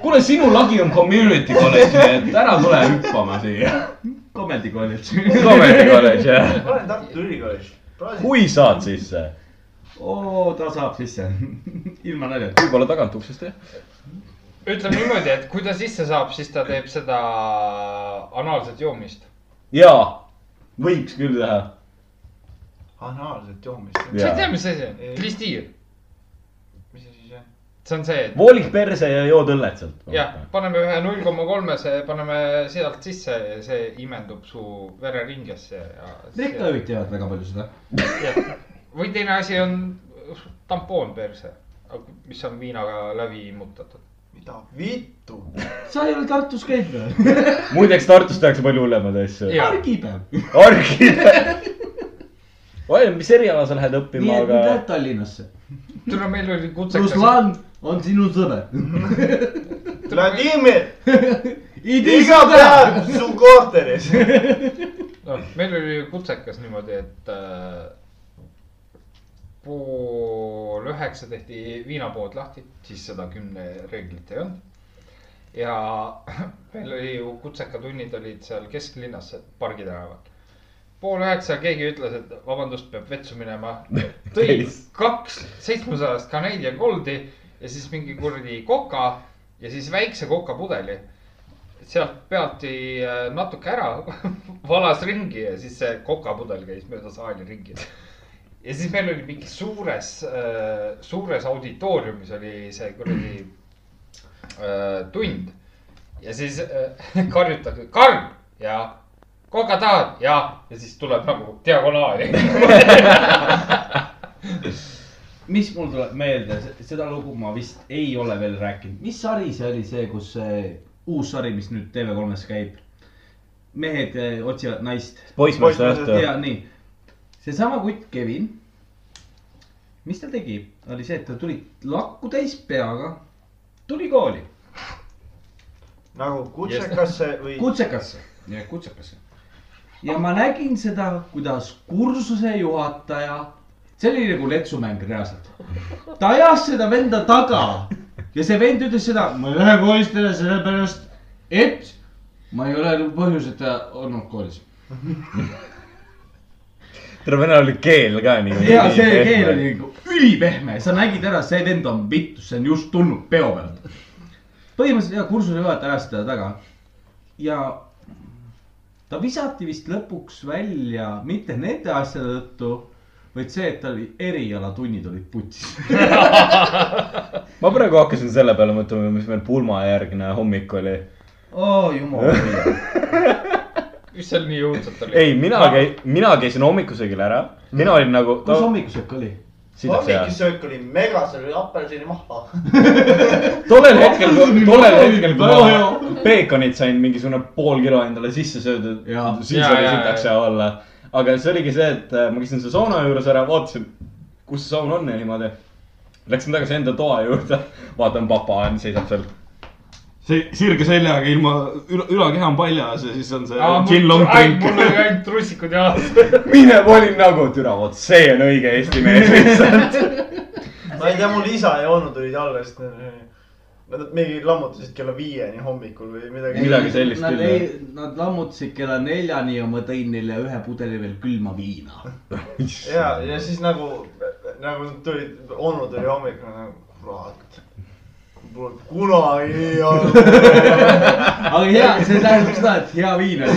[SPEAKER 4] kuule , sinu lagi on community kolledž , nii et ära tule hüppama siia .
[SPEAKER 13] Comedy kolledž .
[SPEAKER 4] Comedy kolledž , jah .
[SPEAKER 14] ma olen Tartu Ülikoolis .
[SPEAKER 4] kui saad sisse ,
[SPEAKER 13] oo , ta saab
[SPEAKER 1] (laughs)
[SPEAKER 13] sisse . ilma naljata .
[SPEAKER 4] võib-olla tagantuksest , jah .
[SPEAKER 5] ütleme niimoodi , et kui ta sisse saab , siis ta teeb seda anaalset joomist .
[SPEAKER 4] jaa , võiks küll teha .
[SPEAKER 14] anaalset joomist .
[SPEAKER 5] sa ei tea , mis asi see on ?
[SPEAKER 14] Ei.
[SPEAKER 5] klistiir ,
[SPEAKER 14] mis asi see on ?
[SPEAKER 5] see on see ,
[SPEAKER 4] voolik perse ja jood õllet sealt .
[SPEAKER 5] et jah , paneme ühe null koma kolmese , paneme sealt sisse , see imendub su vereringesse ja .
[SPEAKER 13] rikkajõud teavad väga palju seda .
[SPEAKER 5] (laughs) või teine asi on tampoon perse , mis on viinaga läbi immutatud .
[SPEAKER 14] mida (laughs) vittu ?
[SPEAKER 13] sa ei ole Tartus käinud või ?
[SPEAKER 4] muideks Tartus tehakse palju hullemaid asju .
[SPEAKER 13] argipäev . (laughs)
[SPEAKER 4] argipäev . oleneb , mis eriala sa lähed
[SPEAKER 13] nii
[SPEAKER 4] õppima ,
[SPEAKER 13] et nüüd
[SPEAKER 4] aga
[SPEAKER 13] lähed Tallinnasse .
[SPEAKER 5] tule , meil oli kutsekas .
[SPEAKER 13] Ruslan on sinu sõber .
[SPEAKER 14] Vladimir ,
[SPEAKER 13] iga
[SPEAKER 14] iga päev su (laughs) korteris .
[SPEAKER 5] noh , meil oli kutsekas niimoodi , et äh, pool üheksa tehti viinapood lahti , siis seda kümne reeglit ei olnud . ja (laughs) meil oli ju kutsekatunnid olid seal kesklinnas , Pargi tänaval . pool üheksa keegi ütles , et vabandust , peab vetsu minema . tõi
[SPEAKER 4] Teis.
[SPEAKER 5] kaks seitsmesajast Canadian Goldi ja siis mingi kuradi koka ja siis väikse kokapudeli sealt peati äh, natuke ära , (laughs) valas ringi ja siis see kokapudel käis mööda saali ringi . ja siis meil oli mingi suures , suures auditooriumis oli see kuradi äh, tund . ja siis äh, (laughs) karjutakse , Karl ja koka tahad ja , ja siis tuleb nagu diagonaali .
[SPEAKER 13] (laughs) mis mul tuleb meelde , seda lugu ma vist ei ole veel rääkinud . mis sari see oli see , kus see uus sari , mis nüüd TV3-s käib ? mehed eh, otsivad naist .
[SPEAKER 4] poissmeeste õhtu .
[SPEAKER 13] ja nii , seesama kutt Kevin , mis ta tegi , oli see , et ta tuli lakku täis peaga , tuli kooli ,
[SPEAKER 14] nagu kutsekasse või ?
[SPEAKER 13] kutsekasse , kutsekasse . ja ma nägin seda , kuidas kursuse juhataja , see oli nagu letsumäng reaalselt , ta ajas seda venda taga ja see vend ütles seda , ma ei lähe koolist ära sellepärast , et ma ei ole nagu põhjuseta olnud koolis .
[SPEAKER 4] terve näol oli keel ka nii .
[SPEAKER 13] ja see keel oli . nagu ülipehme , sa nägid ära , see vend on vittus , see on just tulnud peo pealt . põhimõtteliselt ja kursuse juhataja ajas teda taga ja ta visati vist lõpuks välja mitte nende asjade tõttu , vaid see , et tal oli erialatunnid olid putsis .
[SPEAKER 4] ma praegu hakkasin selle peale mõtlema , mis meil pulmajärgne hommik oli .
[SPEAKER 13] oo Oh, jumal hoia .
[SPEAKER 5] mis seal nii õudselt oli ? Ah.
[SPEAKER 4] ei , mina käi- , mina käisin hommikusöögil ära , mina olin nagu .
[SPEAKER 13] kus ? hommikusöök oli ?
[SPEAKER 4] hommikusöögil ?
[SPEAKER 14] hommikusöök oli mega , seal oli (laughs) apelsinimahla .
[SPEAKER 4] tollel hetkel , tollel hetkel , kui ma peekonit sain mingisugune pool kilo endale sisse söödud ,
[SPEAKER 13] Jaa.
[SPEAKER 4] siis
[SPEAKER 5] Jaa,
[SPEAKER 4] oli
[SPEAKER 5] jaa,
[SPEAKER 4] sitaks hea olla . aga see oligi see , et äh, ma käisin selle sauna juures ära , vaatasin , kus see saun on ja niimoodi . Läksin tagasi enda toa juurde , (laughs) vaatan , papa on , seisab seal .
[SPEAKER 23] see sirge seljaga ilma , ülakeha on paljas ja siis on see chill long drink .
[SPEAKER 5] Ah, mul oli ainult trussikud jalas .
[SPEAKER 4] (laughs) mine , ma olin nagu , türa , vot see on õige eesti mees
[SPEAKER 5] (laughs)
[SPEAKER 4] lihtsalt .
[SPEAKER 14] ma ei tea , mul isa ja onu tulid alla , sest nad- noh, nad mingi lammutasid kella viieni hommikul või midagi .
[SPEAKER 4] Midagi sellist
[SPEAKER 13] Nad
[SPEAKER 4] küll,
[SPEAKER 13] ei , nad lammutasid kella neljani ja ma tõin neile ühe pudeli veel külma viina .
[SPEAKER 14] ja , ja siis nagu , nagu nad tulid , onu tuli hommikul nagu , kurat . Pole kunagi nii olnud .
[SPEAKER 13] aga hea , see tähendab seda , et hea viin oli .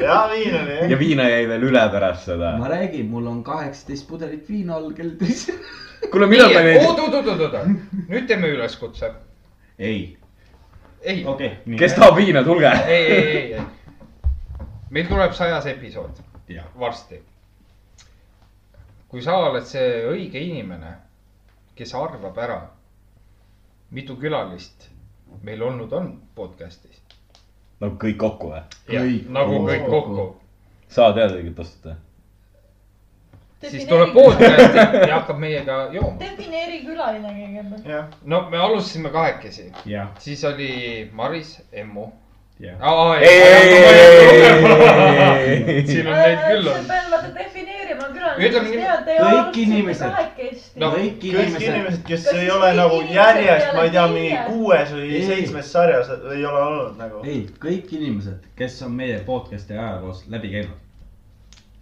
[SPEAKER 14] hea viin oli
[SPEAKER 4] ja
[SPEAKER 14] jah .
[SPEAKER 4] viina jäi veel üle pärast seda .
[SPEAKER 13] ma räägin , mul on kaheksateist pudelit viina all kell teis .
[SPEAKER 4] kuule , millal me neid ,
[SPEAKER 5] oot , oot , oot , oot , oot , nüüd teeme üleskutse .
[SPEAKER 13] ei .
[SPEAKER 5] ei , ei ,
[SPEAKER 13] okei okay, .
[SPEAKER 4] kes tahab viina , tulge .
[SPEAKER 5] ei , ei , ei . meil tuleb sajas episood
[SPEAKER 13] Jah.
[SPEAKER 5] varsti . kui sa oled see õige inimene , kes arvab ära , mitu külalist meil olnud on podcast'is .
[SPEAKER 4] no kõik kokku või ?
[SPEAKER 13] Kõik
[SPEAKER 5] nagu
[SPEAKER 13] koos
[SPEAKER 5] kõik
[SPEAKER 13] kokku.
[SPEAKER 5] kokku .
[SPEAKER 4] sa tead õiget vastust või ?
[SPEAKER 5] siis tuleb podcast ja hakkab meiega jooma .
[SPEAKER 16] defineeri külaline kõigepealt .
[SPEAKER 14] jah ,
[SPEAKER 5] no me alustasime kahekesi ,
[SPEAKER 1] jah ,
[SPEAKER 5] siis oli Maris , Emmu .
[SPEAKER 1] jah .
[SPEAKER 5] siin on neid küll
[SPEAKER 14] Äh,
[SPEAKER 16] sa
[SPEAKER 5] on .
[SPEAKER 16] pead vaata defineerima
[SPEAKER 5] Ütleme
[SPEAKER 16] külalisi ,
[SPEAKER 5] nii-
[SPEAKER 16] tead , ei
[SPEAKER 1] kõik inimesed.
[SPEAKER 16] kahekesti
[SPEAKER 5] No.
[SPEAKER 16] no. .
[SPEAKER 1] kõik
[SPEAKER 14] kõik
[SPEAKER 1] inimesed ,
[SPEAKER 14] inimesed , kes
[SPEAKER 16] Kas
[SPEAKER 14] ei
[SPEAKER 16] siis
[SPEAKER 14] ole
[SPEAKER 16] kõik
[SPEAKER 14] nagu
[SPEAKER 16] inimesed
[SPEAKER 14] järjest ,
[SPEAKER 16] peale
[SPEAKER 14] ma ei tea ,
[SPEAKER 16] meie?
[SPEAKER 14] mingi kuues või
[SPEAKER 1] Ei.
[SPEAKER 14] seitsmes sarjas ei ole olnud nagu .
[SPEAKER 1] ei , kõik inimesed , kes on meie podcast'i ajaloos läbi käinud .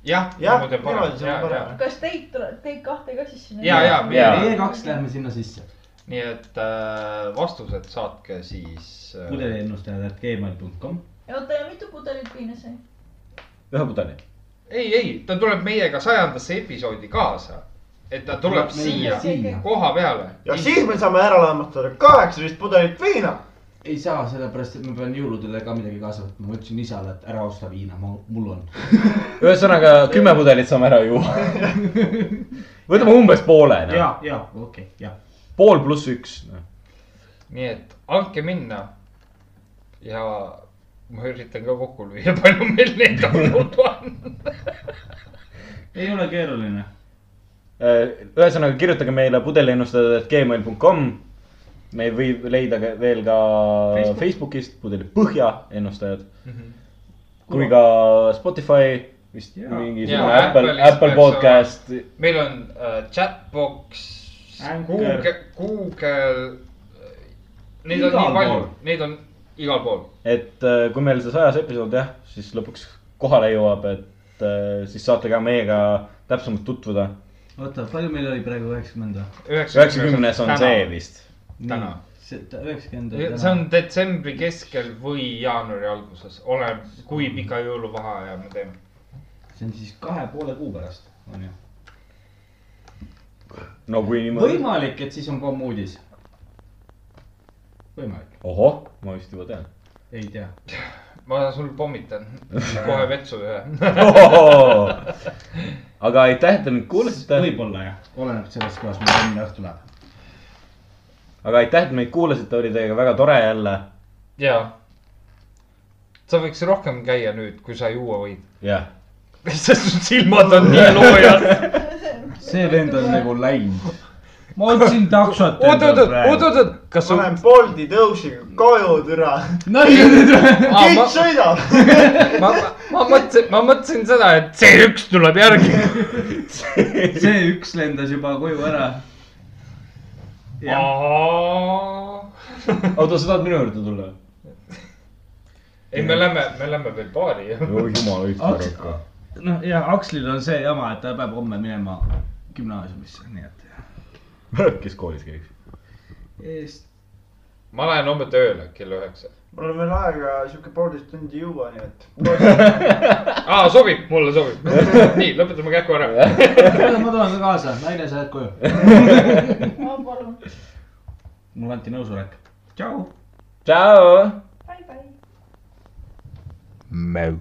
[SPEAKER 5] jah ,
[SPEAKER 14] Jah,
[SPEAKER 5] muide
[SPEAKER 14] niimoodi see on parem.
[SPEAKER 5] parem .
[SPEAKER 16] kas teid tuleb , teid kahte ka siis sinna ?
[SPEAKER 5] ja , ja , ja
[SPEAKER 4] Jaa. ,
[SPEAKER 1] meie kaks lähme sinna sisse .
[SPEAKER 5] nii et äh, vastused saatke siis äh, .
[SPEAKER 1] pudeliennustajad at gmail.com .
[SPEAKER 16] oota , ja mitu pudelit viina sai ?
[SPEAKER 4] ühe pudeli .
[SPEAKER 5] ei , ei , ta tuleb meiega sajandasse episoodi kaasa , et ta tuleb
[SPEAKER 1] Tuleb
[SPEAKER 5] siia
[SPEAKER 1] meiega siia.
[SPEAKER 5] koha peale .
[SPEAKER 14] ja siis me saame ära lahmatada kaheksateist pudelit viina .
[SPEAKER 1] ei saa , sellepärast et ma pean jõuludele ka midagi kaasa võtma , ma ütlesin isale , et ära osta viina , ma , mul on .
[SPEAKER 4] ühesõnaga kümme pudelit saame ära juua . võtame umbes poole , noh .
[SPEAKER 1] ja okei okay, , ja .
[SPEAKER 4] pool pluss üks .
[SPEAKER 5] nii et andke minna . ja ma üritan ka kokku lüüa , (laughs) palju meil neid olnud on .
[SPEAKER 1] ei ole keeruline .
[SPEAKER 4] ühesõnaga kirjutage meile pudeliennustajad.gmail.com . meid võib leida ka- veel ka
[SPEAKER 5] Facebook.
[SPEAKER 4] Facebookist pudeli põhja ennustajad , kui ka Spotify vist
[SPEAKER 1] Jaa.
[SPEAKER 4] mingisugune
[SPEAKER 5] Jaa,
[SPEAKER 4] Apple ,
[SPEAKER 5] Apple'is
[SPEAKER 4] Apple
[SPEAKER 5] peaks
[SPEAKER 4] podcast .
[SPEAKER 5] meil on äh, chatbox ,
[SPEAKER 1] Anchor.
[SPEAKER 5] Google , Google . Neid on
[SPEAKER 1] Igal
[SPEAKER 5] nii palju
[SPEAKER 1] pool. ,
[SPEAKER 5] neid on igal pool .
[SPEAKER 4] et äh, kui meil see sajas episood jah , siis lõpuks kohale jõuab , et äh, siis saate ka meiega täpsemalt tutvuda .
[SPEAKER 1] oota , palju meil oli praegu üheksakümnenda ?
[SPEAKER 4] üheksakümnes on see vist .
[SPEAKER 5] Täna. .
[SPEAKER 1] üheksakümmend oli
[SPEAKER 5] see on detsembri keskel või jaanuari alguses , oleneb kui pika jõuluvaheaja me teeme .
[SPEAKER 1] see on siis kahe poole kuu pärast , on ju .
[SPEAKER 4] no kui niimoodi .
[SPEAKER 1] võimalik , et siis on komm uudis . võimalik ,
[SPEAKER 4] ohoh , ma vist juba tean .
[SPEAKER 1] ei tea .
[SPEAKER 5] ma sul (laughs) pommitan kohe vetsu ühe . (laughs)
[SPEAKER 4] aga aitäh , et te nüüd kuulasite ,
[SPEAKER 1] võib-olla jah , oleneb sellest , kuidas meil järgmine õhtu läheb .
[SPEAKER 4] aga aitäh , et meid kuulasite , oli teiega väga tore jälle .
[SPEAKER 5] ja . sa võiks rohkem käia nüüd , kui sa juua võid . (laughs)
[SPEAKER 4] jah ,
[SPEAKER 5] sest sul silmad on (laughs) nii loojad .
[SPEAKER 1] see vend on nagu läinud . ma otsin taksot .
[SPEAKER 5] oot , oot , oot , oot , oot , kas sul
[SPEAKER 14] panen Bolti tõusiga koju , türa .
[SPEAKER 5] (laughs) Aa, ma-
[SPEAKER 14] kõik sõidab . (laughs)
[SPEAKER 5] ma , ma mõtlesin , ma mõtlesin seda , et see üks tuleb järgi .
[SPEAKER 1] see üks lendas juba koju ära .
[SPEAKER 4] oota , sa tahad minu juurde tulla ?
[SPEAKER 5] ei , me lähme , me lähme veel baari .
[SPEAKER 4] oi jumal , õigus
[SPEAKER 1] Aks- noh , ja Akslil on see jama , et ta peab homme minema gümnaasiumisse , nii et .
[SPEAKER 4] arvaku . kes koolis käiks ?
[SPEAKER 1] Eest...
[SPEAKER 5] ma lähen homme tööle kell üheksa .
[SPEAKER 14] mul on veel aega sihuke poolteist tundi juua , nii
[SPEAKER 1] (laughs)
[SPEAKER 14] et .
[SPEAKER 5] aa , sobib , mulle sobib . nii , lõpetame kähku ära .
[SPEAKER 1] ma tulen ka kaasa , naine , sa jääd koju .
[SPEAKER 16] ma palun .
[SPEAKER 1] mulle anti nõusolek . tšau .
[SPEAKER 4] tšau .
[SPEAKER 16] Bye bye .
[SPEAKER 5] Meu.